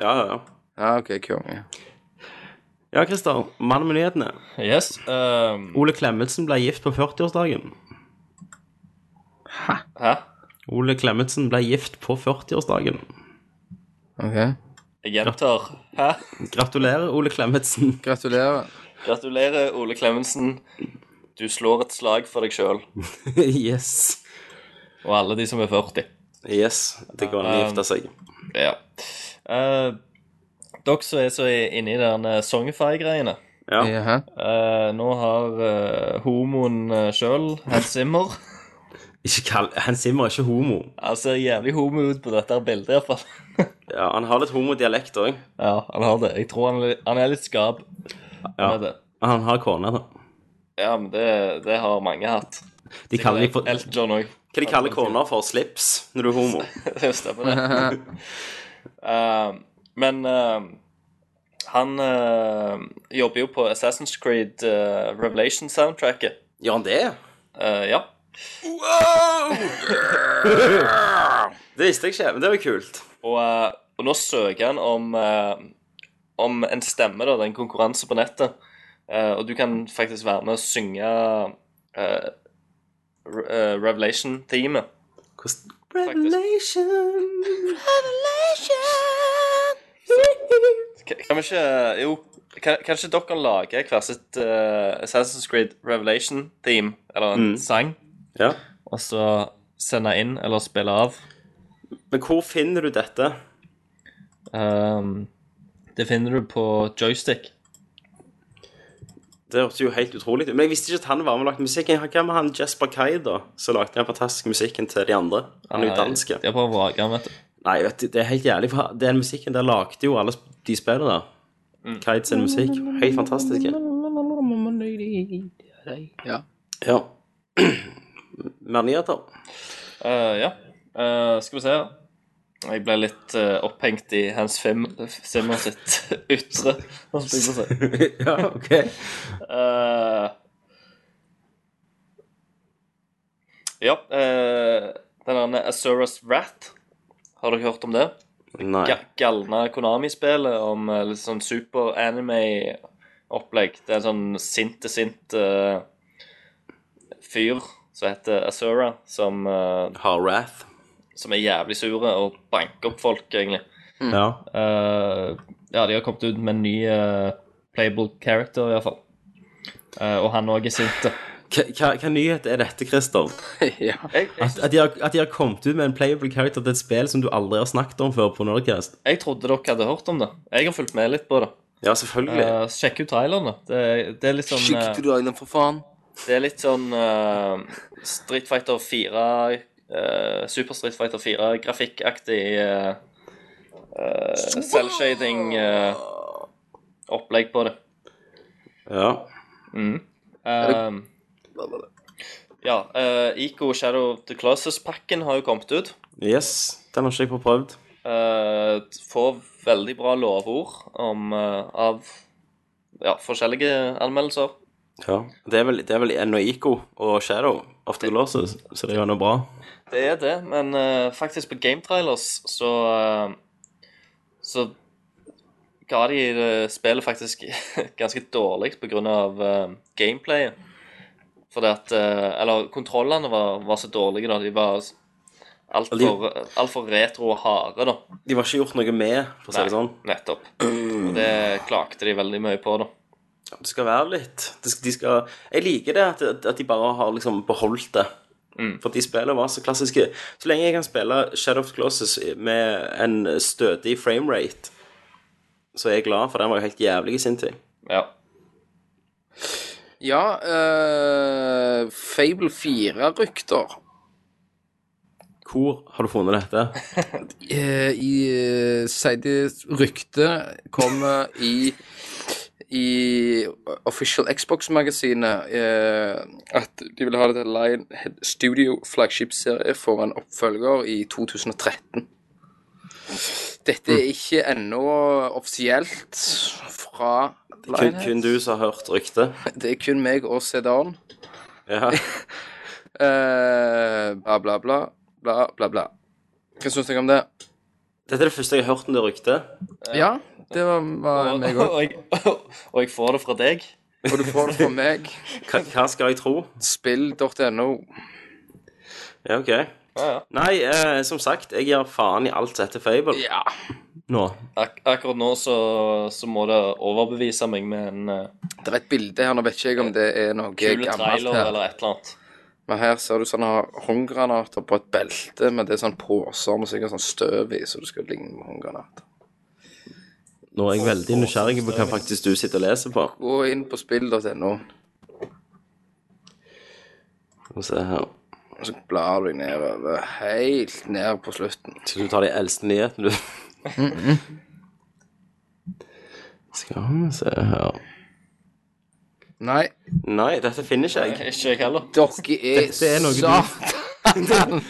[SPEAKER 1] Ja, ja, ja.
[SPEAKER 6] Ja, OK, konge.
[SPEAKER 1] Ja, Christer. Mann med nyhetene.
[SPEAKER 5] Yes. ehm,
[SPEAKER 1] Ole Klemetsen ble gift på 40-årsdagen.
[SPEAKER 5] hæ?
[SPEAKER 1] Ole Klemetsen ble gift på 40-årsdagen.
[SPEAKER 6] OK.
[SPEAKER 5] Jeg gjentar. Hæ?
[SPEAKER 1] Gratulerer, Ole Klemetsen.
[SPEAKER 6] Gratulerer.
[SPEAKER 5] Gratulerer, Ole Klemetsen. Du slår et slag for deg sjøl
[SPEAKER 1] yes.
[SPEAKER 5] og alle de som er 40.
[SPEAKER 1] Yes. Det går an å
[SPEAKER 5] Um,
[SPEAKER 1] gifte seg.
[SPEAKER 5] Ja. Eh, dere som er så inne i den eh, Songify-greiene
[SPEAKER 1] Ja.
[SPEAKER 6] Jaha.
[SPEAKER 5] eh, Nå har eh, homoen uh, sjøl, Hans Zimmer
[SPEAKER 1] Ikke kall Hans Zimmer er ikke homo.
[SPEAKER 5] Han ser jævlig homo ut på dette her bildet, iallfall.
[SPEAKER 1] Ja, Han har litt homodialekt òg.
[SPEAKER 5] Ja, han har det. Jeg tror han, er litt- han er litt skab.
[SPEAKER 1] Ja.
[SPEAKER 5] Med det.
[SPEAKER 1] Han har kone, da.
[SPEAKER 5] Ja, men det, det har mange hatt.
[SPEAKER 1] De kaller de for, hva
[SPEAKER 5] Elton òg.
[SPEAKER 1] de kaller kona for slips når du er homo.
[SPEAKER 5] Det stemmer, det. Eh, men eh, han eh, jobber jo på Assassin's Creed eh, Revelation-soundtracket.
[SPEAKER 1] Gjør han det?
[SPEAKER 5] Eh, ja.
[SPEAKER 1] Det visste jeg ikke, men det var kult.
[SPEAKER 5] Og, eh, og nå søker han om, eh, om en stemme, da. Det er en konkurranse på nettet. Eh, og du kan faktisk være med og synge eh, Re- eh, Revelation-teamet.
[SPEAKER 1] Hvordan
[SPEAKER 5] Kan kan vi ikke eh, Jo, kan, kan ikke dere lage hver sitt eh, Assassin's Creed Revelation-team, eller en sang,
[SPEAKER 1] Mm. Ja.
[SPEAKER 5] og så sende inn eller spille av?
[SPEAKER 1] Men hvor finner du dette?
[SPEAKER 5] Ehm, Det finner du på joystick.
[SPEAKER 1] Det hørtes jo helt utrolig ut. Men jeg visste ikke at han var med og lagde musikken. Hva med han Jesper Kai, da? Som lagde den fantastiske musikken til de andre. Han
[SPEAKER 5] Eh,
[SPEAKER 1] er jo dansk.
[SPEAKER 5] Det er bare vraker, vet du.
[SPEAKER 1] Nei, vet du, det er helt jævlig. For den musikken der lagde jo alle sp- de spillene der. Kai sin musikk. Helt fantastisk.
[SPEAKER 6] Ja.
[SPEAKER 1] Ja. Mer nyheter.
[SPEAKER 5] Eh, ja. Eh, skal vi se. Jeg ble litt eh, opphengt i Hans Fim Zimmer sitt ytre. holdt jeg på å si.
[SPEAKER 1] ja, OK.
[SPEAKER 5] Eh, ja, eh, den derne Azuras Wrath. Har dere hørt om det?
[SPEAKER 1] Nei.
[SPEAKER 5] Ga galne Konami-spillet om eh, litt sånn super-anime-opplegg. Det er en sånn sinte-sint eh, fyr som heter Azura, som, eh,
[SPEAKER 1] Har Wrath.
[SPEAKER 5] som er jævlig sure og banker opp folk, egentlig.
[SPEAKER 1] Ja.
[SPEAKER 5] Eh, ja, de har kommet ut med en ny eh, playable character, iallfall. Uh, og han òg er sinte.
[SPEAKER 1] Hva, hva, hva nyhet er dette, Christer?
[SPEAKER 6] ja.
[SPEAKER 5] Jeg, jeg,
[SPEAKER 1] At, at, de har, at de har kommet ut med en playable character til et spill som du aldri har snakket om før på Nordcast?
[SPEAKER 5] jeg trodde dere hadde hørt om det. Jeg har fulgt med litt på det.
[SPEAKER 1] Ja, selvfølgelig.
[SPEAKER 5] Eh, sjekk ut traileren, da. Det, det er litt sånn
[SPEAKER 6] Skikkelig
[SPEAKER 5] eh,
[SPEAKER 6] til Island, for faen.
[SPEAKER 5] Det er litt sånn eh, Street Fighter 4 eh, Super Street Fighter 4 grafikkaktig uh, selvshading eh, opplegg på det.
[SPEAKER 1] ja.
[SPEAKER 5] Um, Mm. ja, eh, Ico Shadow of the Closes-pakken har jo kommet ut.
[SPEAKER 1] Yes. Den har ikke jeg fått prøvd.
[SPEAKER 5] Eh, får veldig bra lovord om, eh, av ja, forskjellige anmeldelser.
[SPEAKER 1] Ja. Det er vel, det er vel Noiko og Shadow of the Glosses, så det er jo noe bra.
[SPEAKER 5] Det er det, men eh, faktisk på Game Trailers så eh, Så ga de det spillet faktisk ganske dårlig på grunn av eh, gameplayet. Fordi at eh, Eller kontrollene var, var så dårlige, da. De var altfor alt for retro og harde, da.
[SPEAKER 1] De var ikke gjort noe med, for å si det sånn.
[SPEAKER 5] Nettopp. Og det klagde de veldig mye på, da.
[SPEAKER 1] Det skal være litt. Det skal, de skal, jeg liker det at, at de bare har liksom beholdt det. For de spillene var så klassiske. Så lenge jeg kan spille Shadow of the Glosses med en stødig framerate, så er jeg glad, for den var jo helt jævlig i sin tid.
[SPEAKER 5] Ja.
[SPEAKER 6] Ja, eh, Fable 4-rykter
[SPEAKER 1] Hvor har du funnet dette?
[SPEAKER 6] eh, i eh, Sier de ryktet kommer i i Official Xbox-magasinet eh, at de vil ha det til Lionhead Studio flagship-serie for en oppfølger i 2013. Dette er ikke ennå offisielt fra
[SPEAKER 1] Kun,
[SPEAKER 6] Lionhead.
[SPEAKER 1] kun du som har hørt ryktet.
[SPEAKER 6] Det er kun meg og Sedan.
[SPEAKER 1] Ja.
[SPEAKER 6] Eh, bla, bla, bla, bla, bla, bla. Hva syns dere om det?
[SPEAKER 1] Dette er det første jeg har hørt om det ryktet.
[SPEAKER 6] Ja, det var, var
[SPEAKER 5] Eh, Og,
[SPEAKER 6] meg òg.
[SPEAKER 5] og, jeg, og jeg får det fra deg.
[SPEAKER 6] Og du får det fra meg.
[SPEAKER 1] Hva, hva skal jeg tro?
[SPEAKER 6] Spill.no.
[SPEAKER 1] Ja, OK. Nei, eh, som sagt, jeg gir faen i alt som heter Fable
[SPEAKER 6] Ja.
[SPEAKER 1] nå.
[SPEAKER 5] Ak akkurat nå så, så må det overbevise meg med en eh,
[SPEAKER 6] Det er et bilde her, nå vet ikke jeg om det er noe
[SPEAKER 5] kul
[SPEAKER 6] gammelt
[SPEAKER 5] trailer
[SPEAKER 6] her.
[SPEAKER 5] eller et eller annet.
[SPEAKER 6] Men her ser du sånne håndgranater på et belte, men det er sånn poser med sikkert sånn støv i, så det skal ligne på håndgranater.
[SPEAKER 1] Nå er jeg veldig nysgjerrig på hva faktisk du sitter og leser på.
[SPEAKER 6] Gå inn på spill.no,
[SPEAKER 1] Skal vi se her.
[SPEAKER 6] og så blar du nedover, helt ned på slutten.
[SPEAKER 1] Skal du ta de eldste nyhetene, du? Skal vi se her
[SPEAKER 6] Nei,
[SPEAKER 1] Nei, dette finner ikke jeg.
[SPEAKER 5] Ikke jeg heller.
[SPEAKER 6] dere er,
[SPEAKER 1] Dette er noe du-
[SPEAKER 6] satan!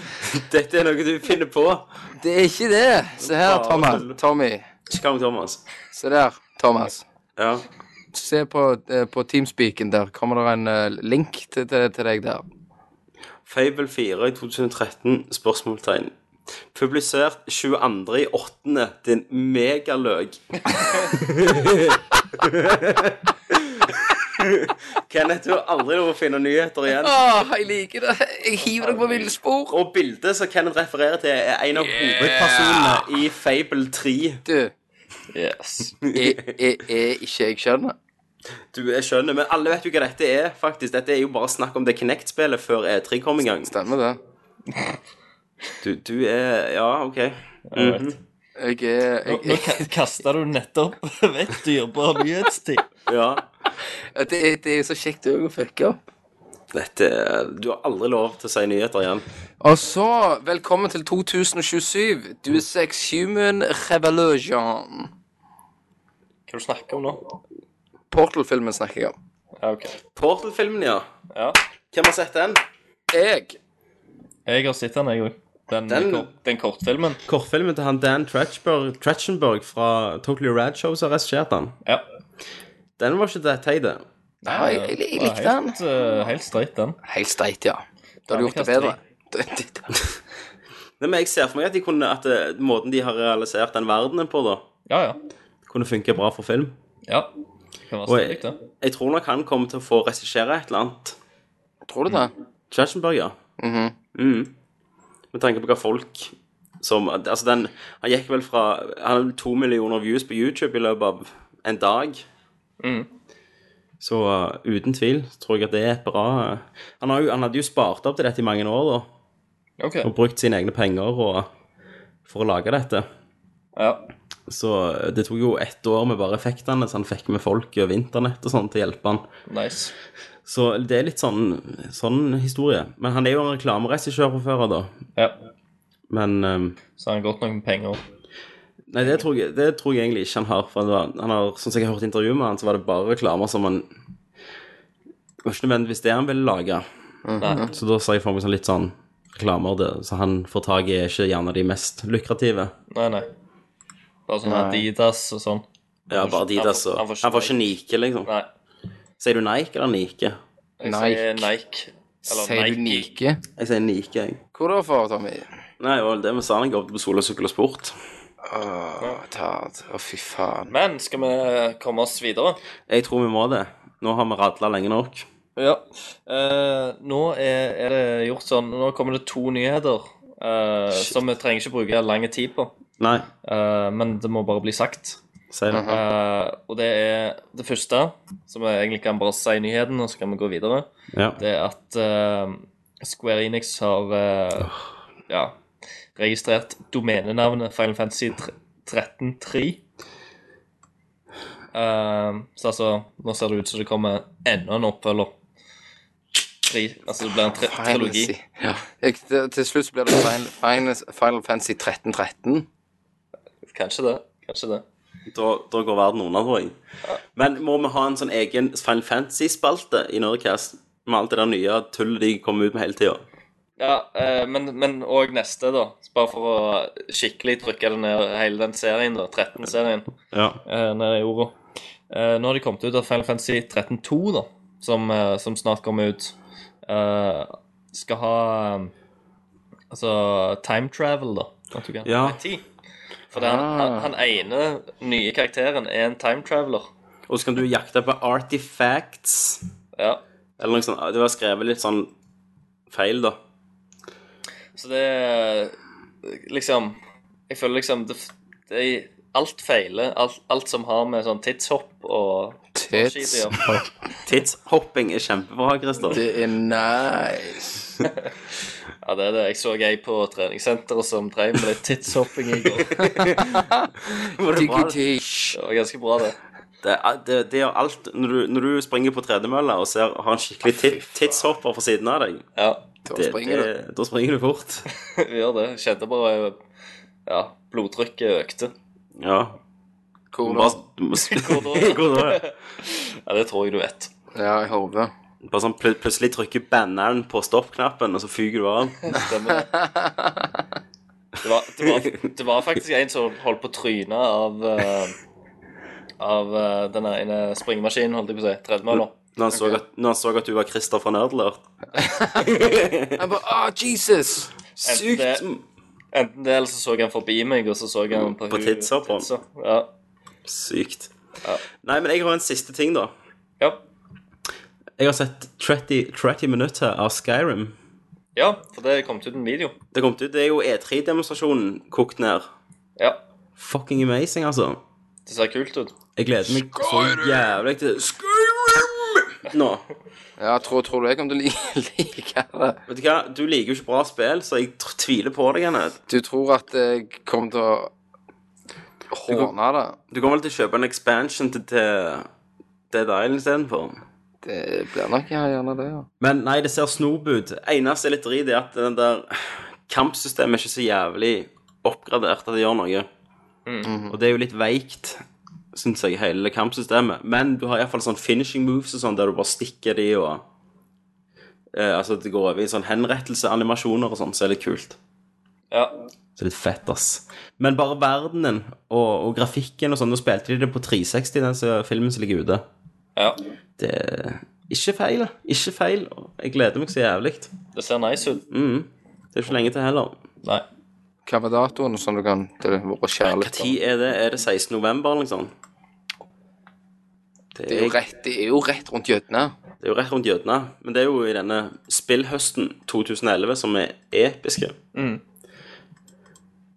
[SPEAKER 1] Dette er noe du finner på.
[SPEAKER 6] Det er ikke det. Se her, Thomas. Tommy.
[SPEAKER 1] Skam, Thomas.
[SPEAKER 6] Se der, Thomas.
[SPEAKER 1] Ja.
[SPEAKER 6] Se på, eh, på Teamspeaken der. Kommer det en eh, link til, til, til deg der?
[SPEAKER 1] Fable 4 i 2013, spørsmålstegn. Publisert 22. i 8. Din megaløk. Kenneth, du har aldri lov å finne nyheter igjen.
[SPEAKER 6] Åh, jeg liker det. Jeg hiver deg på ville spor.
[SPEAKER 1] Og bildet som Kenneth refererer til, er en av hovedpersonene i Fable 3.
[SPEAKER 6] Du,
[SPEAKER 5] Yes.
[SPEAKER 6] jeg jeg er ikke jeg skjønner.
[SPEAKER 1] Du er skjønner, men alle vet jo hva dette er, faktisk. Dette er jo bare snakk om det Kinect-spillet før E3 kom i gang.
[SPEAKER 6] Stemmer det?
[SPEAKER 1] Du, du er Ja, OK.
[SPEAKER 5] Jeg vet.
[SPEAKER 6] Jeg er jeg,
[SPEAKER 5] Nå ka- kastet du nettopp vekk dyrebar nyhetstid.
[SPEAKER 1] Ja.
[SPEAKER 6] det, det er jo så kjekt òg å fucke opp.
[SPEAKER 1] Dette Du har aldri lov til å si nyheter igjen.
[SPEAKER 6] Og så, velkommen til 2027. Du er sex human revolution.
[SPEAKER 5] Hva er det du snakker om nå?
[SPEAKER 6] Portal-filmen snakker jeg om.
[SPEAKER 5] Ja, ok.
[SPEAKER 1] Portal-filmen, ja.
[SPEAKER 5] Ja.
[SPEAKER 1] Hvem har sett den?
[SPEAKER 6] Jeg
[SPEAKER 5] Jeg har sett den, jeg òg. Den,
[SPEAKER 1] Den-
[SPEAKER 5] kor- den kortfilmen.
[SPEAKER 1] Kortfilmen til han Dan Tratchberg, Tratchenberg fra Tokyo Rad Show som har regissert den.
[SPEAKER 5] Ja.
[SPEAKER 1] Den var ikke det teite.
[SPEAKER 6] Nei, jeg, jeg, jeg likte
[SPEAKER 5] Ja,
[SPEAKER 6] den.
[SPEAKER 5] Helt, eh, helt streit, den.
[SPEAKER 6] Helt streit, ja. Da har du gjort det bedre.
[SPEAKER 5] Terningkast
[SPEAKER 1] Nei, men jeg ser for meg at, de kunne, at eh, måten de har realisert den verdenen på, da,
[SPEAKER 5] Ja, ja.
[SPEAKER 1] kunne funke bra for film.
[SPEAKER 5] ja. Det kan være
[SPEAKER 1] Og
[SPEAKER 5] stilig, det.
[SPEAKER 1] Jeg tror nok han kommer til å få regissere et eller annet.
[SPEAKER 6] Tror du det?
[SPEAKER 1] Tratchenberg, ja. Mhm. Med tanke på hva folk som Altså, den Han gikk vel fra Han hadde to millioner views på YouTube i løpet av en dag. Så uh, uten tvil så tror jeg at det er et bra uh, han, har jo, han hadde jo spart opp til dette i mange år, da.
[SPEAKER 5] Ok.
[SPEAKER 1] Og brukt sine egne penger og, uh, for å lage dette.
[SPEAKER 5] Ja.
[SPEAKER 1] Så uh, det tok jo ett år med bare effektene, så han fikk med folk over internett og sånn til å hjelpe han.
[SPEAKER 5] Nice.
[SPEAKER 1] Så det er litt sånn, sånn historie. Men han er jo en reklameregissør fra før av, da.
[SPEAKER 5] Ja.
[SPEAKER 1] Men ehm,
[SPEAKER 5] Så har han godt nok med penger.
[SPEAKER 1] Nei, det tror, jeg, det tror jeg egentlig ikke han har. For det var, han har, Sånn som jeg har hørt intervjuet med han, så var det bare reklamer som han Det var ikke nødvendigvis det han ville lage. Så da ser jeg for meg sånn litt sånn reklamer det, så han får tak i, er ikke gjerne de mest lukrative.
[SPEAKER 5] Nei, nei. Bare sånn Adidas og sånn.
[SPEAKER 1] Ja, bare de
[SPEAKER 5] han
[SPEAKER 1] der,
[SPEAKER 5] får-
[SPEAKER 1] så
[SPEAKER 5] han
[SPEAKER 1] Han
[SPEAKER 5] får ikke
[SPEAKER 1] får ikke Nike, liksom.
[SPEAKER 5] Nei.
[SPEAKER 1] Sier du Nike eller Nike?
[SPEAKER 5] Jeg
[SPEAKER 6] Nike.
[SPEAKER 5] sier Nike. Eller
[SPEAKER 6] Sier du
[SPEAKER 5] Nike.
[SPEAKER 6] Nike?
[SPEAKER 1] Jeg sier Nike, jeg.
[SPEAKER 6] Hvor da for, Tommy?
[SPEAKER 1] Nei, det var vel det vi sa da jeg jobbet på Sola Sykkel og Sport.
[SPEAKER 6] Åh, Tard. Å, fy faen.
[SPEAKER 5] Men skal vi komme oss videre?
[SPEAKER 1] Jeg tror vi må det. Nå har vi radla lenge nok.
[SPEAKER 5] Ja. Eh, nå er, er det gjort sånn Nå kommer det to nyheter eh, som vi trenger ikke bruke lang tid på.
[SPEAKER 1] Nei,
[SPEAKER 5] Eh, men det må bare bli sagt.
[SPEAKER 1] si det.
[SPEAKER 5] Eh, og det er det første, som jeg egentlig kan bare si nyheten, og så kan vi gå videre.
[SPEAKER 1] Ja.
[SPEAKER 5] Det er at eh, Square Enix har eh, ja, registrert domenenavnet Final Fantasy 13.3. Uh, så altså, nå ser det ut som det kommer enda en oppfølger. Tre, altså det blir en tre trilogi.
[SPEAKER 6] Fantasy. Ja. Jeg, til, til slutt så blir det Final, Final, Final Fantasy 1313.
[SPEAKER 5] Kanskje det. Kanskje det.
[SPEAKER 1] Da, da går verden under, tror jeg. Men må vi ha en sånn egen Final Fantasy-spalte i Nerdcast? Med alt det der nye tullet de kommer ut med hele tida?
[SPEAKER 5] Ja, eh, men, men og neste, da. Bare for å skikkelig trykke det ned hele den serien, da. 13-serien.
[SPEAKER 1] Ja.
[SPEAKER 5] eh, nede i jorda. Eh, nå har de kommet ut av Final Fantasy 13.2, da, som, eh, som snart kommer ut. Eh, skal ha eh, altså time travel, da. At du kan
[SPEAKER 1] Ja.
[SPEAKER 5] ha tid. For det er han, han, han ene nye karakteren er en time traveler.
[SPEAKER 1] Og så kan du jakte på artifacts
[SPEAKER 5] Ja.
[SPEAKER 1] Eller noe sånt. Det var skrevet litt sånn feil, da.
[SPEAKER 5] Så det er liksom Jeg føler liksom det, det er Alt feiler. Alt, alt som har med sånn tidshopp og og skit å
[SPEAKER 6] Tits.
[SPEAKER 5] gjøre.
[SPEAKER 1] Tidshopping er kjempebra, Christer.
[SPEAKER 6] Det er nice.
[SPEAKER 5] Ja, det er det. Jeg så ei på treningssenteret som drev med litt tidshopping i går.
[SPEAKER 1] Var det bra? Det,
[SPEAKER 6] Digitish.
[SPEAKER 5] Det var ganske bra, det.
[SPEAKER 1] er- det, det gjør alt. Når du, når du springer på tredemølla og ser, har en skikkelig tit- tidshopper på siden av deg,
[SPEAKER 5] Ja,
[SPEAKER 6] Da
[SPEAKER 1] det,
[SPEAKER 6] springer du.
[SPEAKER 1] det, da springer du fort.
[SPEAKER 5] vi gjør det. Jeg Kjente bare Ja, blodtrykket økte.
[SPEAKER 1] Ja.
[SPEAKER 6] Hvor da?
[SPEAKER 1] Bare, du må,
[SPEAKER 5] Hvor da?
[SPEAKER 1] Hvor da?
[SPEAKER 5] Ja, det tror jeg du vet.
[SPEAKER 6] Ja, i hodet.
[SPEAKER 1] Bare sånn pl plutselig trykker banneren på stopp-knappen, og så fyker du av.
[SPEAKER 5] Stemmer det. Det var, det var, det var faktisk en som holdt på trynet av eh, Av eh, den ene springemaskinen, holdt jeg på å si. Tredemølla.
[SPEAKER 1] Når han, så at, når han så at du var Christer fra Nerdlert.
[SPEAKER 6] Jeg bare Åh, Jesus!
[SPEAKER 5] Enten det, enten det, eller så så han forbi meg, og så så han på,
[SPEAKER 1] Mm, På
[SPEAKER 5] hun-
[SPEAKER 1] tidsa på han.
[SPEAKER 5] tidsa. Ja.
[SPEAKER 1] Sykt. Nei, men jeg har en siste ting, da.
[SPEAKER 5] Ja.
[SPEAKER 1] Jeg har sett 30, 30 minutter av Skyrim.
[SPEAKER 5] ja, for det kom ut en video.
[SPEAKER 1] Det kom til, det er jo E3-demonstrasjonen kokt ned.
[SPEAKER 5] Ja,
[SPEAKER 1] Fucking amazing, altså.
[SPEAKER 5] det ser kult ut.
[SPEAKER 1] Jeg gleder meg så jævlig til Skyrim nå.
[SPEAKER 6] Ja, tror, tror du jeg kommer til å like, like det?
[SPEAKER 1] Vet du hva, du liker jo ikke bra spill, så jeg tr- tviler på deg, Kenneth.
[SPEAKER 6] Du tror at jeg kommer til å Håna det.
[SPEAKER 1] Du kommer vel til å kjøpe en expansion til, til Dead Island istedenfor?
[SPEAKER 6] Det blir nok gjerne det, ja.
[SPEAKER 1] Men nei, det ser snop ut. Eneste jeg er litt drit i, er at den der kampsystemet er ikke så jævlig oppgradert at det gjør noe. Og det er jo litt veikt, syns jeg, hele det kampsystemet. Men du har iallfall sånn finishing moves og sånn, der du bare stikker de og eh, Altså at det går over i sånn henrettelseanimasjoner og sånn, så er det kult.
[SPEAKER 5] Ja.
[SPEAKER 1] Så litt fett, ass. Men bare verdenen og, og grafikken og sånn, nå spilte de det på 360, den som- filmen som ligger ute.
[SPEAKER 5] ja.
[SPEAKER 1] Det er ikke feil. Ikke feil. og Jeg gleder meg så jævlig.
[SPEAKER 5] Det ser nice ut.
[SPEAKER 1] Mm. Det er ikke lenge til heller.
[SPEAKER 5] Nei.
[SPEAKER 6] Hva var datoen som du kan til våre kjære
[SPEAKER 1] Hva tid er det? Er det 16. november, liksom? Det
[SPEAKER 6] Det er jo rett, det er jo rett rundt hjørnet.
[SPEAKER 1] det er jo rett rundt hjørnet. Men det er jo i denne spillhøsten 2011 som er episke.
[SPEAKER 5] Mm.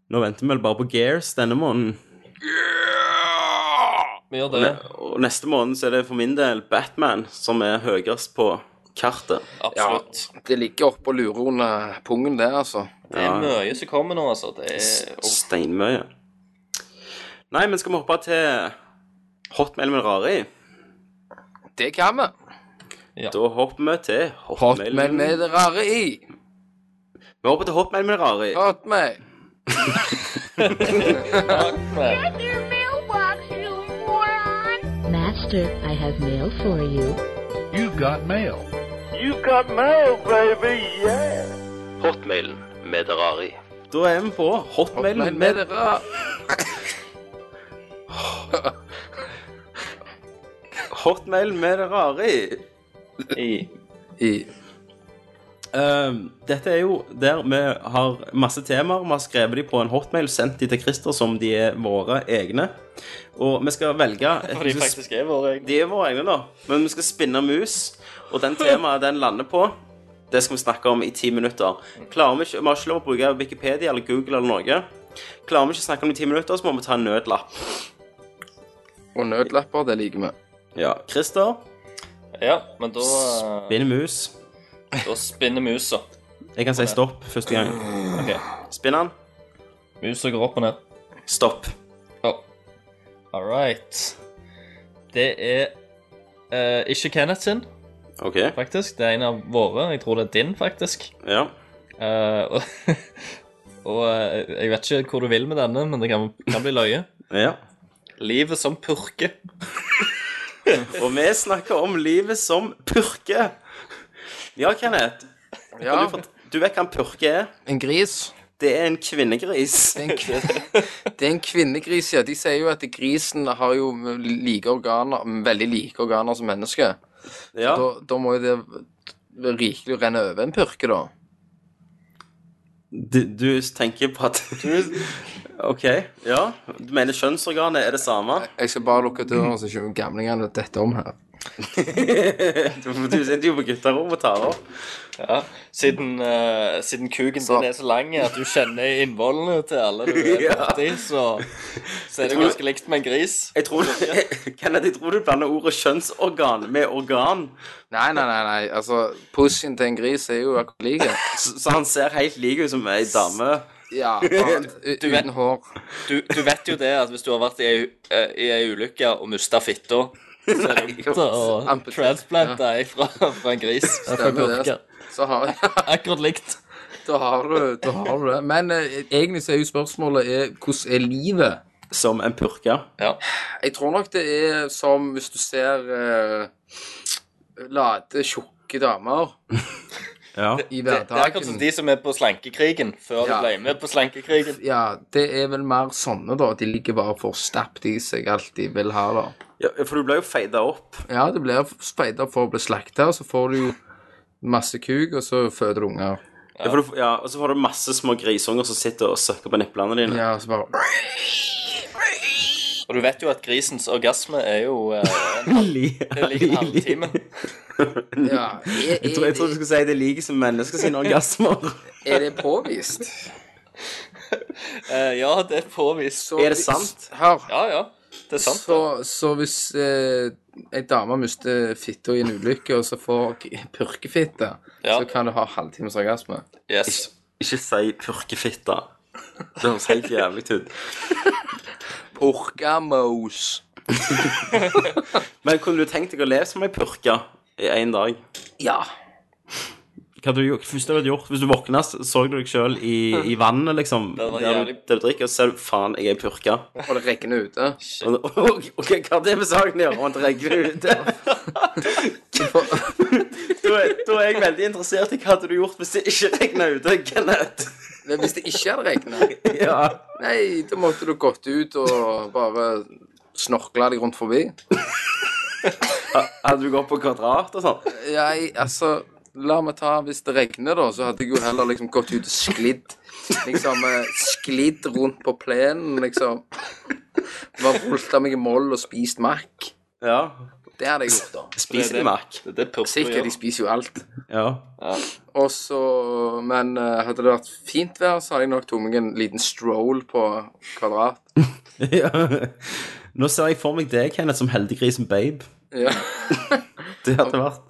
[SPEAKER 1] Nå venter vi vel bare på Gears denne måneden.
[SPEAKER 5] Vi gjør det.
[SPEAKER 1] Og neste måned så er det for min del Batman som er høyest på kartet.
[SPEAKER 5] Absolutt.
[SPEAKER 6] Det ligger oppe og lurer under pungen der, altså.
[SPEAKER 5] Det er mye som kommer nå, altså. Det er oh,
[SPEAKER 1] Steinmøye. Nei, men skal vi hoppe til hotmail med rare i?
[SPEAKER 6] Det kan vi.
[SPEAKER 1] Da hopper vi til hotmail
[SPEAKER 6] Hotmail med det rare i.
[SPEAKER 1] Vi hopper til hotmail med rare i.
[SPEAKER 6] Hotmail.
[SPEAKER 12] Master, I have mail for you.
[SPEAKER 4] Hotmailen med Derari.
[SPEAKER 1] Da er vi på hotmail
[SPEAKER 6] Hotmail med
[SPEAKER 1] med
[SPEAKER 6] det rare
[SPEAKER 1] Hotmail med det rare i.
[SPEAKER 5] i
[SPEAKER 6] i.
[SPEAKER 1] Ehm, dette er jo der vi har masse temaer. Vi har skrevet de på en hotmail, sendt de til Christer som de er våre egne. Og vi skal velge et-
[SPEAKER 5] For de faktisk er våre egne.
[SPEAKER 1] De er våre egne, da. Men vi skal spinne mus, og den temaet den lander på, det skal vi snakke om i ti minutter. Klarer Vi ikke, vi har ikke lov å bruke Wikipedia eller Google eller noe. Klarer vi ikke å snakke om det i ti minutter, så må vi ta en nødlapp.
[SPEAKER 6] Og nødlapper, det liker vi.
[SPEAKER 1] Ja, Christer,
[SPEAKER 5] Ja, men da, eh,
[SPEAKER 1] spinn mus.
[SPEAKER 5] da spinner musa.
[SPEAKER 1] Jeg kan si stopp første gang.
[SPEAKER 5] Ok.
[SPEAKER 1] Spinn den.
[SPEAKER 5] Musa går opp og ned.
[SPEAKER 1] Stopp.
[SPEAKER 5] Oh. All right. Det er eh, ikke Kenneth sin,
[SPEAKER 1] OK.
[SPEAKER 5] faktisk. Det er en av våre. Jeg tror det er din, faktisk.
[SPEAKER 1] Ja.
[SPEAKER 5] Eh, og og eh, jeg vet ikke hvor du vil med denne, men det kan, kan bli løye.
[SPEAKER 1] ja.
[SPEAKER 5] Livet som purke.
[SPEAKER 1] Og vi snakker om livet som purke. Ja, Kenneth.
[SPEAKER 6] Ja,
[SPEAKER 1] Du, fort- du vet hva en purke er?
[SPEAKER 6] en gris.
[SPEAKER 1] Det er en kvinnegris.
[SPEAKER 6] Det er en, kvin- det er en kvinnegris, ja. De sier jo at grisen har jo like organer, veldig like organer som mennesket.
[SPEAKER 1] Ja.
[SPEAKER 6] Da, da må jo det rikelig renne over en purke, da.
[SPEAKER 1] Du, du tenker på at OK. Ja. Du mener kjønnsorganet er det samme?
[SPEAKER 6] Jeg skal bare lukke døren, så kommer gamlingene dette om her.
[SPEAKER 1] Du, du sitter jo på gutterommet og tar opp.
[SPEAKER 5] Ja, siden, eh, siden kuken
[SPEAKER 6] Så-
[SPEAKER 5] din er så lang at du kjenner innvollene til alle du er borti, så, så er det jo ganske likt med en gris.
[SPEAKER 1] Jeg tror, Kenneth, jeg tror du blander ordet kjønnsorgan med organ,
[SPEAKER 6] Nei, nei, nei, nei. altså, pussyen til en gris er jo akkurat like.
[SPEAKER 1] så så han ser helt lik ut som ei dame.
[SPEAKER 6] Ja, bare u-
[SPEAKER 5] vet-
[SPEAKER 6] uten hår.
[SPEAKER 5] Du, du vet jo det at hvis du har vært i ei, eh, i ei ulykke og mista fitta, så er det godt å
[SPEAKER 6] Amputert,
[SPEAKER 5] transplante deg fra, fra en gris. Fra en
[SPEAKER 6] Stemmer det, altså.
[SPEAKER 5] purke.
[SPEAKER 6] Så har,
[SPEAKER 5] Akkurat likt.
[SPEAKER 6] da, har du, da har du det. Men eh, egentlig så er jo spørsmålet er, hvordan er livet?
[SPEAKER 1] Som en purke.
[SPEAKER 5] Ja.
[SPEAKER 6] Jeg tror nok det er som hvis du ser eh, late, tjukke damer
[SPEAKER 1] Ja.
[SPEAKER 6] i
[SPEAKER 5] Det, det er akkurat
[SPEAKER 6] hverdagen.
[SPEAKER 5] som de som er på slankekrigen, før
[SPEAKER 6] Ja.
[SPEAKER 5] de ble med på slankekrigen.
[SPEAKER 6] Ja, det er vel mer sånne, da. De ligger bare for stappet i seg alt de vil ha, da.
[SPEAKER 1] ja. For du ble jo feida opp.
[SPEAKER 6] Ja, det blir speider for å bli slakta, og så får du jo masse kuk, og så føder du unger.
[SPEAKER 1] Ja. for du, ja, og så får du masse små grisunger som sitter og søkker på nipplene dine.
[SPEAKER 6] Ja, så bare
[SPEAKER 5] Og du vet jo at grisens orgasme er jo eh, en halv- det er like en halvtime.
[SPEAKER 6] Ja. Er,
[SPEAKER 1] Jeg tror, jeg tror du
[SPEAKER 6] er,
[SPEAKER 1] skulle si det er like som mennesker sine orgasmer.
[SPEAKER 6] er det påvist?
[SPEAKER 5] Eh, ja, det er påvist.
[SPEAKER 6] Så
[SPEAKER 1] Er det
[SPEAKER 6] hvis-
[SPEAKER 1] sant?
[SPEAKER 6] Hør.
[SPEAKER 5] Ja, ja. Det er sant.
[SPEAKER 6] Så, så hvis eh, ei dame mister fitta i en ulykke, og så får k- purkefitte,
[SPEAKER 5] Ja.
[SPEAKER 6] så kan du ha halvtimes orgasme.
[SPEAKER 5] Yes.
[SPEAKER 1] Ikke si purkefitte. Det høres helt jævlig ut.
[SPEAKER 6] Purkamos.
[SPEAKER 1] Men kunne du tenkt deg å leve som ei purke i én dag?
[SPEAKER 6] Ja.
[SPEAKER 1] Hva hadde du gjort hvis du hadde gjort Hvis du våkna, så du deg sjøl i, i vannet, liksom,
[SPEAKER 6] Det
[SPEAKER 1] der
[SPEAKER 6] var
[SPEAKER 1] du,
[SPEAKER 6] jævlig-
[SPEAKER 1] der du drikker, og så ser du faen, jeg er ei purke.
[SPEAKER 6] Og det regner ute.
[SPEAKER 1] Og, og, og, hva har det med saken å gjøre? om det regner ute? da, er, da er jeg veldig interessert i hva hadde du gjort hvis det ikke regna ute, Kenneth.
[SPEAKER 6] Men hvis det ikke hadde regnet
[SPEAKER 1] ja.
[SPEAKER 6] Nei, da måtte du gått ut og bare snorkla deg rundt forbi.
[SPEAKER 1] Hadde du gått på kvadrat og sånn?
[SPEAKER 6] Jeg, altså La meg ta Hvis det regner, da, så hadde jeg jo heller liksom gått ut og sklidd. Liksom eh, sklidd rundt på plenen, liksom. Bare volta meg i moll og spist makk.
[SPEAKER 1] Ja.
[SPEAKER 6] Det hadde jeg gjort, da.
[SPEAKER 1] Spiser de makk?
[SPEAKER 6] Sikkert. De spiser jo alt.
[SPEAKER 1] Ja.
[SPEAKER 6] Og så Men eh, hadde det vært fint vær, så hadde jeg nok tatt meg en liten stroll på kvadrat.
[SPEAKER 1] ja. Nå ser jeg for meg deg, Kenneth, som heldiggrisen babe.
[SPEAKER 6] Ja.
[SPEAKER 1] Det hadde vært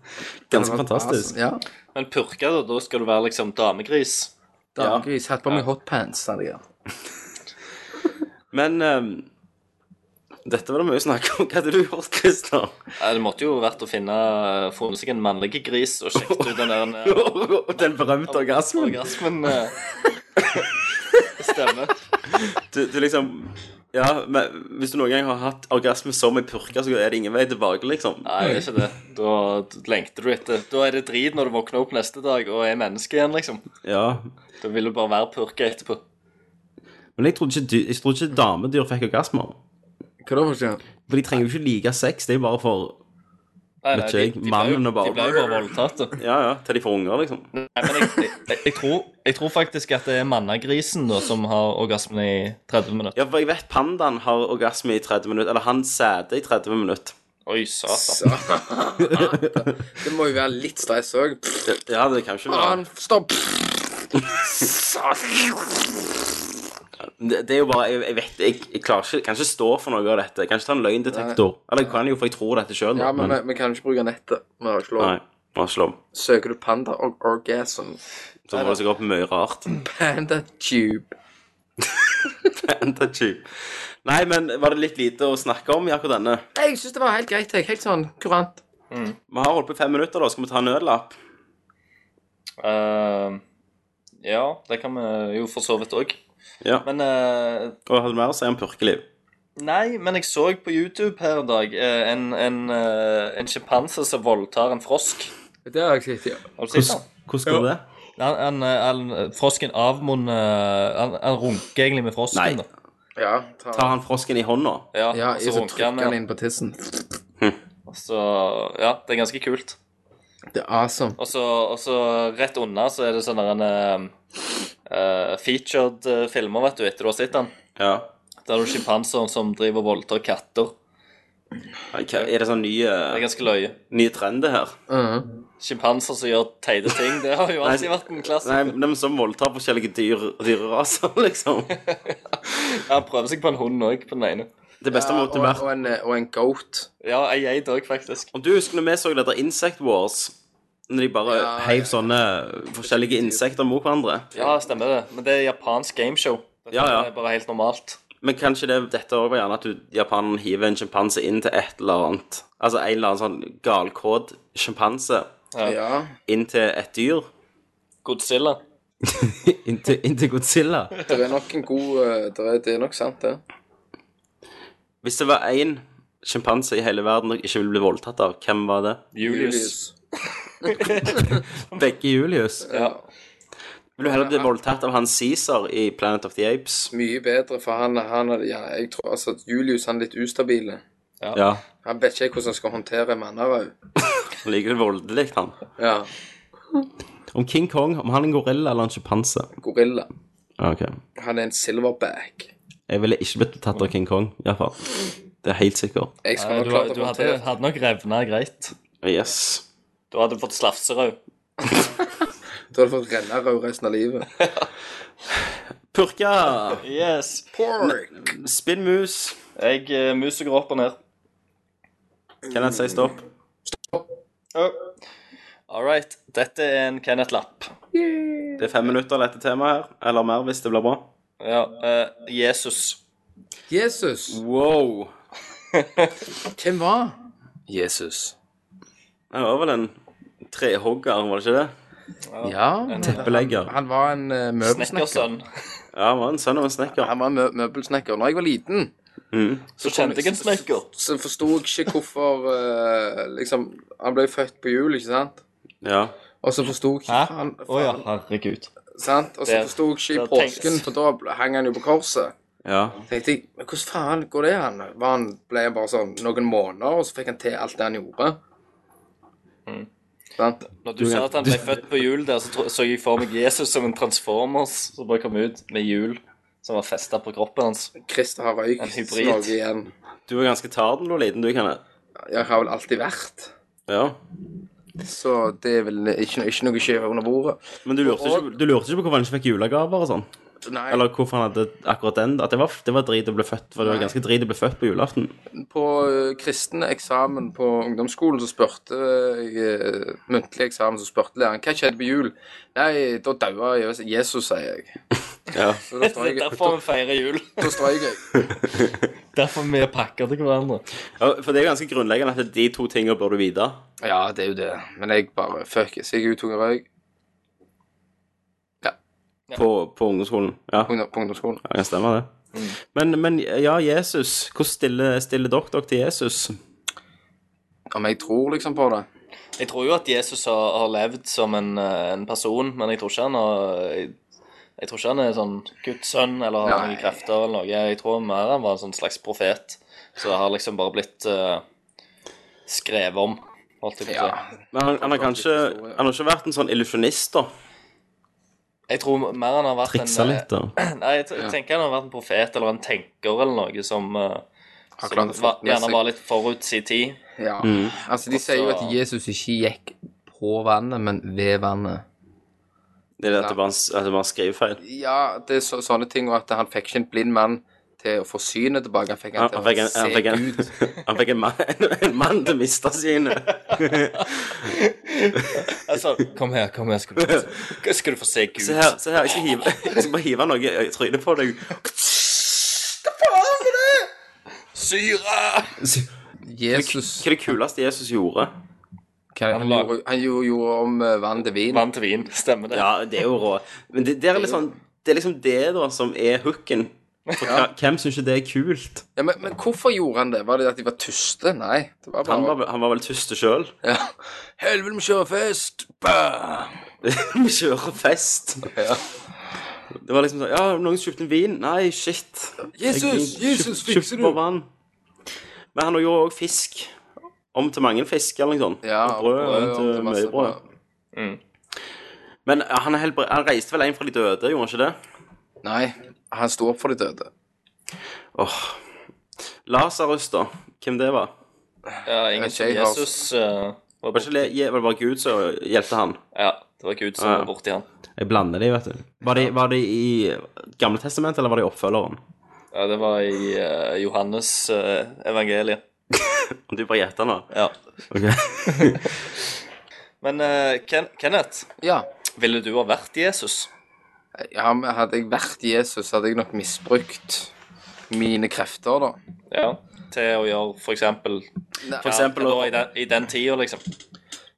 [SPEAKER 1] ganske
[SPEAKER 5] vært
[SPEAKER 1] fantastisk.
[SPEAKER 5] awesome, ja. Men purke, da, da skal du være liksom damegris.
[SPEAKER 6] Damegris. Hatt på meg hotpants. hadde jeg gjort.
[SPEAKER 1] Men ehm, dette var det mye snakk om. Hva hadde du gjort, Christer?
[SPEAKER 5] Ja, Det måtte jo vært å finne funnet seg en mannlig gris og sjekket ut den der eh,
[SPEAKER 1] Den berømte orgasmen.
[SPEAKER 5] orgasmen. eh, Det stemmer.
[SPEAKER 1] Du, du liksom Ja, men hvis du noen gang har hatt orgasme som ei purke, så er det ingen vei tilbake, liksom.
[SPEAKER 5] Nei, det er ikke det. Da lengter du etter. Da er det drit når du våkner opp neste dag og er menneske igjen, liksom.
[SPEAKER 1] Ja.
[SPEAKER 5] Da vil du bare være purke etterpå.
[SPEAKER 1] Men jeg trodde ikke, dy- jeg trodde ikke damedyr fikk orgasmer.
[SPEAKER 6] Hva da, for eksempel?
[SPEAKER 1] For de trenger jo ikke like sex, det er bare for
[SPEAKER 5] Nei,
[SPEAKER 1] Vet ikke jeg. Mannen og bare
[SPEAKER 5] De ble jo bare voldtatt, da.
[SPEAKER 1] Ja, ja. Til de får unger, liksom.
[SPEAKER 5] Nei, men jeg, jeg, jeg, tror, jeg tror faktisk at det er mannagrisen da, som har orgasmen i 30 minutter.
[SPEAKER 1] Ja, for jeg vet pandaen har orgasme i 30 minutter. Eller han sæder i 30 minutter.
[SPEAKER 5] Oi, satan.
[SPEAKER 6] Det må jo være litt stress òg.
[SPEAKER 1] Ja, det kan ikke være
[SPEAKER 6] Faen, stopp!
[SPEAKER 1] Det, det er jo bare Jeg, jeg vet jeg, jeg klarer ikke Jeg kan ikke stå for noe av dette. Jeg kan ikke ta en løgndetektor. Eller jeg kan jo, for jeg tror dette sjøl.
[SPEAKER 6] Ja, men vi- vi kan jo ikke bruke nettet. Vi har ikke lov.
[SPEAKER 1] Nei. Bare slå om.
[SPEAKER 6] Søker du panda og orgasm?
[SPEAKER 1] Så må det sikkert opp mye rart.
[SPEAKER 6] Panda tube.
[SPEAKER 1] Fantatube. Nei, men var det litt lite å snakke om i akkurat denne?
[SPEAKER 6] Nei, jeg syns det var helt greit. Jeg. Helt sånn kurant.
[SPEAKER 1] Vi har holdt på i fem minutter, da. Skal vi ta en nødlapp?
[SPEAKER 5] Eh, ja, det kan vi jo for så vidt òg.
[SPEAKER 1] Ja.
[SPEAKER 5] Men eh,
[SPEAKER 1] Og hadde du mer å si om purkeliv?
[SPEAKER 5] Nei, men jeg så på YouTube her en dag eh, en, en, eh, en sjimpanse som voldtar en frosk.
[SPEAKER 6] Det har jeg sett, ja.
[SPEAKER 5] Har du sett den?
[SPEAKER 1] Hvordan går det?
[SPEAKER 5] Han, han, eh, han, frosken avmunner han, han runker egentlig med frosken.
[SPEAKER 1] Nei.
[SPEAKER 5] da.
[SPEAKER 6] Ja, ta,
[SPEAKER 1] Tar han frosken i hånda?
[SPEAKER 5] Ja,
[SPEAKER 6] ja
[SPEAKER 5] og
[SPEAKER 6] jeg
[SPEAKER 5] så
[SPEAKER 6] så
[SPEAKER 5] runker han
[SPEAKER 6] trykker
[SPEAKER 5] med
[SPEAKER 6] han
[SPEAKER 5] den.
[SPEAKER 6] inn på tissen.
[SPEAKER 5] Så, ja, det er ganske kult.
[SPEAKER 6] Det er awesome.
[SPEAKER 5] Og så, og så rett unna så er det sånne der, eh, eh, featured eh, filmer, vet du, etter du har sett den.
[SPEAKER 1] Ja.
[SPEAKER 5] Der er det sjimpanser som driver og voldtar katter.
[SPEAKER 1] Nei, hva- Er det sånn nye,
[SPEAKER 5] Det er ganske løye.
[SPEAKER 1] nye trend, det her?
[SPEAKER 6] Mhm.
[SPEAKER 5] Sjimpanser som gjør teite ting, det har jo alltid vært en klasse.
[SPEAKER 1] Nei, men de som sånn voldtar forskjellige dyr, dyreraser, liksom.
[SPEAKER 5] Han prøver seg på en hund òg, på den ene.
[SPEAKER 1] Det beste måtte
[SPEAKER 6] Uh-huh. og,
[SPEAKER 1] vært
[SPEAKER 6] og, en, eh, og en goat.
[SPEAKER 5] Ja, ei geit òg, faktisk.
[SPEAKER 1] Om du husker når vi så det der Insect Wars, når de bare heiv sånne forskjellige insekter mot hverandre
[SPEAKER 5] Ja, stemmer det. Men det er japansk gameshow. Dette
[SPEAKER 1] Ja, ja.
[SPEAKER 5] er bare helt normalt.
[SPEAKER 1] Men kanskje det, dette også var gjerne at du, japaneren hiver en sjimpanse inn til et eller annet Altså en eller annen sånn galkåt sjimpanse
[SPEAKER 6] Ja.
[SPEAKER 1] inn til et dyr.
[SPEAKER 5] Godzilla.
[SPEAKER 1] Inn til, inn til Godzilla.
[SPEAKER 6] Det er nok en god eh, det er, det er nok sant, det.
[SPEAKER 1] Hvis det var én sjimpanse i hele verden dere ikke ville bli voldtatt av, hvem var det?
[SPEAKER 5] Julius.
[SPEAKER 1] Begge Julius.
[SPEAKER 6] Ja.
[SPEAKER 1] Vil du heller bli voldtatt av han Caesar i Planet of the Apes?
[SPEAKER 6] Mye bedre, for han, han hadde- ja, jeg tror altså at Julius han er litt ustabil.
[SPEAKER 1] Ja.
[SPEAKER 6] Han vet ikke hvordan han skal håndtere mannerau.
[SPEAKER 1] Han liker det voldelig, han.
[SPEAKER 6] Ja.
[SPEAKER 1] Om King Kong, om han er en gorilla eller en sjimpanse?
[SPEAKER 6] Gorilla.
[SPEAKER 1] Ok.
[SPEAKER 6] Han er en silverback.
[SPEAKER 1] Jeg ville ikke blitt tatt av King Kong, i hvert fall. Det er helt sikkert.
[SPEAKER 6] Jeg
[SPEAKER 5] Nei,
[SPEAKER 6] skulle nok
[SPEAKER 5] du,
[SPEAKER 6] klart
[SPEAKER 5] du
[SPEAKER 6] å
[SPEAKER 5] hadde,
[SPEAKER 6] håndtere det.
[SPEAKER 5] hadde nok revna greit.
[SPEAKER 1] Yes.
[SPEAKER 5] Du hadde fått slafserød.
[SPEAKER 6] Du hadde fått renne rød resten av livet.
[SPEAKER 1] Purka!
[SPEAKER 5] Yes.
[SPEAKER 6] Pork!
[SPEAKER 1] Spinn mus.
[SPEAKER 5] Jeg eh, muser går opp og ned.
[SPEAKER 1] Kenneth sier stopp.
[SPEAKER 5] All right. Dette er en Kenneth Lapp.
[SPEAKER 1] Det er fem minutter til dette temaet her. Eller mer, hvis det blir bra.
[SPEAKER 5] Ja. eh, Jesus.
[SPEAKER 6] Jesus.
[SPEAKER 1] Wow.
[SPEAKER 6] Hvem var?
[SPEAKER 1] Jesus. Han var vel en trehogger, var det ikke det?
[SPEAKER 6] Ja.
[SPEAKER 1] Teppelegger.
[SPEAKER 6] Han var en eh, møbelsnekker.
[SPEAKER 1] Ja, han var en sønn av en snekker.
[SPEAKER 6] Han var en mø møbelsnekker. Når jeg var liten,
[SPEAKER 1] Mm.
[SPEAKER 6] så,
[SPEAKER 5] kjente jeg en snekker.
[SPEAKER 6] Så, så forsto jeg ikke hvorfor eh, Liksom, han ble født på jul, ikke sant?
[SPEAKER 1] Ja.
[SPEAKER 6] Og så forsto jeg ikke faen,
[SPEAKER 8] Å ja, herregud.
[SPEAKER 6] sant? Og så
[SPEAKER 8] Det-
[SPEAKER 6] forsto jeg ikke i
[SPEAKER 8] det tenkes.
[SPEAKER 6] påsken, for da ble- hang han jo på korset.
[SPEAKER 1] Ja.
[SPEAKER 6] tenkte jeg, men hvordan faen går det an? Var han ble han bare sånn noen måneder, og så fikk han til alt det han gjorde? Sant?
[SPEAKER 5] Når du, sa at han ble født på jul der, så, tro- så jeg for meg Jesus som en transformers som bare kom ut med hjul som var festa på kroppen hans.
[SPEAKER 6] Christer har røyk
[SPEAKER 5] En hybrid.
[SPEAKER 6] slaget igjen.
[SPEAKER 1] Du var ganske tarden da, liten du, kan jeg.
[SPEAKER 6] Jeg har vel alltid vært.
[SPEAKER 1] Ja.
[SPEAKER 6] Så det er vel ikke, ikke noe skjeve under bordet.
[SPEAKER 1] Men du lurte, ikke, du lurte ikke på hvorfor han ikke fikk julegaver og sånn?
[SPEAKER 6] Nei,
[SPEAKER 1] Eller hvorfor han hadde akkurat den? At det var, det var drit å bli født, for det var ganske drit å bli født på julaften.
[SPEAKER 6] på eh, kristen eksamen på ungdomsskolen så spurte jeg eh, Muntlig eksamen så spurte læreren hva skjedde på jul. Nei, da daua Jesus, Jesus, sier jeg.
[SPEAKER 1] Ja.
[SPEAKER 6] Så da
[SPEAKER 5] Det er
[SPEAKER 6] strøyk jeg.
[SPEAKER 5] derfor vi feirer jul.
[SPEAKER 6] Da strøyk jeg.
[SPEAKER 8] Derfor vi pakker til hverandre.
[SPEAKER 1] Ja, For det er ganske grunnleggende at de to tingene bør du vite.
[SPEAKER 6] Ja, det er jo det. Men jeg bare fuck it. Så jeg uttok en røyk
[SPEAKER 1] På, på ungdomsskolen. Ja,
[SPEAKER 6] på ungdom- på ungdomsskolen.
[SPEAKER 1] ja det stemmer det. Men, men ja, Jesus. Hvordan stiller, stiller dere dere til Jesus?
[SPEAKER 6] Om jeg tror liksom på det.
[SPEAKER 5] Jeg tror jo at Jesus har, har levd som en, eh, en person, men jeg tror ikke han har jeg, jeg tror ikke han er sånn Guds sønn eller har
[SPEAKER 6] Nei.
[SPEAKER 5] noen krefter eller noe. Jeg tror mer han var en sånn slags profet. Så det har liksom bare blitt eh, skrevet om. Holdt jeg, på å si.
[SPEAKER 1] Men han, han har kanskje Han har ikke vært en sånn illusjonist, da?
[SPEAKER 5] jeg tror mer han har vært
[SPEAKER 1] Triksa
[SPEAKER 5] en eh,
[SPEAKER 1] litt, da.
[SPEAKER 5] Nei, jeg t- jeg tenker han har vært en profet eller en tenker eller noe som, eh,
[SPEAKER 6] Har
[SPEAKER 5] som
[SPEAKER 6] klart å få
[SPEAKER 5] var,
[SPEAKER 6] med
[SPEAKER 5] gjerne
[SPEAKER 6] seg-
[SPEAKER 5] var litt forut sin tid.
[SPEAKER 6] Ja.
[SPEAKER 1] Mm.
[SPEAKER 6] Altså, de sier jo at Jesus ikke gikk på vannet, men ved vannet.
[SPEAKER 1] Det er det at det var en, at det var en skrivefeil.
[SPEAKER 6] Ja, det er så, sånne ting, og at han fikk ikke en blind mann til å få synet tilbake. Han fikk han
[SPEAKER 1] Han,
[SPEAKER 6] til
[SPEAKER 1] han fikk
[SPEAKER 6] å
[SPEAKER 1] en, han
[SPEAKER 6] se
[SPEAKER 1] fikk en,
[SPEAKER 6] Gud.
[SPEAKER 1] han fikk en, mann, en mann til å miste synet.
[SPEAKER 5] Altså, kom her, kom her, skal du, få se- skal du få se Gud.
[SPEAKER 1] Se her, se her, jeg skal, hive, jeg skal bare hive noe i trynet på deg.
[SPEAKER 5] Syre!
[SPEAKER 6] Jesus
[SPEAKER 1] Hva er det kuleste Jesus gjorde?
[SPEAKER 6] hva, han,
[SPEAKER 5] la-
[SPEAKER 6] gjorde, han gjorde, gjorde om eh, vann til vin.
[SPEAKER 5] Vann til vin, stemmer det?
[SPEAKER 1] Ja, det er jo rå. Men det, det, er, liksom, det er liksom det, da, som er hooken. For hva, hvem syns ikke det er kult?
[SPEAKER 6] Ja, men, men hvorfor gjorde han det? Var det at de var tyste? Nei. Det var bare
[SPEAKER 1] Han var, vel- han var vel tyste sjøl.
[SPEAKER 6] ja. Helvete, vi kjører fest! Bam!
[SPEAKER 1] Vi kjører fest.
[SPEAKER 6] Ja.
[SPEAKER 1] Det var liksom sånn Ja, noen kjøpte en vin? Nei, shit.
[SPEAKER 6] Jesus! Jesus, fikser
[SPEAKER 1] Kjøpte
[SPEAKER 6] du!
[SPEAKER 1] bare vann. Men han gjorde òg fisk. Om til mange fisk eller noe sånt.
[SPEAKER 6] Ja,
[SPEAKER 1] Og brød.
[SPEAKER 6] brød,
[SPEAKER 1] om til
[SPEAKER 6] masse
[SPEAKER 1] mye brød.
[SPEAKER 6] brød. Mm.
[SPEAKER 1] Men han, er helt, bra- han reiste vel hjem fra de døde, gjorde han ikke det?
[SPEAKER 6] Nei, han sto opp for de døde.
[SPEAKER 1] Åh. Lasarus, da. Hvem det var?
[SPEAKER 5] Ja, ingen som
[SPEAKER 6] Jeg har-
[SPEAKER 5] Jesus eh, var
[SPEAKER 1] Var ikke
[SPEAKER 5] borti.
[SPEAKER 1] det, Je- var det bare Gud som hjelpte han?
[SPEAKER 5] Ja, det var Gud som
[SPEAKER 1] Ja.
[SPEAKER 5] var borti han.
[SPEAKER 1] Jeg blander de, vet du. Var de, var de i Gamle testament, eller var de i oppfølgeren?
[SPEAKER 5] Ja, det var i eh, Johannes eh, evangeliet.
[SPEAKER 1] Om du bare gjetter nå?
[SPEAKER 5] Ja.
[SPEAKER 1] Ok.
[SPEAKER 5] Men eh, Ken Kenneth,
[SPEAKER 6] Ja.
[SPEAKER 5] ville du ha vært Jesus?
[SPEAKER 6] ja, men hadde jeg vært Jesus, hadde jeg nok misbrukt mine krefter, da.
[SPEAKER 5] Ja. Til å gjøre for eksempel
[SPEAKER 1] For eksempel
[SPEAKER 5] ja,
[SPEAKER 1] å
[SPEAKER 5] da, i, den, I den tida, liksom.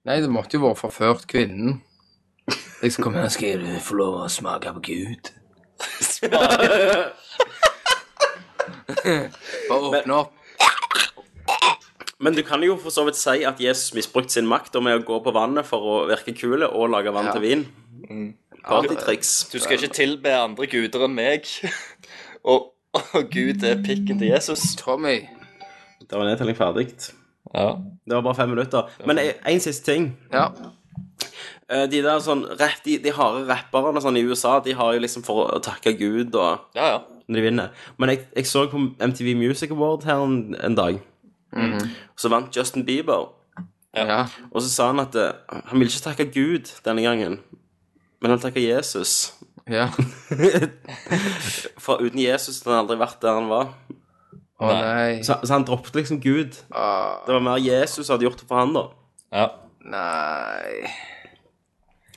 [SPEAKER 6] Nei, det måtte jo vært forført kvinnen. Jeg skal komme her, skal du få lov å smake på Gud? Bare åpne opp.
[SPEAKER 1] Men du kan jo for så vidt si at Jesus misbrukte sin makt med å gå på vannet for å virke kule og lage vann
[SPEAKER 6] Ja.
[SPEAKER 1] til vin. Mm. Partytriks.
[SPEAKER 5] Du skal ikke tilbe andre guder enn meg. Og, og Gud er pikken til Jesus.
[SPEAKER 6] Tommy.
[SPEAKER 1] Da var nedtelling ferdig.
[SPEAKER 5] Ja.
[SPEAKER 1] Det var bare fem minutter. Men én siste ting.
[SPEAKER 6] Ja.
[SPEAKER 1] Eh, De der sånn, rett, de, de harde rapperne sånn, i USA, de har jo liksom for å takke Gud og
[SPEAKER 5] Ja, ja.
[SPEAKER 1] når de vinner. Men jeg, jeg så på MTV Music Award her en, en dag. Så vant Justin Bieber.
[SPEAKER 6] ja.
[SPEAKER 1] Og så sa han at eh, han ville ikke takke Gud denne gangen, men han takker Jesus.
[SPEAKER 6] ja.
[SPEAKER 1] For uten Jesus hadde han aldri vært der han var.
[SPEAKER 6] Å nei.
[SPEAKER 1] Så, så han droppet liksom Gud.
[SPEAKER 6] Ah,
[SPEAKER 1] Det var mer Jesus hadde gjort for han da.
[SPEAKER 5] ja.
[SPEAKER 6] nei.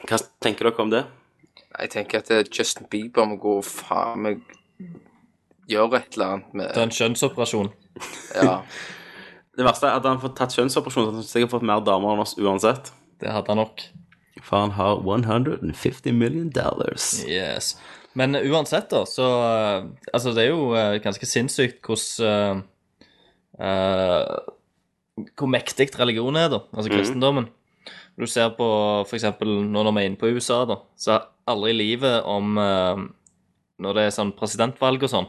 [SPEAKER 1] Hva tenker dere om det?
[SPEAKER 6] Jeg tenker at eh, Justin Bieber må gå faen meg gjør et eller annet med
[SPEAKER 5] Det er en kjønnsoperasjon.
[SPEAKER 6] Ja.
[SPEAKER 1] Det verste er at han får tatt kjønnsoperasjon, så hadde han sikkert fått mer damer enn oss uansett.
[SPEAKER 5] Det hadde han nok.
[SPEAKER 1] For han har 150 million dollars.
[SPEAKER 5] Yes. Men eh, uansett, da, så eh, Altså, det er jo eh, ganske sinnssykt hvordan eh, eh, Hvor mektig religion er, da. Altså
[SPEAKER 13] Mhm.
[SPEAKER 5] kristendommen. Du ser på f.eks. nå når vi er inne på USA, da, så er aldri i livet om eh, Når det er sånn presidentvalg og sånn,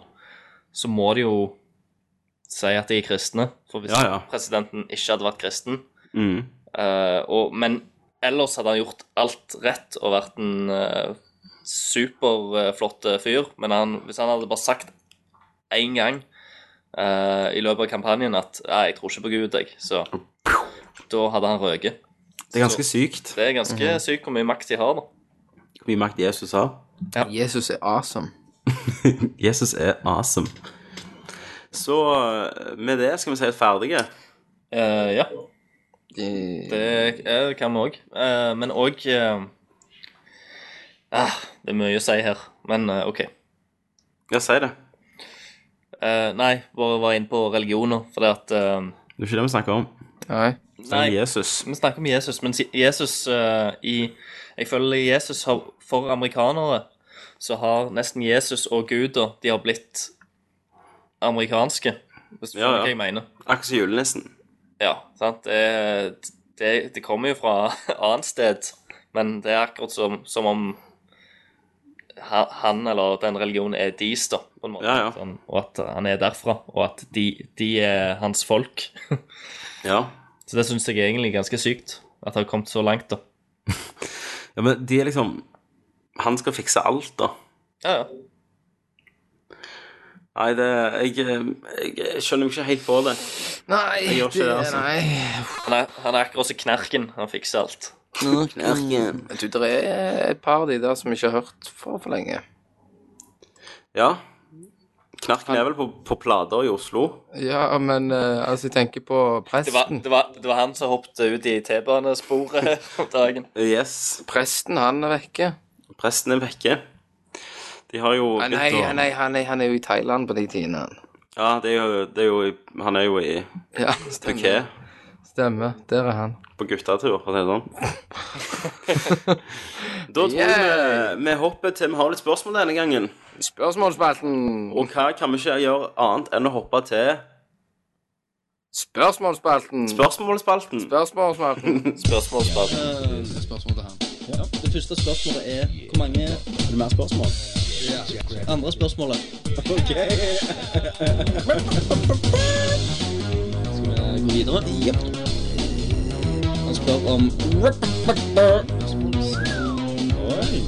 [SPEAKER 5] så må de jo si at de er kristne. For hvis
[SPEAKER 1] Ja, ja.
[SPEAKER 5] presidenten ikke hadde vært kristen,
[SPEAKER 1] Mm.
[SPEAKER 5] Eh, og, men ellers hadde han gjort alt rett og vært en eh, superflott eh, fyr. Men han, hvis han hadde bare sagt én gang eh, i løpet av kampanjen at Nei, jeg tror ikke på Gud, jeg, så da hadde han røket.
[SPEAKER 1] Det er ganske sykt
[SPEAKER 5] Det er ganske
[SPEAKER 1] Mhm.
[SPEAKER 5] sykt hvor mye makt de har, da.
[SPEAKER 1] hvor mye makt Jesus har.
[SPEAKER 6] Jesus er awesome.
[SPEAKER 1] Jesus er awesome. Så eh, med det skal vi si oss ferdige.
[SPEAKER 5] Eh, ja.
[SPEAKER 6] Det,
[SPEAKER 5] eh, kan vi òg. men òg Det er mye å si her, men eh, OK.
[SPEAKER 1] Ja, si det.
[SPEAKER 5] Eh, nei, bare var inne på religioner, fordi at eh,
[SPEAKER 1] Det er ikke det vi snakker om.
[SPEAKER 6] Nei.
[SPEAKER 1] Nei. Jesus.
[SPEAKER 5] Vi snakker om Jesus, men si- Jesus eh, i Jeg føler Jesus har, for amerikanere så har nesten Jesus og Gud da, de har blitt amerikanske, hvis du
[SPEAKER 1] Ja,
[SPEAKER 5] skjønner
[SPEAKER 1] ja.
[SPEAKER 5] hva jeg mener.
[SPEAKER 1] Akkurat som julenissen.
[SPEAKER 5] Ja, sant? Det, det, det kommer jo fra annet sted, men det er akkurat som, som om ha- han eller den religionen er deres, da, på en måte. Sånn, og at han er derfra, og at de, de er hans folk.
[SPEAKER 1] ja.
[SPEAKER 5] Så det syns jeg egentlig er ganske sykt, at det har kommet så langt, da.
[SPEAKER 1] Ja, men de er liksom Han skal fikse alt, da.
[SPEAKER 5] Ja, ja.
[SPEAKER 1] Nei, det Jeg, jeg, jeg skjønner jo ikke helt på det.
[SPEAKER 6] Nei,
[SPEAKER 1] Jeg gjør ikke det, altså.
[SPEAKER 5] Han er, han er akkurat som Knerken. Han fikser alt.
[SPEAKER 1] Knerken.
[SPEAKER 6] Du, det er et par av de der som ikke har hørt for for lenge.
[SPEAKER 1] Ja. Knarken er vel på, på plater i Oslo.
[SPEAKER 6] Ja, men eh, altså, jeg tenker på
[SPEAKER 5] Det var,
[SPEAKER 6] presten.
[SPEAKER 5] det, var, det var han som hoppet ut i T-banesporet om dagen.
[SPEAKER 1] Yes.
[SPEAKER 6] Presten, han er vekke.
[SPEAKER 1] Presten er vekke. De har jo
[SPEAKER 6] Ah, Nei, nei, nei, han er, han er jo i Thailand på de tidene. han.
[SPEAKER 1] Ja, det er jo, det er jo i- Han er jo i
[SPEAKER 6] Ja,
[SPEAKER 1] Phuket
[SPEAKER 6] Stemmer. Der er han.
[SPEAKER 1] på guttatur, for å si det sånn. da tror jeg vi, vi hopper til Vi har litt spørsmål denne gangen.
[SPEAKER 6] Spørsmålsspalten.
[SPEAKER 1] Og hva kan vi ikke gjøre annet enn å hoppe til
[SPEAKER 6] Spørsmålsspalten.
[SPEAKER 1] Spørsmålsspalten.
[SPEAKER 6] Spørsmålsspalten.
[SPEAKER 5] Spørsmålsspalten.
[SPEAKER 14] spørsmål til han. Ja. Det første spørsmålet er hvor mange Er det mer spørsmål? Andre spørsmålet. OK. Skal vi gå videre? Ja. Han spør om Oi.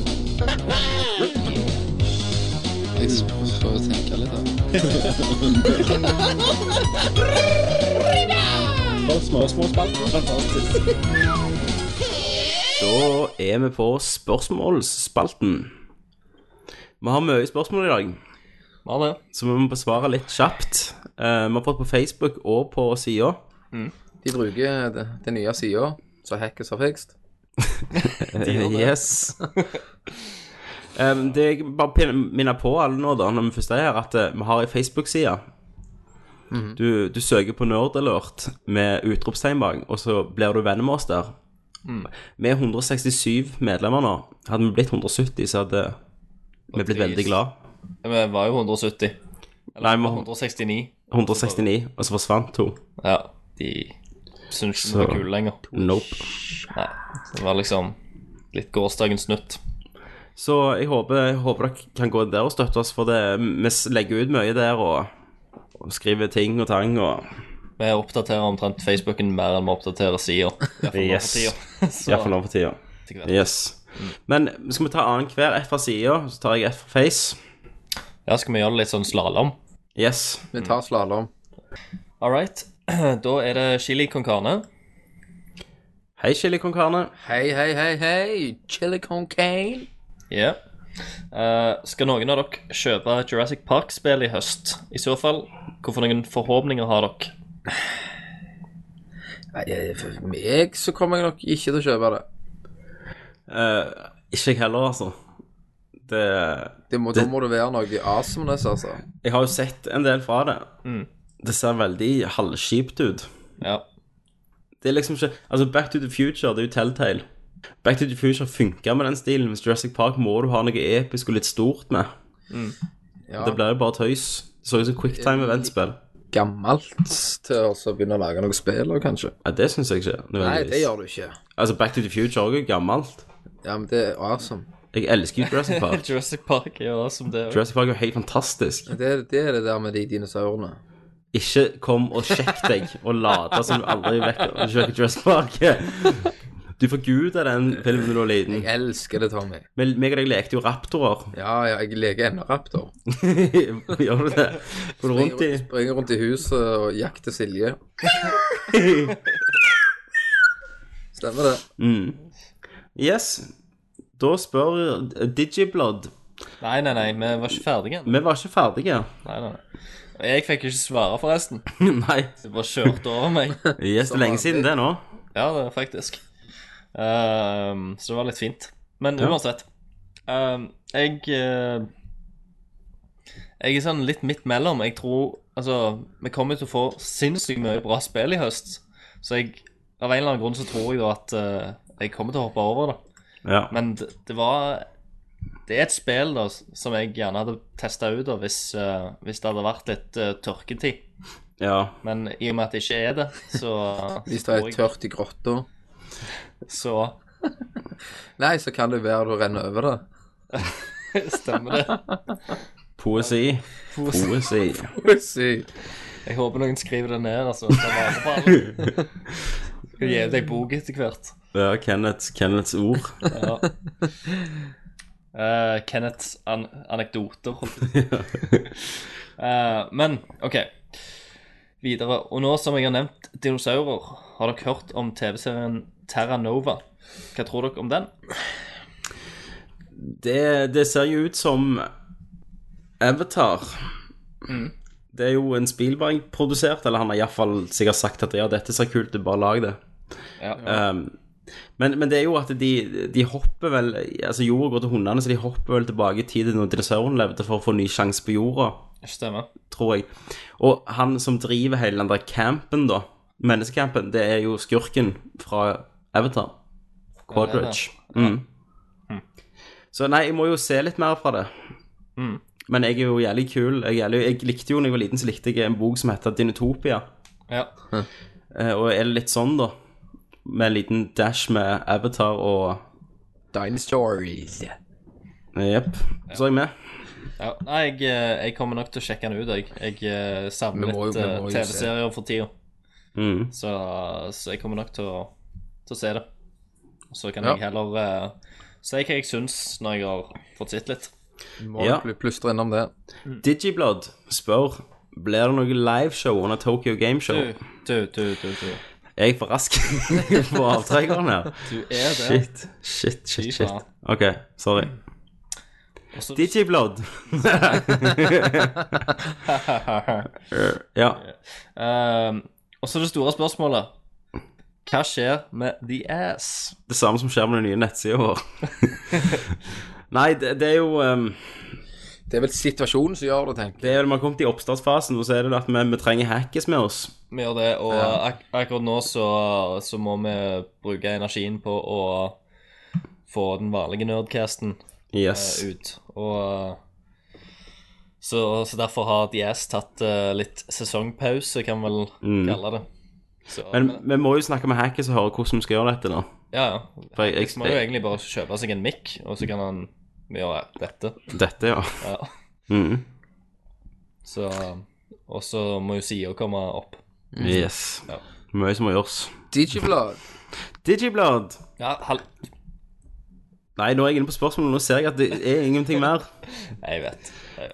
[SPEAKER 6] Jeg får tenke litt,
[SPEAKER 1] Da er vi på spørsmålsspalten. Vi har mye spørsmål i dag. Så vi må besvare litt kjapt. Eh, vi har fått på Facebook og på sida.
[SPEAKER 6] De bruker det, det nye sida, så hackes har fikst.
[SPEAKER 1] yes. Em, det jeg bare pin- minner på alle nå, da, når vi først er her, at eh, vi har ei Facebook-side. Du, du søker på Nerdalert med utropstegn bak, og så blir du venn med oss der. Vi er 167 medlemmer nå. Hadde vi blitt 170, så hadde vi blitt veldig glad.
[SPEAKER 5] Vi var jo 170.
[SPEAKER 1] Nei, vi var
[SPEAKER 5] 169.
[SPEAKER 1] 169, og så forsvant to.
[SPEAKER 5] Ja, de syns ikke vi var
[SPEAKER 1] Så-
[SPEAKER 5] kule lenger.
[SPEAKER 1] Nope.
[SPEAKER 5] Nei, det var liksom litt gårsdagens nytt.
[SPEAKER 1] Så jeg håper, jeg håper dere kan gå der og støtte oss, for det, vi s- legger ut mye der og, og skriver ting og tang og
[SPEAKER 5] Vi oppdaterer omtrent Facebooken mer enn vi oppdaterer sida.
[SPEAKER 1] Yes. Iallfall nå for tida. Yes. Men skal vi ta annenhver, ett fra sida, så tar jeg ett fra Face?
[SPEAKER 5] Ja, skal vi gjøre det litt sånn slalåm?
[SPEAKER 1] Yes.
[SPEAKER 6] Vi tar slalåm.
[SPEAKER 5] All right. Da er det chili con carne.
[SPEAKER 1] Hei, chili con carne.
[SPEAKER 6] Hei, hei, hei, hei. Chili con cane.
[SPEAKER 5] Ja. Eh, skal noen av dere kjøpe Jurassic Park-spill i høst? I så fall, hvorfor noen forhåpninger har dere?
[SPEAKER 6] Nei, jeg- for meg så kommer jeg nok ikke til å kjøpe det.
[SPEAKER 1] Eh, ikke jeg heller, altså. Det,
[SPEAKER 6] det må, da må det være noe awesomeness, altså.
[SPEAKER 1] Jeg har jo sett en del fra det.
[SPEAKER 6] Mm.
[SPEAKER 1] Det ser veldig halvskipt ut.
[SPEAKER 8] Ja.
[SPEAKER 1] Det er liksom ikke Altså, Back to the Future, det er jo Telltale. Back to the Future funker med den stilen, mens Jurassic Park må du ha noe episk og litt stort med.
[SPEAKER 6] Ja. Eh,
[SPEAKER 1] Det blir jo bare tøys. Det så ut som QuickTime Event-spill.
[SPEAKER 6] Gammelt til å så begynne å lage noe spill, og kanskje.
[SPEAKER 1] Ja, det syns jeg ikke.
[SPEAKER 6] Nei,
[SPEAKER 1] nødvendigvis.
[SPEAKER 6] det gjør du ikke.
[SPEAKER 1] Altså, Back to the Future også er jo gammelt.
[SPEAKER 6] Ja, men det er awesome.
[SPEAKER 1] Jeg elsker jo Jurassic Park.
[SPEAKER 5] Jurassic Park er jo awesome, det òg.
[SPEAKER 1] Jurassic Park er jo helt fantastisk.
[SPEAKER 6] Det, er- det er det der med de dinosaurene.
[SPEAKER 1] Ikke kom og sjekk deg og late som du aldri vekker og sjekker Jurassic Park. Du forguder den filmen når du var liten.
[SPEAKER 6] Jeg elsker det, Tommy.
[SPEAKER 1] Men meg og deg lekte jo raptorer.
[SPEAKER 6] Ja, ja, jeg leker ennå raptor.
[SPEAKER 1] Gjør du det? Går du rundt i
[SPEAKER 6] Springer, springer rundt i huset og jakter Silje. Stemmer det.
[SPEAKER 1] mm. Yes. Da spør Digiblod.
[SPEAKER 5] Nei, nei, nei, vi var ikke ferdige.
[SPEAKER 1] Vi var ikke ferdige.
[SPEAKER 5] Nei, nei, nei. Og Jeg fikk ikke svare, forresten.
[SPEAKER 1] Nei.
[SPEAKER 5] Du bare kjørte over meg.
[SPEAKER 1] Yes, det er lenge siden det nå.
[SPEAKER 5] Ja, det er faktisk. Ehm, så det var litt fint. Men
[SPEAKER 1] Ja.
[SPEAKER 5] uansett ehm, Jeg eh, Jeg er sånn litt midt mellom. Jeg tror Altså, vi kommer til å få sinnssykt mye bra spill i høst. Så jeg av en eller annen grunn så tror jeg da at eh, jeg kommer til å hoppe over det.
[SPEAKER 1] Ja.
[SPEAKER 5] Men det, det var Det er et spill da som jeg gjerne hadde testa ut da, hvis, eh, hvis det hadde vært litt eh, tørketid.
[SPEAKER 1] ja.
[SPEAKER 5] Men i og med at det ikke er det, så
[SPEAKER 6] Hvis det er tørt i grotta,
[SPEAKER 5] Så
[SPEAKER 6] nei, så kan det være du renner over det.
[SPEAKER 5] stemmer det.
[SPEAKER 1] Poesi. Poesi.
[SPEAKER 6] Pussy.
[SPEAKER 5] Jeg håper noen skriver det ned, altså. Ta vare på alle. Skal gi deg bok etter hvert.
[SPEAKER 1] Ja, Kenneths, Kenneths ord.
[SPEAKER 5] Ja. Eh, Kenneths an anekdoter, holdt jeg på å si. Eh, men OK. Videre. Og nå som jeg har nevnt dinosaurer, har dere hørt om TV-serien Terra Nova? Hva tror dere om den?
[SPEAKER 1] Det, det ser jo ut som Avatar. Mm. Det er jo en Spielberg produsert, eller han har iallfall sikkert sagt at ja, dette ser kult ut, bare lag det.
[SPEAKER 5] Ja.
[SPEAKER 1] Um, men, men det er jo at de, de hopper vel Altså jorda går til hundene, så de hopper vel tilbake i tid til når dinosaurene levde, for å få ny sjanse på jorda,
[SPEAKER 5] Stemmer.
[SPEAKER 1] tror jeg. Og han som driver hele den der campen, da, menneskecampen, det er jo skurken fra Avatar. Quadridge. Mm. Så nei, jeg må jo se litt mer fra det.
[SPEAKER 5] Mm.
[SPEAKER 1] Men jeg er jo jævlig kul. Jeg, er jævlig, jeg likte jo når jeg var liten, så likte jeg en bok som heter Dinotopia.
[SPEAKER 5] Ja.
[SPEAKER 1] Eh, Og er det litt sånn, da? Med en liten dash med Avatar og
[SPEAKER 6] Dinosaurs.
[SPEAKER 1] Jepp. Så er jeg med.
[SPEAKER 5] Ja, nei, jeg, eh, jeg kommer nok til å sjekke den ut, jeg. Jeg eh, savner
[SPEAKER 6] Vi må jo-
[SPEAKER 5] litt
[SPEAKER 6] vi
[SPEAKER 5] eh,
[SPEAKER 6] må jo se.
[SPEAKER 5] TV-serier for tida,
[SPEAKER 1] Mm.
[SPEAKER 5] så, så jeg kommer nok til å, til å se det. Og så kan
[SPEAKER 6] Ja.
[SPEAKER 5] jeg heller eh, si hva jeg syns når jeg har fått sett litt.
[SPEAKER 6] Må
[SPEAKER 1] Ja.
[SPEAKER 6] pl- plystre innom det.
[SPEAKER 1] Digiblod spør Blir det noe liveshow under Tokyo Gameshow.
[SPEAKER 5] Du, du, du, du, du.
[SPEAKER 1] Er jeg for rask på avtrekkeren her?
[SPEAKER 5] Du er det.
[SPEAKER 1] Shit, shit, shit. shit.
[SPEAKER 5] faen.
[SPEAKER 1] OK, sorry.
[SPEAKER 5] Og så-
[SPEAKER 1] Digiblod. ja.
[SPEAKER 5] Ehm, og så det store spørsmålet. Hva skjer med The Ass?
[SPEAKER 1] det samme som skjer med den nye nettsida vår. Nei, det, det er jo ehm,
[SPEAKER 6] Det er vel situasjonen som gjør det, tenker jeg.
[SPEAKER 1] Det er vel, Man har kommet i oppstartsfasen, og så er det at vi, vi trenger hackes med oss.
[SPEAKER 5] Vi gjør det, og ak akkurat nå så, så må vi bruke energien på å få den vanlige nerdcasten
[SPEAKER 1] Yes.
[SPEAKER 5] eh, ut. Og eh, så, så derfor har DS tatt eh, litt sesongpause, kan man vel
[SPEAKER 1] Mm.
[SPEAKER 5] kalle det. Så,
[SPEAKER 1] Men vi må jo snakke med hackers og høre hvordan vi skal gjøre dette, da.
[SPEAKER 5] ja, ja.
[SPEAKER 1] For jeg- jeg-
[SPEAKER 5] Man må jo egentlig bare kjøpe seg en mic, og så kan han gjøre dette.
[SPEAKER 1] Dette, ja.
[SPEAKER 5] Ja.
[SPEAKER 1] Mhm.
[SPEAKER 5] Så Og så må jo Sida komme opp.
[SPEAKER 1] Yes.
[SPEAKER 5] Ja.
[SPEAKER 1] Mye som må gjøres.
[SPEAKER 6] Digiblad.
[SPEAKER 1] Digiblad.
[SPEAKER 5] Ja, hal...
[SPEAKER 1] Nei, nå er jeg inne på spørsmålet, nå ser jeg at det er ingenting mer.
[SPEAKER 5] Jeg vet.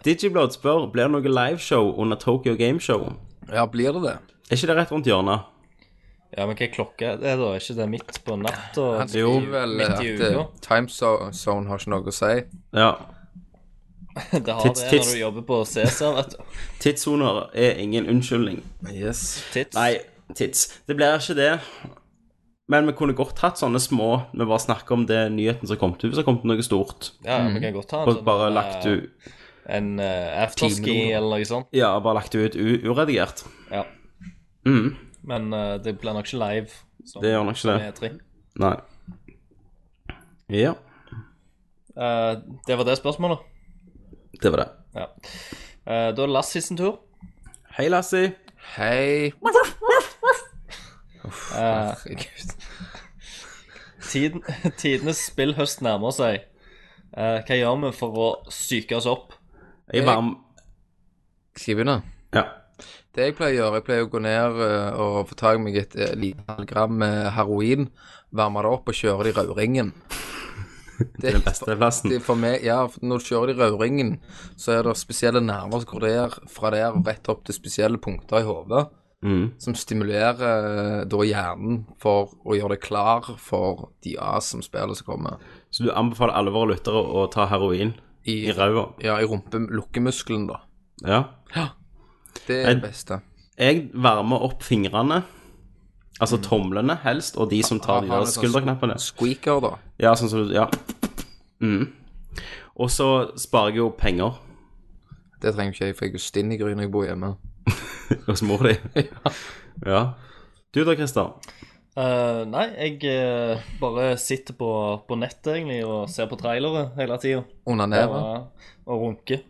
[SPEAKER 1] Digiblad spør blir det noe liveshow under Tokyo Gameshow.
[SPEAKER 6] Ja, blir det det?
[SPEAKER 1] Er ikke det rett rundt hjørnet?
[SPEAKER 5] Ja, men hva er klokka? Det er da ikke det midt på natta?
[SPEAKER 6] Han
[SPEAKER 5] og-
[SPEAKER 6] skriver vel
[SPEAKER 5] midt
[SPEAKER 6] at
[SPEAKER 5] i
[SPEAKER 6] eh,
[SPEAKER 5] uka.
[SPEAKER 6] time zo- zone har ikke noe å si.
[SPEAKER 1] Ja.
[SPEAKER 5] Det har
[SPEAKER 1] Tids-
[SPEAKER 5] det
[SPEAKER 1] tids-
[SPEAKER 5] når du jobber på Cæsar, vet du.
[SPEAKER 1] Tidssoner er ingen unnskyldning.
[SPEAKER 6] Yes.
[SPEAKER 5] Tids.
[SPEAKER 1] Nei, tids. Det blir ikke det. Men vi kunne godt hatt sånne små Vi bare snakker om det nyheten som kom til, hvis det kom til noe stort.
[SPEAKER 5] Ja, vi kan godt ha en
[SPEAKER 1] Og
[SPEAKER 5] sånn,
[SPEAKER 1] Mm. bare
[SPEAKER 5] eh,
[SPEAKER 1] lagt ut
[SPEAKER 5] En eh, afterski
[SPEAKER 1] Timelong.
[SPEAKER 5] eller noe sånt.
[SPEAKER 1] Ja, bare lagt det ut u uredigert.
[SPEAKER 5] Ja.
[SPEAKER 1] Mm.
[SPEAKER 5] Men eh, det blir nok ikke live. som-
[SPEAKER 1] Det gjør nok ikke
[SPEAKER 5] som
[SPEAKER 1] det.
[SPEAKER 5] E3.
[SPEAKER 1] Nei. Ja,
[SPEAKER 5] Eh, det var det spørsmålet.
[SPEAKER 1] det var det.
[SPEAKER 5] Ja. Eh, da er det Lassie sin tur.
[SPEAKER 1] Hei, Lassie.
[SPEAKER 6] Hei.
[SPEAKER 5] Eh, tiden, tidenes spillhøst nærmer seg. Eh, hva gjør vi for å psyke oss opp?
[SPEAKER 1] Jeg bare
[SPEAKER 6] Skal jeg begynne?
[SPEAKER 1] Ja.
[SPEAKER 6] Det jeg pleier å gjøre, jeg pleier å gå ned eh, og få tak i meg et eh, lite halvt gram med heroin, varme det opp og kjøre det i rødringen. Det er den beste
[SPEAKER 1] plassen.
[SPEAKER 6] Det er for meg, ja, for når du kjører det i rødringen, så er det spesielle nerver som går der, fra der og rett opp til spesielle punkter i hodet,
[SPEAKER 1] Mm.
[SPEAKER 6] som stimulerer eh, da hjernen for å gjøre det klar for de awesome-spillene som kommer.
[SPEAKER 1] Så du anbefaler alle våre lyttere å ta heroin i,
[SPEAKER 6] I-
[SPEAKER 1] ræva?
[SPEAKER 6] Ja, i rumpe, lukkemuskelen, da.
[SPEAKER 1] Ja.
[SPEAKER 6] Det er
[SPEAKER 1] Jeg-
[SPEAKER 6] det beste.
[SPEAKER 1] Jeg varmer opp fingrene, altså tomlene helst, og de som tar de
[SPEAKER 6] Aha,
[SPEAKER 1] der
[SPEAKER 6] litt sånn
[SPEAKER 1] skulderknappene.
[SPEAKER 6] Squeaker, da.
[SPEAKER 1] Ja, sånn som du Ja. Mm. Og så sparer jeg jo penger
[SPEAKER 6] Det trenger ikke jeg, for jeg er jo stinn i gry når jeg bor hjemme.
[SPEAKER 1] hos mor di. ja. Du da, Christer?
[SPEAKER 5] Eh, nei, jeg eh, bare sitter på, på nettet egentlig og ser på trailere hele tida.
[SPEAKER 6] Onanerer.
[SPEAKER 5] Og, eh, og runker.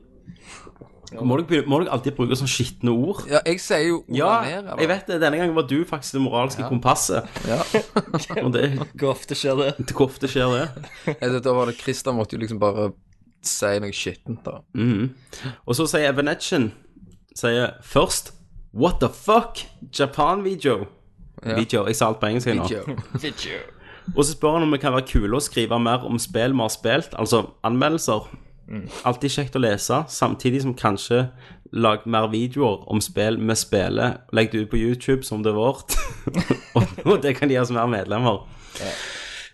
[SPEAKER 1] Må dere, begynne- må dere alltid bruke sånne skitne ord?
[SPEAKER 6] Ja, jeg sier jo
[SPEAKER 1] Ja,
[SPEAKER 6] onaner,
[SPEAKER 1] jeg vet det. Denne gangen var du faktisk det moralske kompasset.
[SPEAKER 6] Ja.
[SPEAKER 1] Og det,
[SPEAKER 5] Hvor ofte skjer det?
[SPEAKER 1] hvor ofte skjer det?
[SPEAKER 6] vet, da var det Christer måtte jo liksom bare si noe skittent, da.
[SPEAKER 1] Mhm. Og så sier Evanescen sier først What the fuck? Japan-video. Video. Jeg sa alt på engelsk. jeg nå.
[SPEAKER 6] Video.
[SPEAKER 1] Og så spør han om det kan være kule å skrive mer om spill vi har spilt, altså anmeldelser. Alltid kjekt å lese, samtidig som kanskje lag mer videoer om spill vi spiller. Legg det ut på YouTube som det er vårt, og og det kan gi oss mer medlemmer.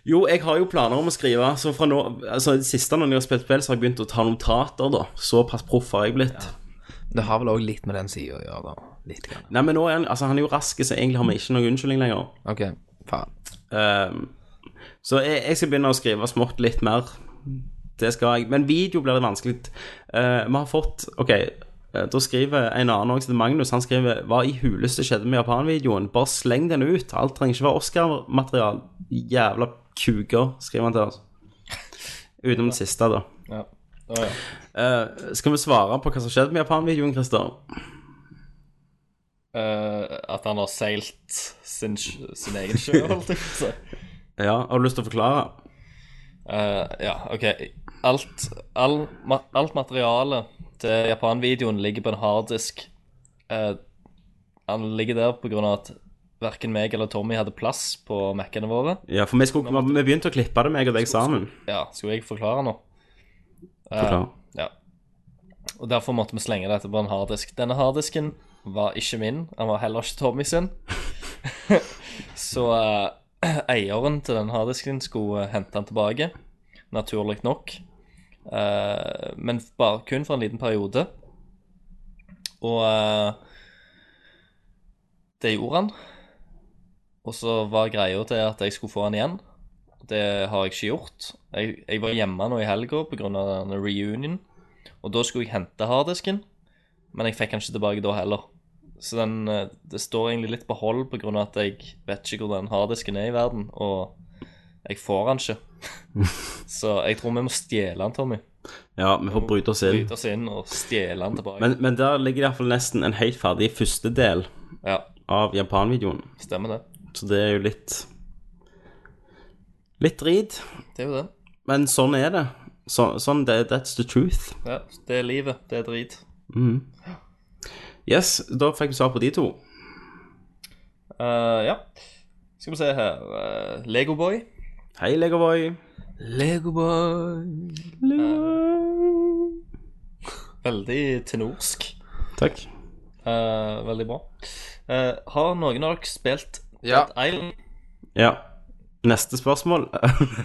[SPEAKER 1] Jo, jeg har jo planer om å skrive, så fra nå, altså det siste når jeg har spilt spill, så har jeg begynt å ta notater, da. Såpass proff har jeg blitt.
[SPEAKER 6] Det har vel òg litt med den sida å gjøre, da. Litt grann.
[SPEAKER 1] Nei, men nå er han, altså han er jo rask, så egentlig har vi ikke noen unnskyldning lenger.
[SPEAKER 6] OK, faen.
[SPEAKER 1] Ehm, så jeg, jeg skal begynne å skrive smått litt mer. Det skal jeg. Men video blir det vanskelig. Eh, vi har fått OK, eh, da skriver en annen også, det er Magnus, han skriver Hva i huleste skjedde med Japan-videoen? Bare sleng den ut. Alt trenger ikke være Oscar-material. Jævla kuker, skriver han til oss. Utenom det siste, da.
[SPEAKER 5] Ja. Å, ja.
[SPEAKER 1] Eh, skal vi svare på hva som skjedde med Japan-videoen, Christer?
[SPEAKER 5] Eh, at han har seilt sin, sj- sin egen sjø, holdt jeg på å si.
[SPEAKER 1] Ja, har du lyst til å forklare?
[SPEAKER 5] Eh, ja, OK. Alt, all, ma alt materialet til Japan-videoen ligger på en harddisk. Eh, han ligger der på grunn av at verken meg eller Tommy hadde plass på Mac-ene våre.
[SPEAKER 1] Ja, for vi, skulle, vi begynte å klippe det, meg og deg sammen.
[SPEAKER 5] Ja, skulle jeg forklare nå? Eh,
[SPEAKER 1] Forklare.
[SPEAKER 5] ja. Og derfor måtte vi slenge dette på en harddisk. Denne harddisken var ikke min, han var heller ikke Tommy sin. Så eh, eieren til den harddisken skulle eh, hente den tilbake, naturlig nok. Eh, men bare, kun for en liten periode. Og eh, det gjorde han. Og så var greia til at jeg skulle få han igjen. Det har jeg ikke gjort. Jeg, jeg var hjemme nå i helga pga. reunion. Og da skulle jeg hente harddisken, men jeg fikk den ikke tilbake da heller. Så den, eh, det står egentlig litt på hold pga. at jeg vet ikke hvor den harddisken er i verden, og jeg får den ikke. Så jeg tror vi må stjele den, Tommy.
[SPEAKER 1] Ja, vi får bryte oss inn.
[SPEAKER 5] Bryte oss inn og stjele den tilbake.
[SPEAKER 1] Men, men der ligger det iallfall nesten en helt ferdig første del
[SPEAKER 5] Ja,
[SPEAKER 1] av Japan-videoen.
[SPEAKER 5] stemmer det.
[SPEAKER 1] Så det er jo litt Litt drit.
[SPEAKER 5] Det er jo det.
[SPEAKER 1] Men sånn er det. Så, sånn, det, That's the truth.
[SPEAKER 5] Ja, det er livet. Det er drit.
[SPEAKER 1] Mhm. Yes, da fikk vi svar på de to.
[SPEAKER 5] Eh, ja. Skal vi se her eh, Lego Boy
[SPEAKER 1] Hei, Legoboy.
[SPEAKER 6] Legoboy.
[SPEAKER 5] Veldig tenorsk.
[SPEAKER 1] Takk.
[SPEAKER 5] Eh, veldig bra. Eh, har noen av dere spilt
[SPEAKER 6] Ja.
[SPEAKER 5] Dead Island?
[SPEAKER 1] Ja. Neste spørsmål.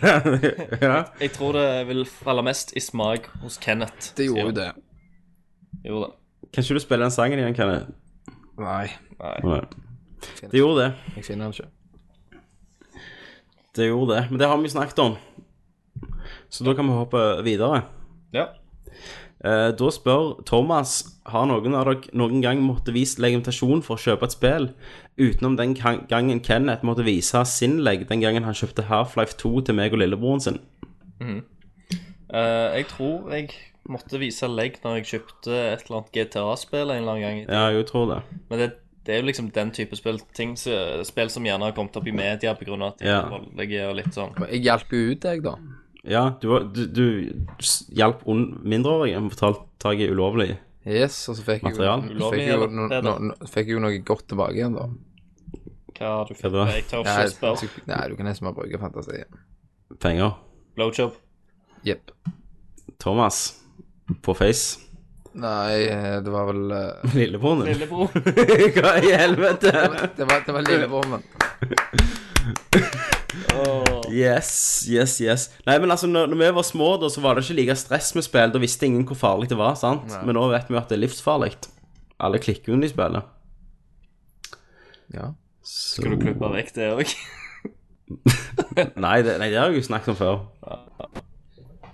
[SPEAKER 1] ja.
[SPEAKER 5] Jeg tror det vil falle mest i smak hos Kenneth.
[SPEAKER 6] Det gjorde jo det.
[SPEAKER 5] Jo da.
[SPEAKER 1] Kan ikke du spille den sangen igjen, Kenneth?
[SPEAKER 6] Nei,
[SPEAKER 5] Nei.
[SPEAKER 1] Nei. Det gjorde det.
[SPEAKER 6] jeg finner den ikke.
[SPEAKER 1] Det gjorde det. Men det har vi snakket om. Så da kan vi hoppe videre.
[SPEAKER 8] Ja.
[SPEAKER 1] Eh, da spør Thomas Har noen av dere noen gang måtte vist legitimasjon for å kjøpe et spill, utenom den kan- gangen Kenneth måtte vise sin leg den gangen han kjøpte Half-Life 2 til meg og lillebroren sin?
[SPEAKER 5] Mhm. Eh, jeg tror jeg måtte vise legg når jeg kjøpte et eller annet GTA-spill en eller annen gang. i
[SPEAKER 1] Ja, jeg tror det.
[SPEAKER 5] Men det, det er jo liksom den type spill, ting, som- spill som gjerne har kommet opp i media på grunn av at de
[SPEAKER 1] Ja.
[SPEAKER 5] er voldelige og litt sånn.
[SPEAKER 6] Jeg hjalp jo ut deg, da.
[SPEAKER 1] Ja, du, var- du, du s- hjalp un- mindreårige med å få ta tak i ulovlig
[SPEAKER 6] Yes, og så fikk jeg jo,
[SPEAKER 1] material.
[SPEAKER 6] fikk jeg jo, no, no, no, fikk jeg jo noe godt tilbake igjen, da.
[SPEAKER 5] Hva har du
[SPEAKER 1] Hva da? Jeg
[SPEAKER 5] tør ikke
[SPEAKER 6] Nei,
[SPEAKER 5] spørre.
[SPEAKER 6] jeg- Nei, du kan nesten bare bruke fantasien.
[SPEAKER 1] Penger.
[SPEAKER 5] Blowjob.
[SPEAKER 6] Jepp.
[SPEAKER 1] Thomas på Face.
[SPEAKER 6] Nei, eh, det var vel eh,
[SPEAKER 1] Lillebroren din.
[SPEAKER 5] Lillebror.
[SPEAKER 1] Hva i helvete?
[SPEAKER 6] Det var, det var lillebroren min.
[SPEAKER 1] Yes, yes, yes. Nei, men altså, når, når vi var små, da, så var det ikke like stress med spill. Da visste ingen hvor farlig det var, sant?
[SPEAKER 6] Nei.
[SPEAKER 1] Men nå vet vi jo at det er livsfarlig. Alle klikker under i spillet.
[SPEAKER 6] Ja.
[SPEAKER 5] Skal du klippe vekk det òg?
[SPEAKER 1] Nei, det, nei, det har jeg jo snakket om før.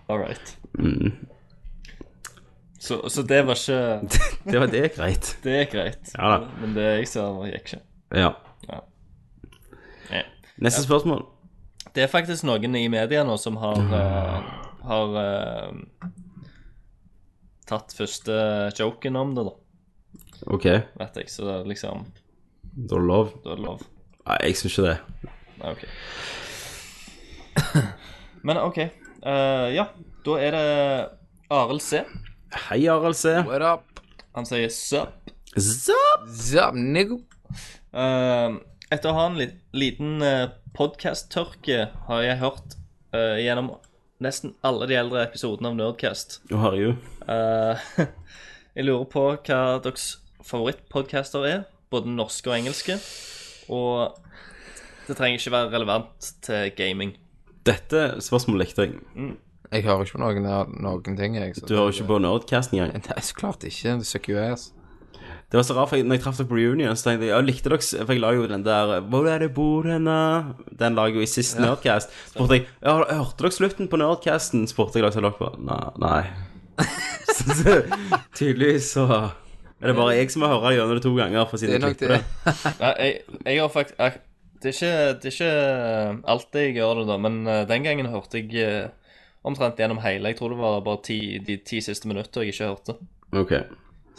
[SPEAKER 5] All right.
[SPEAKER 1] Mm.
[SPEAKER 5] Så, så det var ikke
[SPEAKER 1] Det, var, det er greit.
[SPEAKER 5] Det er greit.
[SPEAKER 1] Ja da.
[SPEAKER 5] Men det jeg ser, gikk ikke.
[SPEAKER 1] Ja.
[SPEAKER 5] Ja. Ja.
[SPEAKER 1] Neste spørsmål.
[SPEAKER 5] Det er faktisk noen i media nå som har
[SPEAKER 1] Mm.
[SPEAKER 5] eh, Har eh, tatt første joken om det, da.
[SPEAKER 1] OK, da
[SPEAKER 5] Vet jeg, så det er liksom
[SPEAKER 1] er det lov.
[SPEAKER 5] Da er det lov.
[SPEAKER 1] Nei, jeg syns ikke det.
[SPEAKER 5] Nei, ok. Men OK. eh, ja, da er det Arild C.
[SPEAKER 1] Hei, Arild C.
[SPEAKER 6] What up?
[SPEAKER 5] Han sier 'sup'.
[SPEAKER 1] Zapp!
[SPEAKER 6] Zap, nigga.
[SPEAKER 5] Eh, etter å ha en li- liten uh, podkast-tørke har jeg hørt eh, gjennom nesten alle de eldre episodene av Nerdcast.
[SPEAKER 1] Nå har jeg jo.
[SPEAKER 5] Eh, jeg lurer på hva deres favorittpodcaster er, både norske og engelske. Og det trenger ikke være relevant til gaming.
[SPEAKER 1] Dette spørsmålet likte jeg.
[SPEAKER 6] Jeg hører ikke på noen, av- noen ting, jeg. Så
[SPEAKER 1] Du hører ikke på Nerdcast engang.
[SPEAKER 6] Nei, så klart ikke. Det søker jo ass.
[SPEAKER 1] Det var så rart, for jeg, når jeg traff dere på reunion, så tenkte jeg ja, likte dere For jeg la jo den der Hvor er det bor henne? Den la jeg jo i sist Nerdcast. Så spurte jeg ja, hørte dere slutten på Nerdcasten? spurte jeg da, så dere bare "Nei, Nei. så, så, tydeligvis så er det bare jeg som må høre gjennom det to ganger, for
[SPEAKER 6] Det er
[SPEAKER 1] siden jeg
[SPEAKER 6] nok
[SPEAKER 1] klipper
[SPEAKER 6] det.
[SPEAKER 1] det.
[SPEAKER 5] Nei, jeg, jeg har faktisk jeg, det, er ikke, det er ikke alltid jeg gjør det, da, men eh, den gangen hørte jeg eh, omtrent gjennom hele. Jeg tror det var bare ti, de ti siste minutter jeg ikke hørte.
[SPEAKER 1] Ok.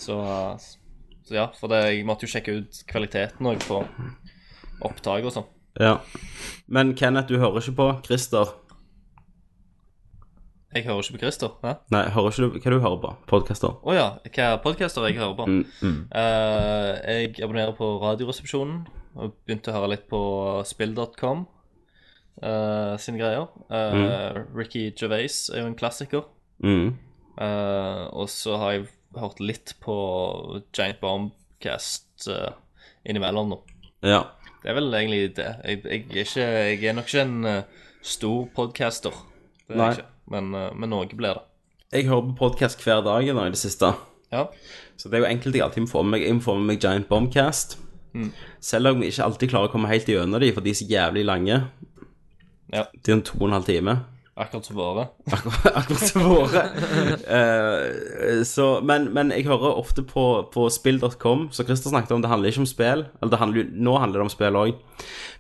[SPEAKER 5] Så, eh, så ja, for det, jeg måtte jo sjekke ut kvaliteten òg på opptak og sånn.
[SPEAKER 1] Ja. Men Kenneth, du hører ikke på Christer.
[SPEAKER 5] Jeg hører ikke på Christer. Hæ?
[SPEAKER 1] Nei, hører ikke du hva du hører på? Podcaster.
[SPEAKER 5] Å ja, hva podcaster jeg hører på?
[SPEAKER 1] Mm, mm.
[SPEAKER 5] Eh, jeg abonnerer på Radioresepsjonen og begynte å høre litt på spill.com eh, sine greier. Eh, Ricky Gervais er jo en klassiker.
[SPEAKER 1] Mm.
[SPEAKER 5] Eh, og så har jeg hørt litt på Giant Bombcast eh, innimellom nå.
[SPEAKER 1] Ja.
[SPEAKER 5] Det er vel egentlig det. Jeg, jeg, er, ikke, jeg er nok ikke en eh, stor podcaster. Det er
[SPEAKER 1] Nei.
[SPEAKER 5] jeg ikke. Men, eh, men noe blir det.
[SPEAKER 1] Jeg hører på podkast hver dag nå i det siste.
[SPEAKER 5] Ja.
[SPEAKER 1] Så det er jo enkelte jeg alltid må få med meg. Jeg må få med meg Giant Bombcast.
[SPEAKER 5] Mm.
[SPEAKER 1] Selv om jeg ikke alltid klarer å komme helt gjennom de, for de er så jævlig lange.
[SPEAKER 5] Ja.
[SPEAKER 1] De er om to og en halv time.
[SPEAKER 5] Akkurat som våre.
[SPEAKER 1] Akkurat som våre. Eh, så, men, men jeg hører ofte på, på spill.com, så Christer snakket om det handler ikke om spill. Eller det handler, jo- nå handler det om spill òg.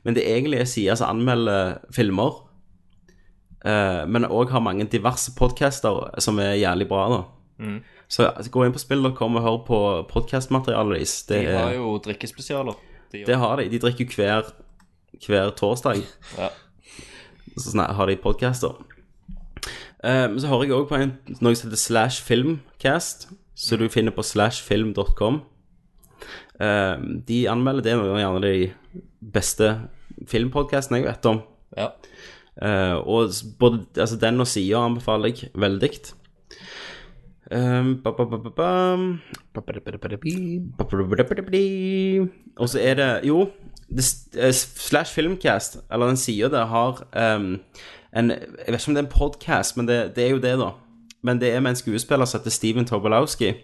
[SPEAKER 1] Men det er egentlig en side som anmelder filmer. eh, men òg har mange diverse podcaster som er jævlig bra, da.
[SPEAKER 5] Mm.
[SPEAKER 1] Så altså, gå inn på spill.com og hør på podkastmaterialet deres. Det,
[SPEAKER 5] De
[SPEAKER 1] er-
[SPEAKER 5] har jo drikkespesialer. De
[SPEAKER 1] det har de. De drikker jo hver, hver torsdag.
[SPEAKER 5] Ja.
[SPEAKER 1] Så snak- har de podcaster. Eh, Men så hører jeg òg på en, noe som heter Slash Filmcast, som du finner på slashfilm.com. Eh, de anmelder det noe gjerne de beste filmpodkastene jeg vet om.
[SPEAKER 5] Ja.
[SPEAKER 1] Eh, og s- både altså, den og sida anbefaler jeg veldig. Um, ba, ba, ba, ba, bam. Ba, ba, ba, ba, ba, ba. Og så er det Jo, det, s- eh, Slash Filmcast, eller den sida der, har um, en Jeg vet ikke om det er en podkast, men det, det er jo det, da. Men det er med en skuespiller som heter Steven Tobolowski.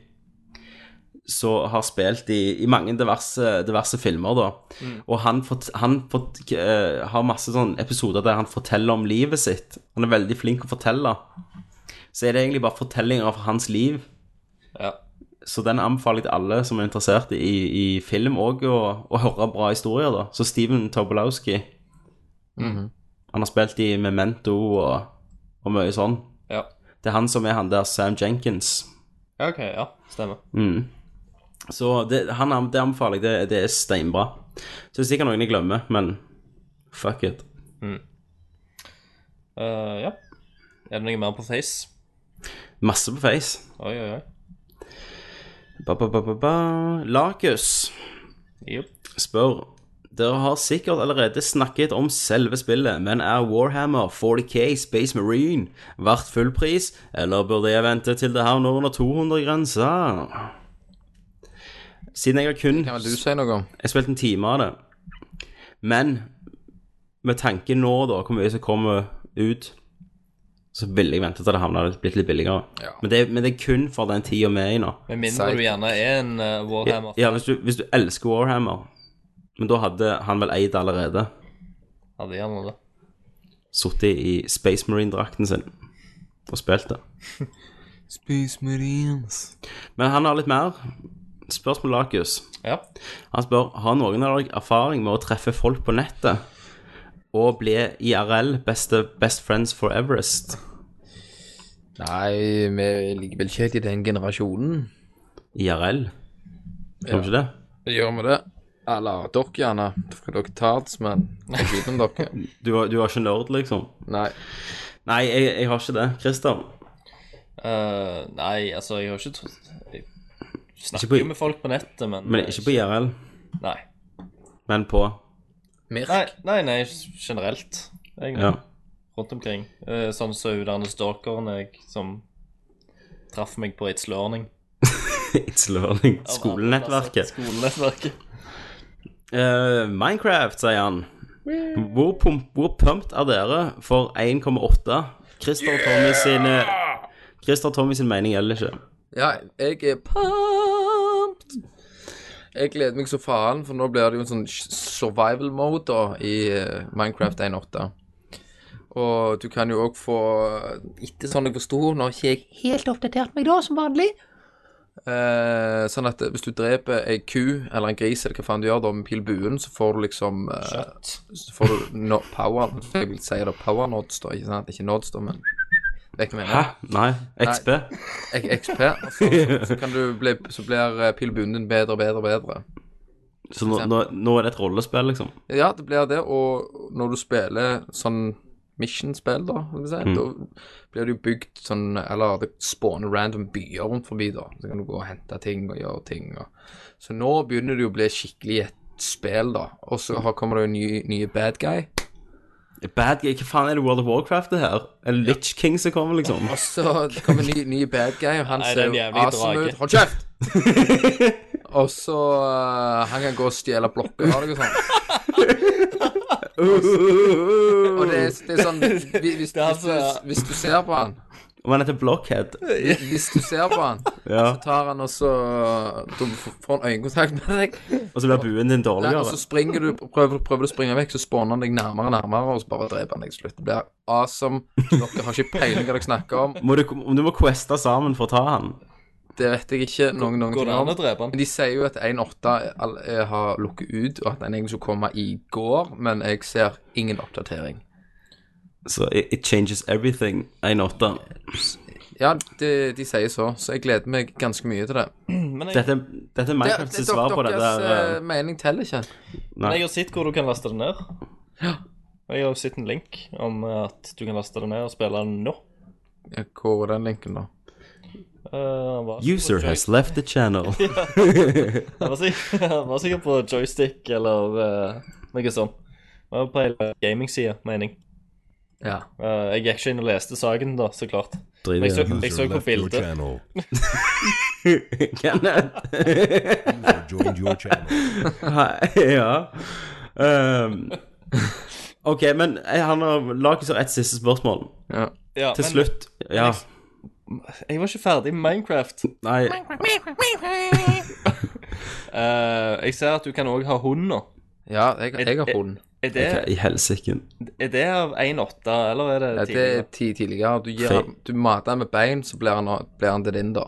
[SPEAKER 1] som har spilt i, i mange diverse, diverse filmer, da.
[SPEAKER 4] Mm.
[SPEAKER 1] Og han, fort, han fort, eh, har masse sånne episoder der han forteller om livet sitt. Han er veldig flink å fortelle. Så er det egentlig bare fortellinger av hans liv. Så den anbefaler jeg til alle som er interessert i, i film òg, å, å høre bra historier, da. Så Steven Tobolowski Han har spilt i Memento og, og mye sånn.
[SPEAKER 5] Ja.
[SPEAKER 1] Det er han som er han der Sam Jenkins.
[SPEAKER 5] Ja, OK. Ja, stemmer.
[SPEAKER 1] Mm. Så det, han, an- det anbefaler jeg. Det, det er steinbra. Så det er sikkert noen jeg glemmer, men fuck it.
[SPEAKER 5] Eh, ja. Er det noe mer på Face?
[SPEAKER 1] Masse på Face.
[SPEAKER 5] Oi, oi, oi.
[SPEAKER 1] Ba, ba, ba, ba, ba. Lakus spør Dere har sikkert allerede snakket om selve spillet, men er Warhammer 40K Space Marine verdt full pris, eller burde jeg vente til det her når under 200-grensa? Siden jeg har kun
[SPEAKER 6] Kan vel du si noe om?
[SPEAKER 1] Jeg spilte en time av det. Men med tanke nå, da, hvor mye som kommer ut, så ville jeg vente til det havna litt litt billigere. Men, det, men det er kun for den tida vi er i nå.
[SPEAKER 5] Med mindre du gjerne er en eh, Warhammer.
[SPEAKER 1] Ja, hvis du, hvis du elsker Warhammer. Men da hadde han vel eid allerede.
[SPEAKER 5] Hadde gjerne det.
[SPEAKER 1] Sittet i Space Marine-drakten sin og spilt det.
[SPEAKER 6] Space Marines.
[SPEAKER 1] Men han har litt mer. Spørsmål Lakus.
[SPEAKER 5] Ja.
[SPEAKER 1] Han spør har noen av dere erfaring med å treffe folk på nettet og bli IRL beste best friends for Everest.
[SPEAKER 6] Nei, vi ligger vel ikke helt i den generasjonen.
[SPEAKER 1] IRL? Gjør vi ikke det?
[SPEAKER 6] Gjør vi det? Eller dere gjerne. For dere tar det, men jeg vet om dere.
[SPEAKER 1] Du, var- du var ikke nerd, liksom?
[SPEAKER 6] Nei.
[SPEAKER 1] Nei, jeg, jeg har ikke det. Christer?
[SPEAKER 5] Eh, nei, altså, jeg har ikke trodd Jeg snakker
[SPEAKER 1] på-
[SPEAKER 5] jo med folk på nettet, men
[SPEAKER 1] Men ikke på IRL,
[SPEAKER 5] Nei.
[SPEAKER 1] men på
[SPEAKER 5] Nei, nei, nei, generelt, egentlig.
[SPEAKER 1] Ja.
[SPEAKER 5] Rundt omkring. Eh, sånn som hun derne stalkeren jeg som traff meg på It's Learning.
[SPEAKER 1] It's Learning.
[SPEAKER 5] Skolenettverket.
[SPEAKER 1] Skolenettverket.
[SPEAKER 5] Skolenettverket.
[SPEAKER 1] Eh, Minecraft, sier han. Hvor, pump, hvor pumped er dere for 1,8? Christer og Tommy sin Christer og Tommy sin mening gjelder ikke.
[SPEAKER 6] Ja, jeg er pumped. Jeg gleder meg så faen, for nå blir det jo en sånn survival mode da, i eh, Minecraft 1.8. Og du kan jo òg få Etter sånn jeg forsto, nå har ikke jeg helt oppdatert meg da, som vanlig. Eh, sånn at hvis du dreper ei ku eller en gris eller hva faen du gjør da med pil buen, så får du liksom eh, Så får du no power Jeg vil si det power nods, da, ikke sant? Ikke nods, da, men Vet du hva jeg mener?
[SPEAKER 1] Hæ? Nei, XP.
[SPEAKER 6] Nei, ek- XP. og Så, så, kan du bli, så blir eh, pil buen din bedre og bedre og bedre.
[SPEAKER 1] Så nå, nå, nå er det et rollespill, liksom.
[SPEAKER 6] Ja, det blir det. Og når du spiller sånn mission-spill, da, vil jeg si,
[SPEAKER 1] Mm.
[SPEAKER 6] da blir det jo bygd sånn Eller det spawner random byer rundt forbi, da. Så kan du gå og hente ting og gjøre ting. Og. Så nå begynner det jo å bli skikkelig et spill, da. Og så har- kommer det jo nye, nye bad guy.
[SPEAKER 1] Bad guy, Hva faen er det World of Warcraft det her? Er det Litch King som kommer, liksom?
[SPEAKER 6] Og så kommer ny, ny bad guy, og han
[SPEAKER 5] Nei,
[SPEAKER 6] ser
[SPEAKER 5] den
[SPEAKER 6] jo
[SPEAKER 5] jævlige
[SPEAKER 6] awesome
[SPEAKER 5] drage.
[SPEAKER 6] ut. Hold kjeft! og så eh, Han kan gå og stjele blokker og noe sånt. Og det, er- det er sånn hvis, hvis, hvis,
[SPEAKER 5] altså-
[SPEAKER 6] du, hvis du ser på han
[SPEAKER 1] Om han heter Blockhead?
[SPEAKER 6] Hvis du ser på han,
[SPEAKER 1] Ja.
[SPEAKER 6] så tar han også Da får han øyekontakt med deg.
[SPEAKER 1] Og så blir buen din
[SPEAKER 6] Nei, og
[SPEAKER 1] dårligere?
[SPEAKER 6] så springer du, prøver, prøver du å springe vekk, så spawner han deg nærmere og nærmere, og så bare dreper han deg til slutt. Det blir awesome. Dere har ikke peiling hva dere snakker om.
[SPEAKER 1] Må du, du må queste sammen for å ta han.
[SPEAKER 6] Det vet jeg ikke noen noen
[SPEAKER 5] Går det
[SPEAKER 6] ting om.
[SPEAKER 5] an å drepe han?
[SPEAKER 6] Men de sier jo at 1.8 er- all- er- eh, har lukket ut, og at den egentlig skulle komme i går, men jeg ser ingen oppdatering.
[SPEAKER 1] Så it, it changes everything. 1,8.
[SPEAKER 6] Ja, de, de sier så, så jeg gleder meg ganske mye til det.
[SPEAKER 5] Men jeg,
[SPEAKER 1] Dette, dette er Minecrafts
[SPEAKER 6] Det- det-
[SPEAKER 1] svar på det
[SPEAKER 6] deres,
[SPEAKER 1] der
[SPEAKER 6] eh,
[SPEAKER 1] eh,
[SPEAKER 6] mening teller ikke.
[SPEAKER 5] men
[SPEAKER 1] Nei.
[SPEAKER 5] jeg har sett hvor du kan laste det ned. Og jeg har jo sett en link om eh, at du kan laste det ned og spille den nå.
[SPEAKER 6] Ja, Hvor er den linken, da?
[SPEAKER 5] Eh, han var-
[SPEAKER 1] User has left the channel.
[SPEAKER 5] Han var sikk- han var sikkert på joystick eller eh, noe sånt. Det var på hele gaming-sida, mening.
[SPEAKER 6] Ja.
[SPEAKER 5] Eh, jeg gikk ikke inn og leste saken, da, så klart. Men jeg så,
[SPEAKER 1] igjen.
[SPEAKER 5] jeg så på bildet.
[SPEAKER 1] Nei, ja. Ehm, ok, men eh, han har laget seg et siste spørsmål.
[SPEAKER 6] Ja.
[SPEAKER 5] Ja,
[SPEAKER 1] Til
[SPEAKER 5] men-
[SPEAKER 1] slutt. Ja.
[SPEAKER 5] Jeg var ikke ferdig med Minecraft.
[SPEAKER 1] Nei.
[SPEAKER 5] Eh, jeg ser at du kan òg ha hund nå.
[SPEAKER 6] Ja, jeg, jeg har hund.
[SPEAKER 5] Er, er, det-
[SPEAKER 1] I helsike.
[SPEAKER 5] er det av 1,8, eller er det
[SPEAKER 6] Ja, det er
[SPEAKER 5] tidligere?
[SPEAKER 6] ti tidligere. Du, gir,
[SPEAKER 5] Fe-
[SPEAKER 6] han- du mater han med bein, så blir han, blir han til din, da.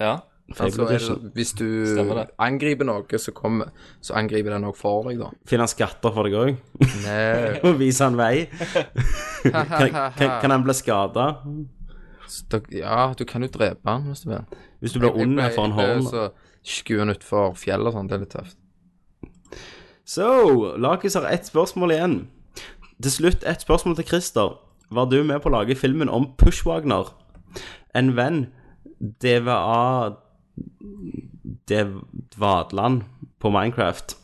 [SPEAKER 5] Ja.
[SPEAKER 6] Altså, er det, hvis du
[SPEAKER 5] Stemmer det.
[SPEAKER 6] angriper noe, så, kommer, så angriper den òg for deg, da.
[SPEAKER 1] Finner han skatter for deg òg?
[SPEAKER 6] Nei.
[SPEAKER 1] Og viser han vei? kan, kan, kan han bli skada?
[SPEAKER 6] Stak- Ja, du kan jo drepe han hvis du vil.
[SPEAKER 1] Hvis du blir
[SPEAKER 6] Jeg- jeg
[SPEAKER 1] ond
[SPEAKER 6] pleier-
[SPEAKER 1] for en
[SPEAKER 6] jeg pleier
[SPEAKER 1] hånd.
[SPEAKER 6] også å Skue han utfor fjell og sånn, det er litt tøft.
[SPEAKER 1] Så, Lakis har ett spørsmål igjen. Til slutt ett spørsmål til Christer. Var du med på å lage filmen om Pushwagner? En venn, DVA Vadland på Minecraft,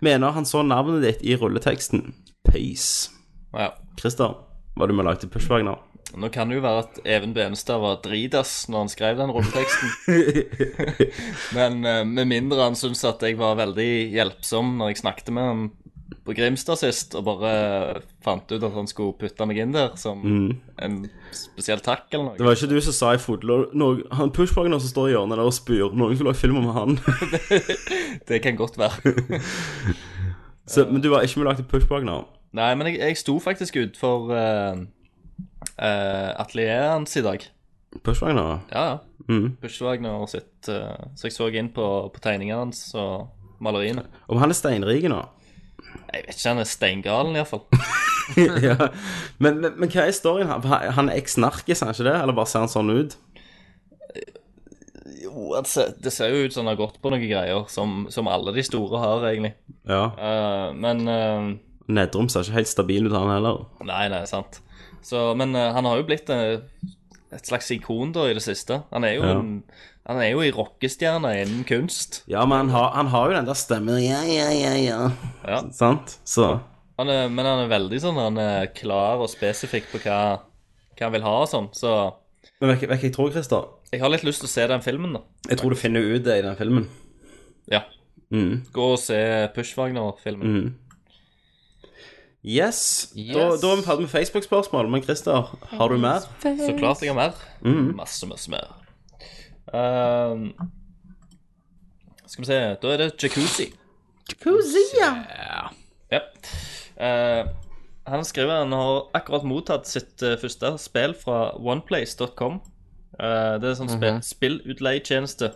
[SPEAKER 1] mener han så navnet ditt i rulleteksten. Peace.
[SPEAKER 5] Ja.
[SPEAKER 1] Christer, var du med og lagde Pushwagner?
[SPEAKER 5] Nå kan det jo være at Even Benestad var dridas når han skrev den rulleteksten. Men eh, med mindre han syntes at jeg var veldig hjelpsom når jeg snakket med han på Grimstad sist, og bare fant ut at han skulle putte meg inn der som
[SPEAKER 1] Mm.
[SPEAKER 5] en spesiell takk eller
[SPEAKER 1] Det
[SPEAKER 5] noe.
[SPEAKER 1] var ikke du som sa i fotlo... noe- Han Pushwagner som står i hjørnet der og spyr. Noen skulle lage film om han.
[SPEAKER 5] Det kan godt være.
[SPEAKER 1] så, men du var ikke med og lagde Pushwagner?
[SPEAKER 5] Nei, men jeg, jeg sto faktisk utfor uh, eh, atelieret hans i dag.
[SPEAKER 1] Pushwagner? ja.
[SPEAKER 5] Ja, ja.
[SPEAKER 1] Mm.
[SPEAKER 5] Bushwagner sitt eh, Så jeg så inn på, på tegningene hans og maleriene.
[SPEAKER 1] Om han er steinrik nå?
[SPEAKER 5] Jeg vet ikke, han er steingalen iallfall.
[SPEAKER 1] ja. men, men, men hva er storyen? her? Han- Han er eks-narkis, er han ikke det? Eller bare ser han sånn ut?
[SPEAKER 5] Jo, han ser- det ser jo ut som han har gått på noen greier, som, som alle de store har, egentlig.
[SPEAKER 1] Ja.
[SPEAKER 5] Eh, men eh,
[SPEAKER 1] Nedrom ser ikke helt stabil ut, han heller.
[SPEAKER 5] Nei, nei, sant. Så, men eh, han har jo blitt eh, et slags ikon da i det siste. Han er jo
[SPEAKER 1] Ja.
[SPEAKER 5] en han er jo ei rockestjerne innen kunst.
[SPEAKER 1] Ja, men han har, han har jo den der stemmen Ja, ja, ja, ja.
[SPEAKER 5] Ja.
[SPEAKER 1] Sant? Så
[SPEAKER 5] Han er, men han er veldig sånn Han er klar og spesifikk på hva, hva han vil ha og sånn. Så
[SPEAKER 1] Men vet du hva jeg tror, Christer?
[SPEAKER 5] jeg har litt lyst til å se den filmen, da.
[SPEAKER 1] Jeg tror du finner ut det i den filmen.
[SPEAKER 5] Ja.
[SPEAKER 1] Mm.
[SPEAKER 5] Gå og se Pushwagner-filmen.
[SPEAKER 1] Mm. Yes. Da,
[SPEAKER 5] Yes.
[SPEAKER 1] da er vi ferdig med Facebook-spørsmål. Men Christer, har du mer?
[SPEAKER 5] Så klart jeg har mer.
[SPEAKER 1] Mm.
[SPEAKER 5] Masse, masse mer. Ehm, skal vi se Da er det jacuzzi. Ja. Eh, han skriver han har akkurat mottatt sitt eh, første spill fra oneplace.com. Eh, det er en sånn spe-
[SPEAKER 6] Mhm.
[SPEAKER 5] spillutleietjeneste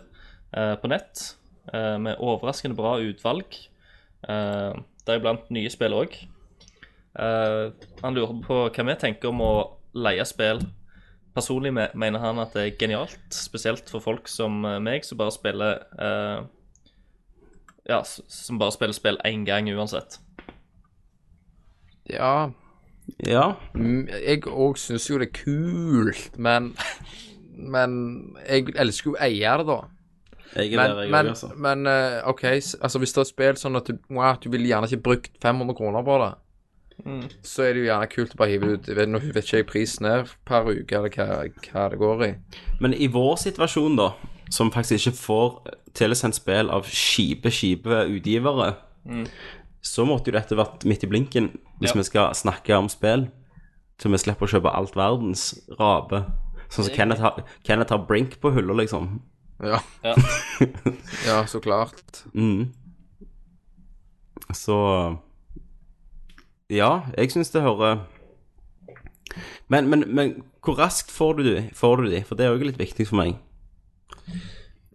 [SPEAKER 5] eh, på nett eh, med overraskende bra utvalg. Uh, Deriblant nye spill òg. han lurer på hva vi tenker om å leie spill. Personlig me- mener han at det er genialt, spesielt for folk som eh, meg, som bare spiller eh, Ja, s- som bare spiller spill én gang uansett.
[SPEAKER 6] Ja,
[SPEAKER 1] Ja.
[SPEAKER 6] Mm, Jeg òg syns jo det er kult, men Men jeg elsker jo å eie det, da.
[SPEAKER 1] Jeg er
[SPEAKER 6] Men,
[SPEAKER 1] der, jeg
[SPEAKER 6] men,
[SPEAKER 1] òg, altså.
[SPEAKER 6] men eh, OK, s- altså hvis det er et spill sånn at du, wow, du vil gjerne ikke brukt 500 kroner på det,
[SPEAKER 5] Mm.
[SPEAKER 6] så er det jo gjerne kult å bare hive det ut. Jeg vet, nå vet ikke jeg prisen er per uke, eller hva, hva det går i.
[SPEAKER 1] Men i vår situasjon, da, som faktisk ikke får tilsendt spill av kjipe, kjipe utgivere, så måtte jo dette vært midt i blinken hvis
[SPEAKER 5] Ja.
[SPEAKER 1] vi skal snakke om spill. Så vi slipper å kjøpe alt verdens rabe. Sånn som Kenneth har, Kenneth har Brink på hylla, liksom.
[SPEAKER 6] Ja.
[SPEAKER 5] Ja.
[SPEAKER 6] ja, så klart.
[SPEAKER 1] Mm. Så Ja, jeg syns det hører men, men, men hvor raskt får du, de- får du de? For det er òg litt viktig for meg.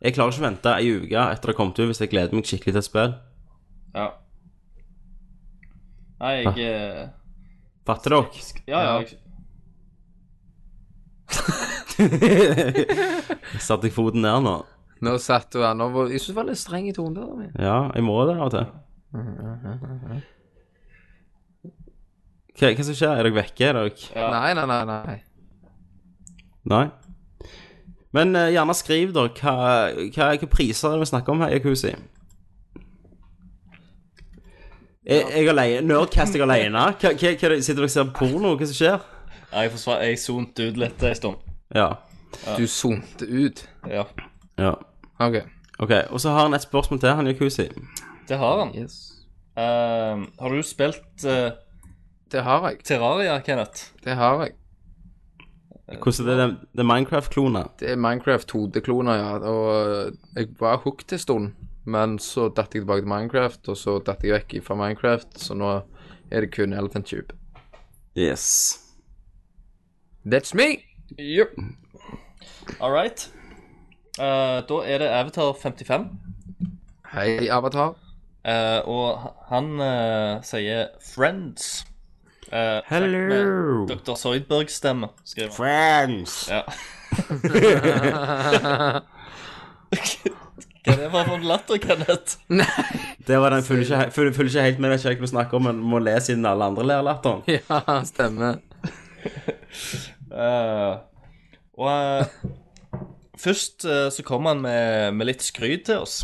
[SPEAKER 1] Jeg klarer ikke å vente ei uke etter det har kommet ut, hvis jeg gleder meg skikkelig til et spill.
[SPEAKER 5] Ja. Nei, jeg eh,
[SPEAKER 1] Fatter dere?
[SPEAKER 5] sk- Ja, ja. Jeg,
[SPEAKER 1] Satte jeg foten ned nå?
[SPEAKER 6] Nå satt du her nå var- Jeg syns du var litt streng i tonen der. men-
[SPEAKER 1] Ja, jeg må det av og til. Hva, hva som skjer? Er dere vekke? Er dere
[SPEAKER 5] Ja.
[SPEAKER 6] Nei, nei, nei. nei.
[SPEAKER 1] Nei? Men eh, gjerne skriv, da. Hva, hva, hva priser er det vi snakker om her i Yakuzi? Jeg, jeg alene, Nerdcast jeg alene? Hva, hva, hva, er det- sitter dere og ser porno? Hva som skjer?
[SPEAKER 5] Nei, jeg, forsvar, jeg zonte ut litt en stund.
[SPEAKER 1] Ja.
[SPEAKER 6] Du zonte ut.
[SPEAKER 5] Ja.
[SPEAKER 1] ja.
[SPEAKER 6] OK.
[SPEAKER 1] OK. Og så har han et spørsmål til, han Yakuzi.
[SPEAKER 5] Det har han.
[SPEAKER 6] Yes.
[SPEAKER 5] Eh, har du spilt eh,
[SPEAKER 6] Det har jeg.
[SPEAKER 5] Terraria, Kenneth?
[SPEAKER 6] Det har jeg.
[SPEAKER 1] Hvordan er det? Det er Minecraft-kloner.
[SPEAKER 6] Det er Minecraft 2D-kloner, ja. Og jeg var hooked en stund, men så datt jeg tilbake til Minecraft, og så datt jeg vekk fra Minecraft, så nå er det kun Elephant Tube.
[SPEAKER 1] Yes.
[SPEAKER 6] That's me! Yep.
[SPEAKER 5] All right. Eh, da er det Avatar 55.
[SPEAKER 6] Hei, Avatar.
[SPEAKER 5] Eh, og han eh, sier 'Friends'. Eh,
[SPEAKER 1] Hello.
[SPEAKER 5] Med Dr. Zoidberg-stemme, skriver han.
[SPEAKER 1] Friends.
[SPEAKER 5] Ja. Hva det var for en latter, Kenneth?
[SPEAKER 1] Det var den følger ikke, følger, følger ikke helt med, vet ikke helt hva vi snakker om, men må le siden alle andre ler latteren.
[SPEAKER 6] Ja, stemmer.
[SPEAKER 5] Eh, og eh, først eh, så kom han med, med litt skryt til oss.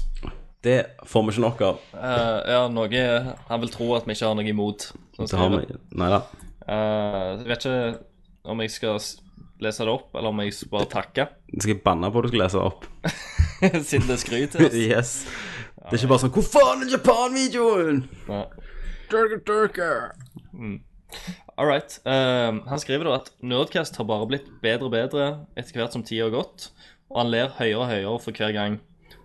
[SPEAKER 1] Det får vi ikke nok av.
[SPEAKER 5] Eh, ja, noe han vil tro at vi ikke har noe imot. som
[SPEAKER 1] Det har
[SPEAKER 5] skriver.
[SPEAKER 1] vi Nei da.
[SPEAKER 5] Eh, jeg vet ikke om jeg skal s- lese det opp, eller om jeg skal bare takke,
[SPEAKER 1] Skal jeg banne på at du skal lese det opp?
[SPEAKER 5] siden det er skryt til oss.
[SPEAKER 1] Yes. Det er ikke bare sånn Hvor faen er Japan-videoen?
[SPEAKER 5] Nei.
[SPEAKER 6] Durker, durker.
[SPEAKER 5] All right. Ehm, han skriver da at Nerdcast har bare blitt bedre og bedre etter hvert som tida har gått, og han ler høyere og høyere for hver gang.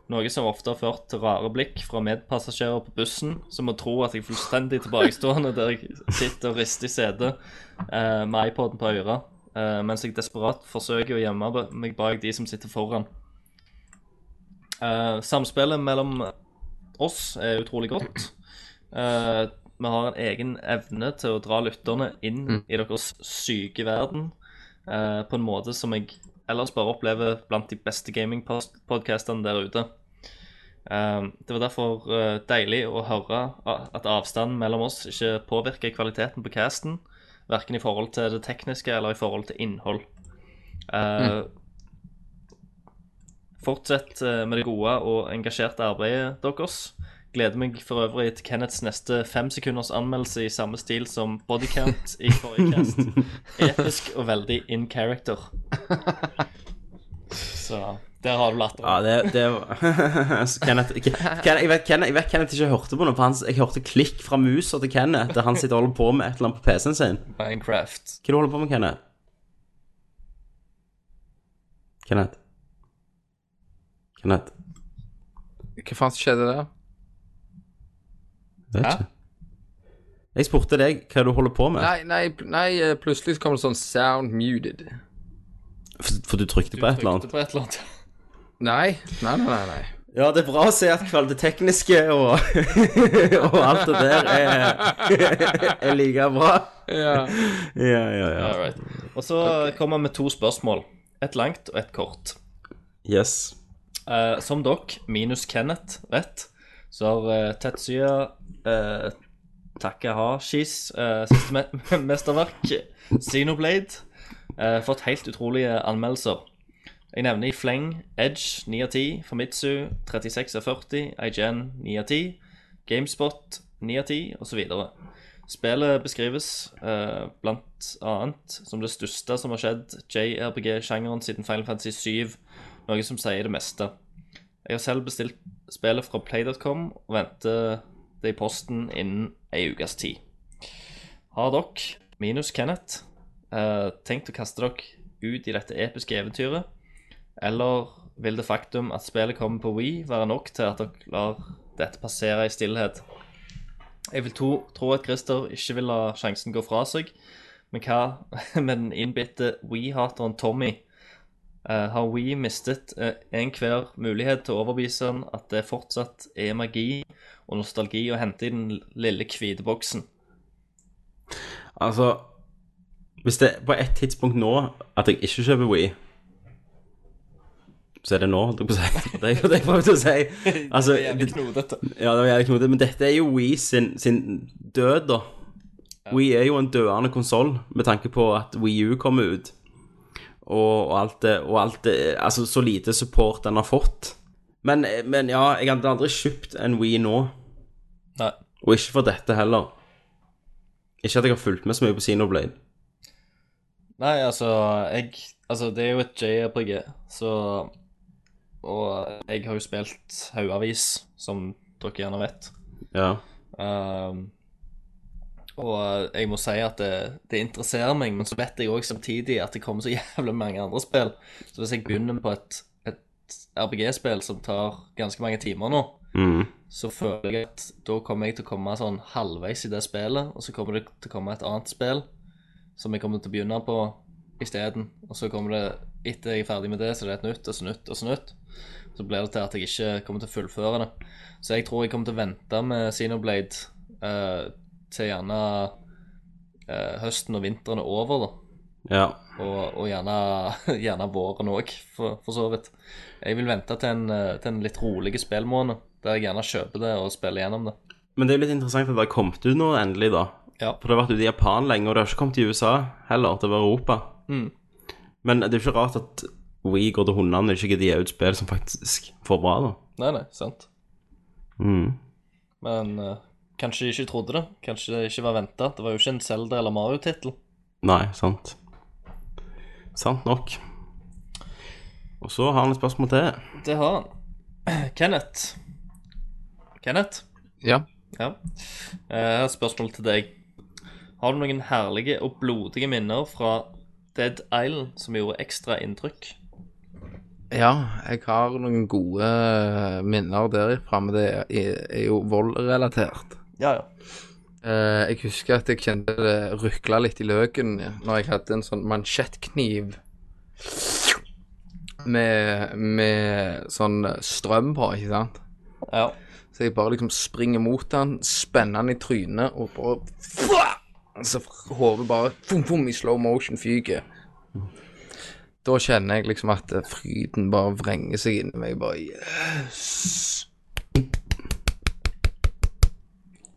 [SPEAKER 5] Noe som ofte har ført til rare blikk fra medpassasjerer på bussen, som må tro at jeg er fullstendig tilbakestående der jeg sitter og rister i setet eh, med iPoden på øret, eh, mens jeg desperat forsøker å gjemme meg bak de som sitter foran. Eh, samspillet mellom oss er utrolig godt. Eh, vi har en egen evne til å dra lytterne inn i deres syke verden eh, på en måte som jeg ellers bare opplever blant de beste gamingpodcastene der ute. Eh, det var derfor eh, deilig å høre a- at avstanden mellom oss ikke påvirker kvaliteten på casten, verken i forhold til det tekniske eller i forhold til innhold. Eh,
[SPEAKER 1] Mm.
[SPEAKER 5] Fortsett eh, med det gode og engasjerte arbeidet deres. Gleder meg for øvrig til Kenneths neste femsekunders anmeldelse i samme stil som Bodycount i forrige cast. Episk og veldig in character. Så der har du
[SPEAKER 1] Ja,
[SPEAKER 5] latteren.
[SPEAKER 1] det, det var Så Kenneth, Ken, Ken- jeg, vet, Kenneth, jeg vet Kenneth ikke hørte på noe, for han, jeg hørte klikk fra musa til Kenneth der han sitter og holder på med et eller annet på PC-en sin.
[SPEAKER 5] Minecraft.
[SPEAKER 1] Hva du holder du på med, Kenneth? Kenneth? Kenneth?
[SPEAKER 6] Hva faen skjedde der?
[SPEAKER 1] Jeg vet ikke. Jeg spurte deg hva du holder på med,
[SPEAKER 6] Nei, nei, pl- nei, eh, plutselig så kom det sånn sound muted.
[SPEAKER 1] for, for du trykte på et eller annet.
[SPEAKER 5] På et eller annet.
[SPEAKER 6] Nei, nei, nei, nei. nei.
[SPEAKER 1] Ja, det er bra å se at kval- det tekniske og, og alt det der er, er like bra.
[SPEAKER 6] Ja.
[SPEAKER 1] Ja, ja, ja.
[SPEAKER 5] All right. Og så kommer vi med to spørsmål. Et langt og et kort.
[SPEAKER 1] Yes.
[SPEAKER 5] Eh, som dere, minus Kenneth, vet, så har eh, Tetsuya uh, Takahashis eh, siste me mesterverk, Xenoblade, eh, fått helt utrolige anmeldelser. Jeg nevner i fleng Edge 9 av 10, Famitsu 36 av 40, IGN 9 av 10, Gamespot 9 av 10, osv. Spillet beskrives eh, blant annet som det største som har skjedd JRPG-sjangeren siden Final Fantasy 7 noe som sier det meste. Jeg har selv bestilt spillet fra play.com og venter det i posten innen ei ukes tid. Har dere, minus Kenneth, eh, tenkt å kaste dere ut i dette episke eventyret? Eller vil det faktum at spillet kommer på Wii være nok til at dere lar dette passere i stillhet? Jeg vil to, tro at Christer ikke vil la sjansen gå fra seg, men hva med den innbitte Wii-hateren Tommy? Eh, har We mistet eh, enhver mulighet til å overbevise han at det fortsatt er magi og nostalgi å hente i den lille hvite boksen?
[SPEAKER 1] Altså Hvis det er på et tidspunkt nå at jeg ikke kjøper Wii Så er det nå, holdt jeg på å si. Det er jo det jeg prøvde å si. Altså, det,
[SPEAKER 5] knodete.
[SPEAKER 1] ja, det var jævlig knotete, men dette er jo Wii sin, sin død, da. Wii er jo en døende konsoll, med tanke på at Wii U kommer ut. Og, og alt det Og alt det Altså, så lite support den har fått. Men, men ja, jeg hadde aldri kjøpt en Wii nå.
[SPEAKER 5] Nei.
[SPEAKER 1] Og ikke for dette heller. Ikke at jeg har fulgt med så mye på Xenoblade.
[SPEAKER 5] Nei, altså, jeg Altså, det er jo et JRPG, så Og jeg har jo spilt haugavis, som dere gjerne vet.
[SPEAKER 1] Ja.
[SPEAKER 5] Ehm, Og jeg må si at det, det interesserer meg, men så vet jeg òg samtidig at det kommer så jævlig mange andre spill. Så hvis jeg begynner på et, et RPG-spill som tar ganske mange timer nå,
[SPEAKER 1] Mhm.
[SPEAKER 5] så føler jeg at da kommer jeg til å komme sånn halvveis i det spillet, og så kommer det til å komme et annet spill som jeg kommer til å begynne på isteden. Og så kommer det etter jeg er ferdig med det, så er det et nytt og så nytt og så nytt. Så blir det til at jeg ikke kommer til å fullføre det. Så jeg tror jeg kommer til å vente med Xenoblade eh, til gjerne eh, høsten og vinteren er over, da.
[SPEAKER 1] Ja.
[SPEAKER 5] Og, og gjerne, gjerne våren òg, for, for så vidt. Jeg vil vente til en, eh, til en litt rolig spillmåned, der jeg gjerne kjøper det og spiller gjennom det.
[SPEAKER 1] Men det er jo litt interessant at det har kommet ut nå endelig, da. For det har vært ute i Japan lenge, og det har ikke kommet i USA heller. Det var Europa.
[SPEAKER 5] Mm.
[SPEAKER 1] Men det er jo ikke rart at We går til hundene når de ikke gidder gi ut spill som faktisk får bra, da.
[SPEAKER 5] Nei, nei, sant.
[SPEAKER 1] Mm.
[SPEAKER 5] Men eh, kanskje de ikke trodde det. Kanskje det ikke var venta. Det var jo ikke en Zelda eller Mario-tittel.
[SPEAKER 1] Nei, sant. Sant nok. Og så har han et spørsmål til.
[SPEAKER 5] Det har han. Kenneth. Kenneth?
[SPEAKER 6] Ja.
[SPEAKER 5] Ja. Eh, Jeg har et spørsmål til deg. Har du noen herlige og blodige minner fra Dead Island som gjorde ekstra inntrykk?
[SPEAKER 6] Ja, jeg har noen gode eh, minner derifra, men det er er jo voldrelatert.
[SPEAKER 5] Ja, ja.
[SPEAKER 6] Eh, Jeg husker at jeg kjente det rykla litt i løken når jeg hadde en sånn mansjettkniv med, med sånn strøm på, ikke sant?
[SPEAKER 5] Ja.
[SPEAKER 6] Så jeg bare liksom springer mot den, spenner den i trynet og bare Fua! Så hodet bare fum, fum, i slow motion fyker. Da kjenner jeg liksom at eh, fryden bare vrenger seg inni meg. Bare yes.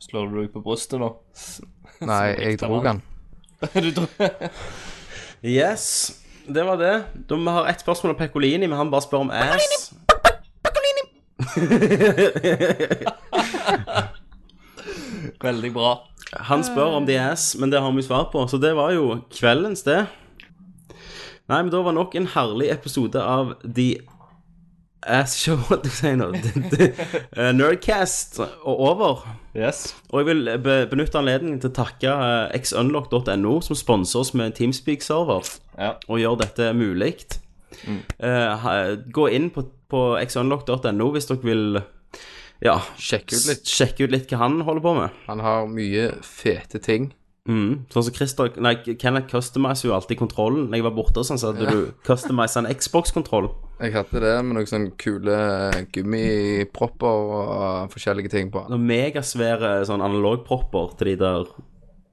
[SPEAKER 5] Slår du deg på brystet nå?
[SPEAKER 6] Nei, jeg dro den.
[SPEAKER 5] du dro
[SPEAKER 1] Yes, det var det. Da vi har ett spørsmål om Pekolini, men han bare spør om ass.
[SPEAKER 5] Veldig bra.
[SPEAKER 1] Han spør
[SPEAKER 6] Ah.
[SPEAKER 1] om the ass, men det har vi svar på, så det var jo kveldens, det. Nei, men da var nok en herlig episode av The Ass Show, hva du sier nå. Eh, Nerdcast og over. Og jeg vil be benytte anledningen til å takke eh, xunlock.no, som sponser oss med en Teamspeak-server, og gjør dette mulig.
[SPEAKER 6] Mm.
[SPEAKER 1] Eh, ha- gå inn på, på xunlock.no hvis dere vil ja,
[SPEAKER 6] sjekke ut litt.
[SPEAKER 1] sjekke ut litt hva han holder på med.
[SPEAKER 6] Han har mye fete ting.
[SPEAKER 1] Mm. Sånn som Christer, nei, Kenneth customiser jo alltid kontrollen. Når jeg var borte, og sånn, så hadde
[SPEAKER 6] Ja.
[SPEAKER 1] du customiset en Xbox-kontroll.
[SPEAKER 6] Jeg hadde det med noen sånne kule gummipropper og forskjellige ting på.
[SPEAKER 1] Noen megasvære sånn analogpropper til de der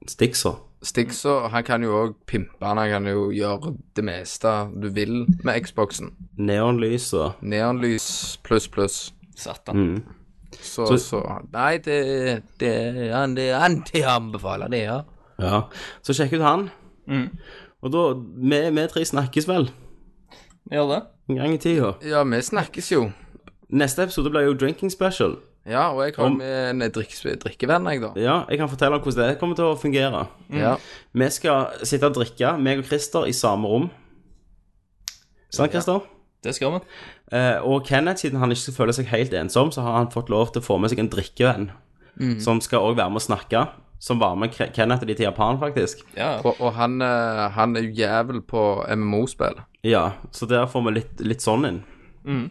[SPEAKER 1] sticksa.
[SPEAKER 6] Stigso, han kan jo òg pimpe, han Han kan jo gjøre det meste du vil med Xboxen.
[SPEAKER 1] Neonlys og
[SPEAKER 6] Neonlys pluss, pluss.
[SPEAKER 5] Satan.
[SPEAKER 1] mm.
[SPEAKER 6] Så,
[SPEAKER 1] Så-
[SPEAKER 6] så, Nei, det, det, han, det han til anbefaler det, ja.
[SPEAKER 1] Ja. Så sjekk ut han. Og da Vi, vi tre snakkes vel
[SPEAKER 5] Vi gjør det.
[SPEAKER 1] en gang i tida.
[SPEAKER 6] Ja, vi snakkes jo.
[SPEAKER 1] Neste episode blir jo drinking special.
[SPEAKER 6] Ja, og jeg har
[SPEAKER 1] Om-
[SPEAKER 6] med en drikke, drikkevenn, jeg, da.
[SPEAKER 1] Ja, jeg kan fortelle hvordan det kommer til å fungere.
[SPEAKER 6] Ja.
[SPEAKER 1] Vi skal sitte og drikke, meg og Christer, i samme rom. Sant, Christer?
[SPEAKER 5] Det skal vi.
[SPEAKER 1] Eh, og Kenneth, siden han ikke skal føle seg helt ensom, så har han fått lov til å få med seg en drikkevenn.
[SPEAKER 6] Mhm.
[SPEAKER 1] Som skal også være med og snakke. Som var med Kre- Kenneth og de til Japan, faktisk.
[SPEAKER 6] Og, og han, eh, han er jo jævel på MMO-spill.
[SPEAKER 1] Ja, så der får vi litt, litt sånn inn.
[SPEAKER 6] Mhm.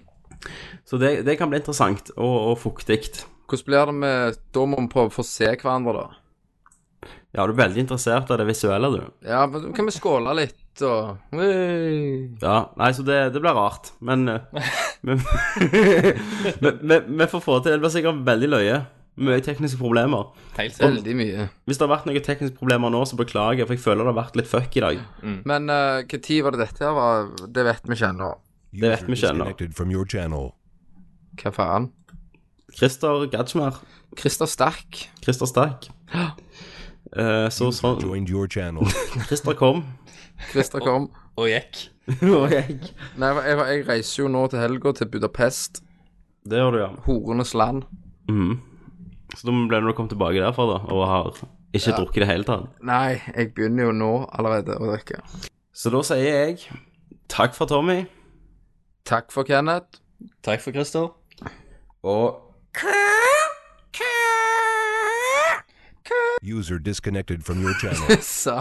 [SPEAKER 1] Så det, det kan bli interessant og, og fuktig.
[SPEAKER 6] Hvordan blir det med Da må vi prøve å få se hverandre, da.
[SPEAKER 1] Ja, du er veldig interessert av det visuelle, du.
[SPEAKER 6] Ja, men kan vi skåle litt, og Ui.
[SPEAKER 1] Ja, Nei, så det, det blir rart, men eh, men- men- men- Vi får få til det. Det blir sikkert veldig løye. Mye tekniske problemer.
[SPEAKER 5] Helt
[SPEAKER 6] Veldig mye.
[SPEAKER 1] Hvis det har vært noen tekniske problemer nå, så beklager jeg, for jeg føler det har vært litt fuck i dag.
[SPEAKER 6] Men når tid var det dette her var? Det vet vi ikke ennå.
[SPEAKER 1] Det vet vi ikke ennå.
[SPEAKER 6] Hva faen?
[SPEAKER 1] Christer Gadsmer.
[SPEAKER 6] Christer Sterk.
[SPEAKER 1] Christer Sterk. Eh, så sånn Christer kom.
[SPEAKER 6] Christer kom.
[SPEAKER 5] Og gikk.
[SPEAKER 1] og jeg.
[SPEAKER 6] Nei, jeg, jeg reiser jo nå til helga til Budapest.
[SPEAKER 1] Det gjør du, ja.
[SPEAKER 6] Horenes land.
[SPEAKER 1] Mhm. Så da ble det når du kom tilbake derfra, da, og har ikke
[SPEAKER 6] Ja.
[SPEAKER 1] drukket i det hele tatt.
[SPEAKER 6] Nei, jeg begynner jo nå allerede å drikke.
[SPEAKER 1] Så da sier jeg takk for Tommy.
[SPEAKER 6] Takk for Kenneth.
[SPEAKER 5] Takk for Christer.
[SPEAKER 1] Og
[SPEAKER 4] User disconnected from your channel.
[SPEAKER 6] Så.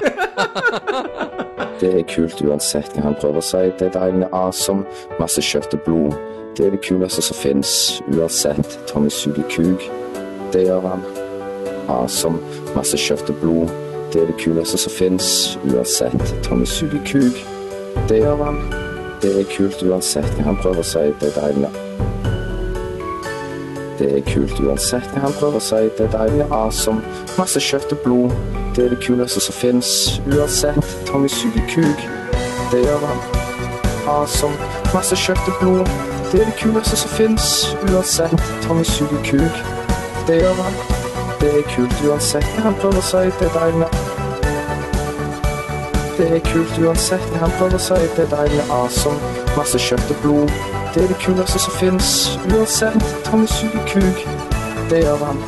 [SPEAKER 11] Det er kult uansett hva han prøver å si. Det er deilig awesome. Masse kjøtt og blod. Det er det kuleste som fins. Uansett. Tommy suger kuk. Det gjør han. Awesome. Masse kjøtt og blod. Det er det kuleste som fins. Uansett. Tommy suger kuk. Det gjør han. Det er kult uansett hva han prøver å si. Det er deilig. Det er kult uansett hva han prøver å si. Det er deilig awesome. Masse kjøtt og blod. Det er det kuleste som fins. Uansett. Tommy suger kuk. Det gjør han. Awesome. Masse kjøtt og blod. Det er det kuleste som fins. Uansett. Tommy suger kuk. Det gjør han. Det er kult uansett hva han prøver å si. Det er deilig. Det er kult uansett hva han prøver å si. Det er deilig awesome. Masse kjøtt og blod. Det er det kuleste som fins. Uansett. Tommy suger kuk. Det gjør han.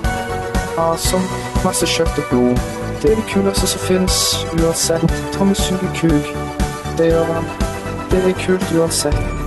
[SPEAKER 11] Awesome. Masse kjøtt og blod. Det er det kuleste som fins. Uansett. Tommy suger kuk. Det gjør han. Det er kult uansett.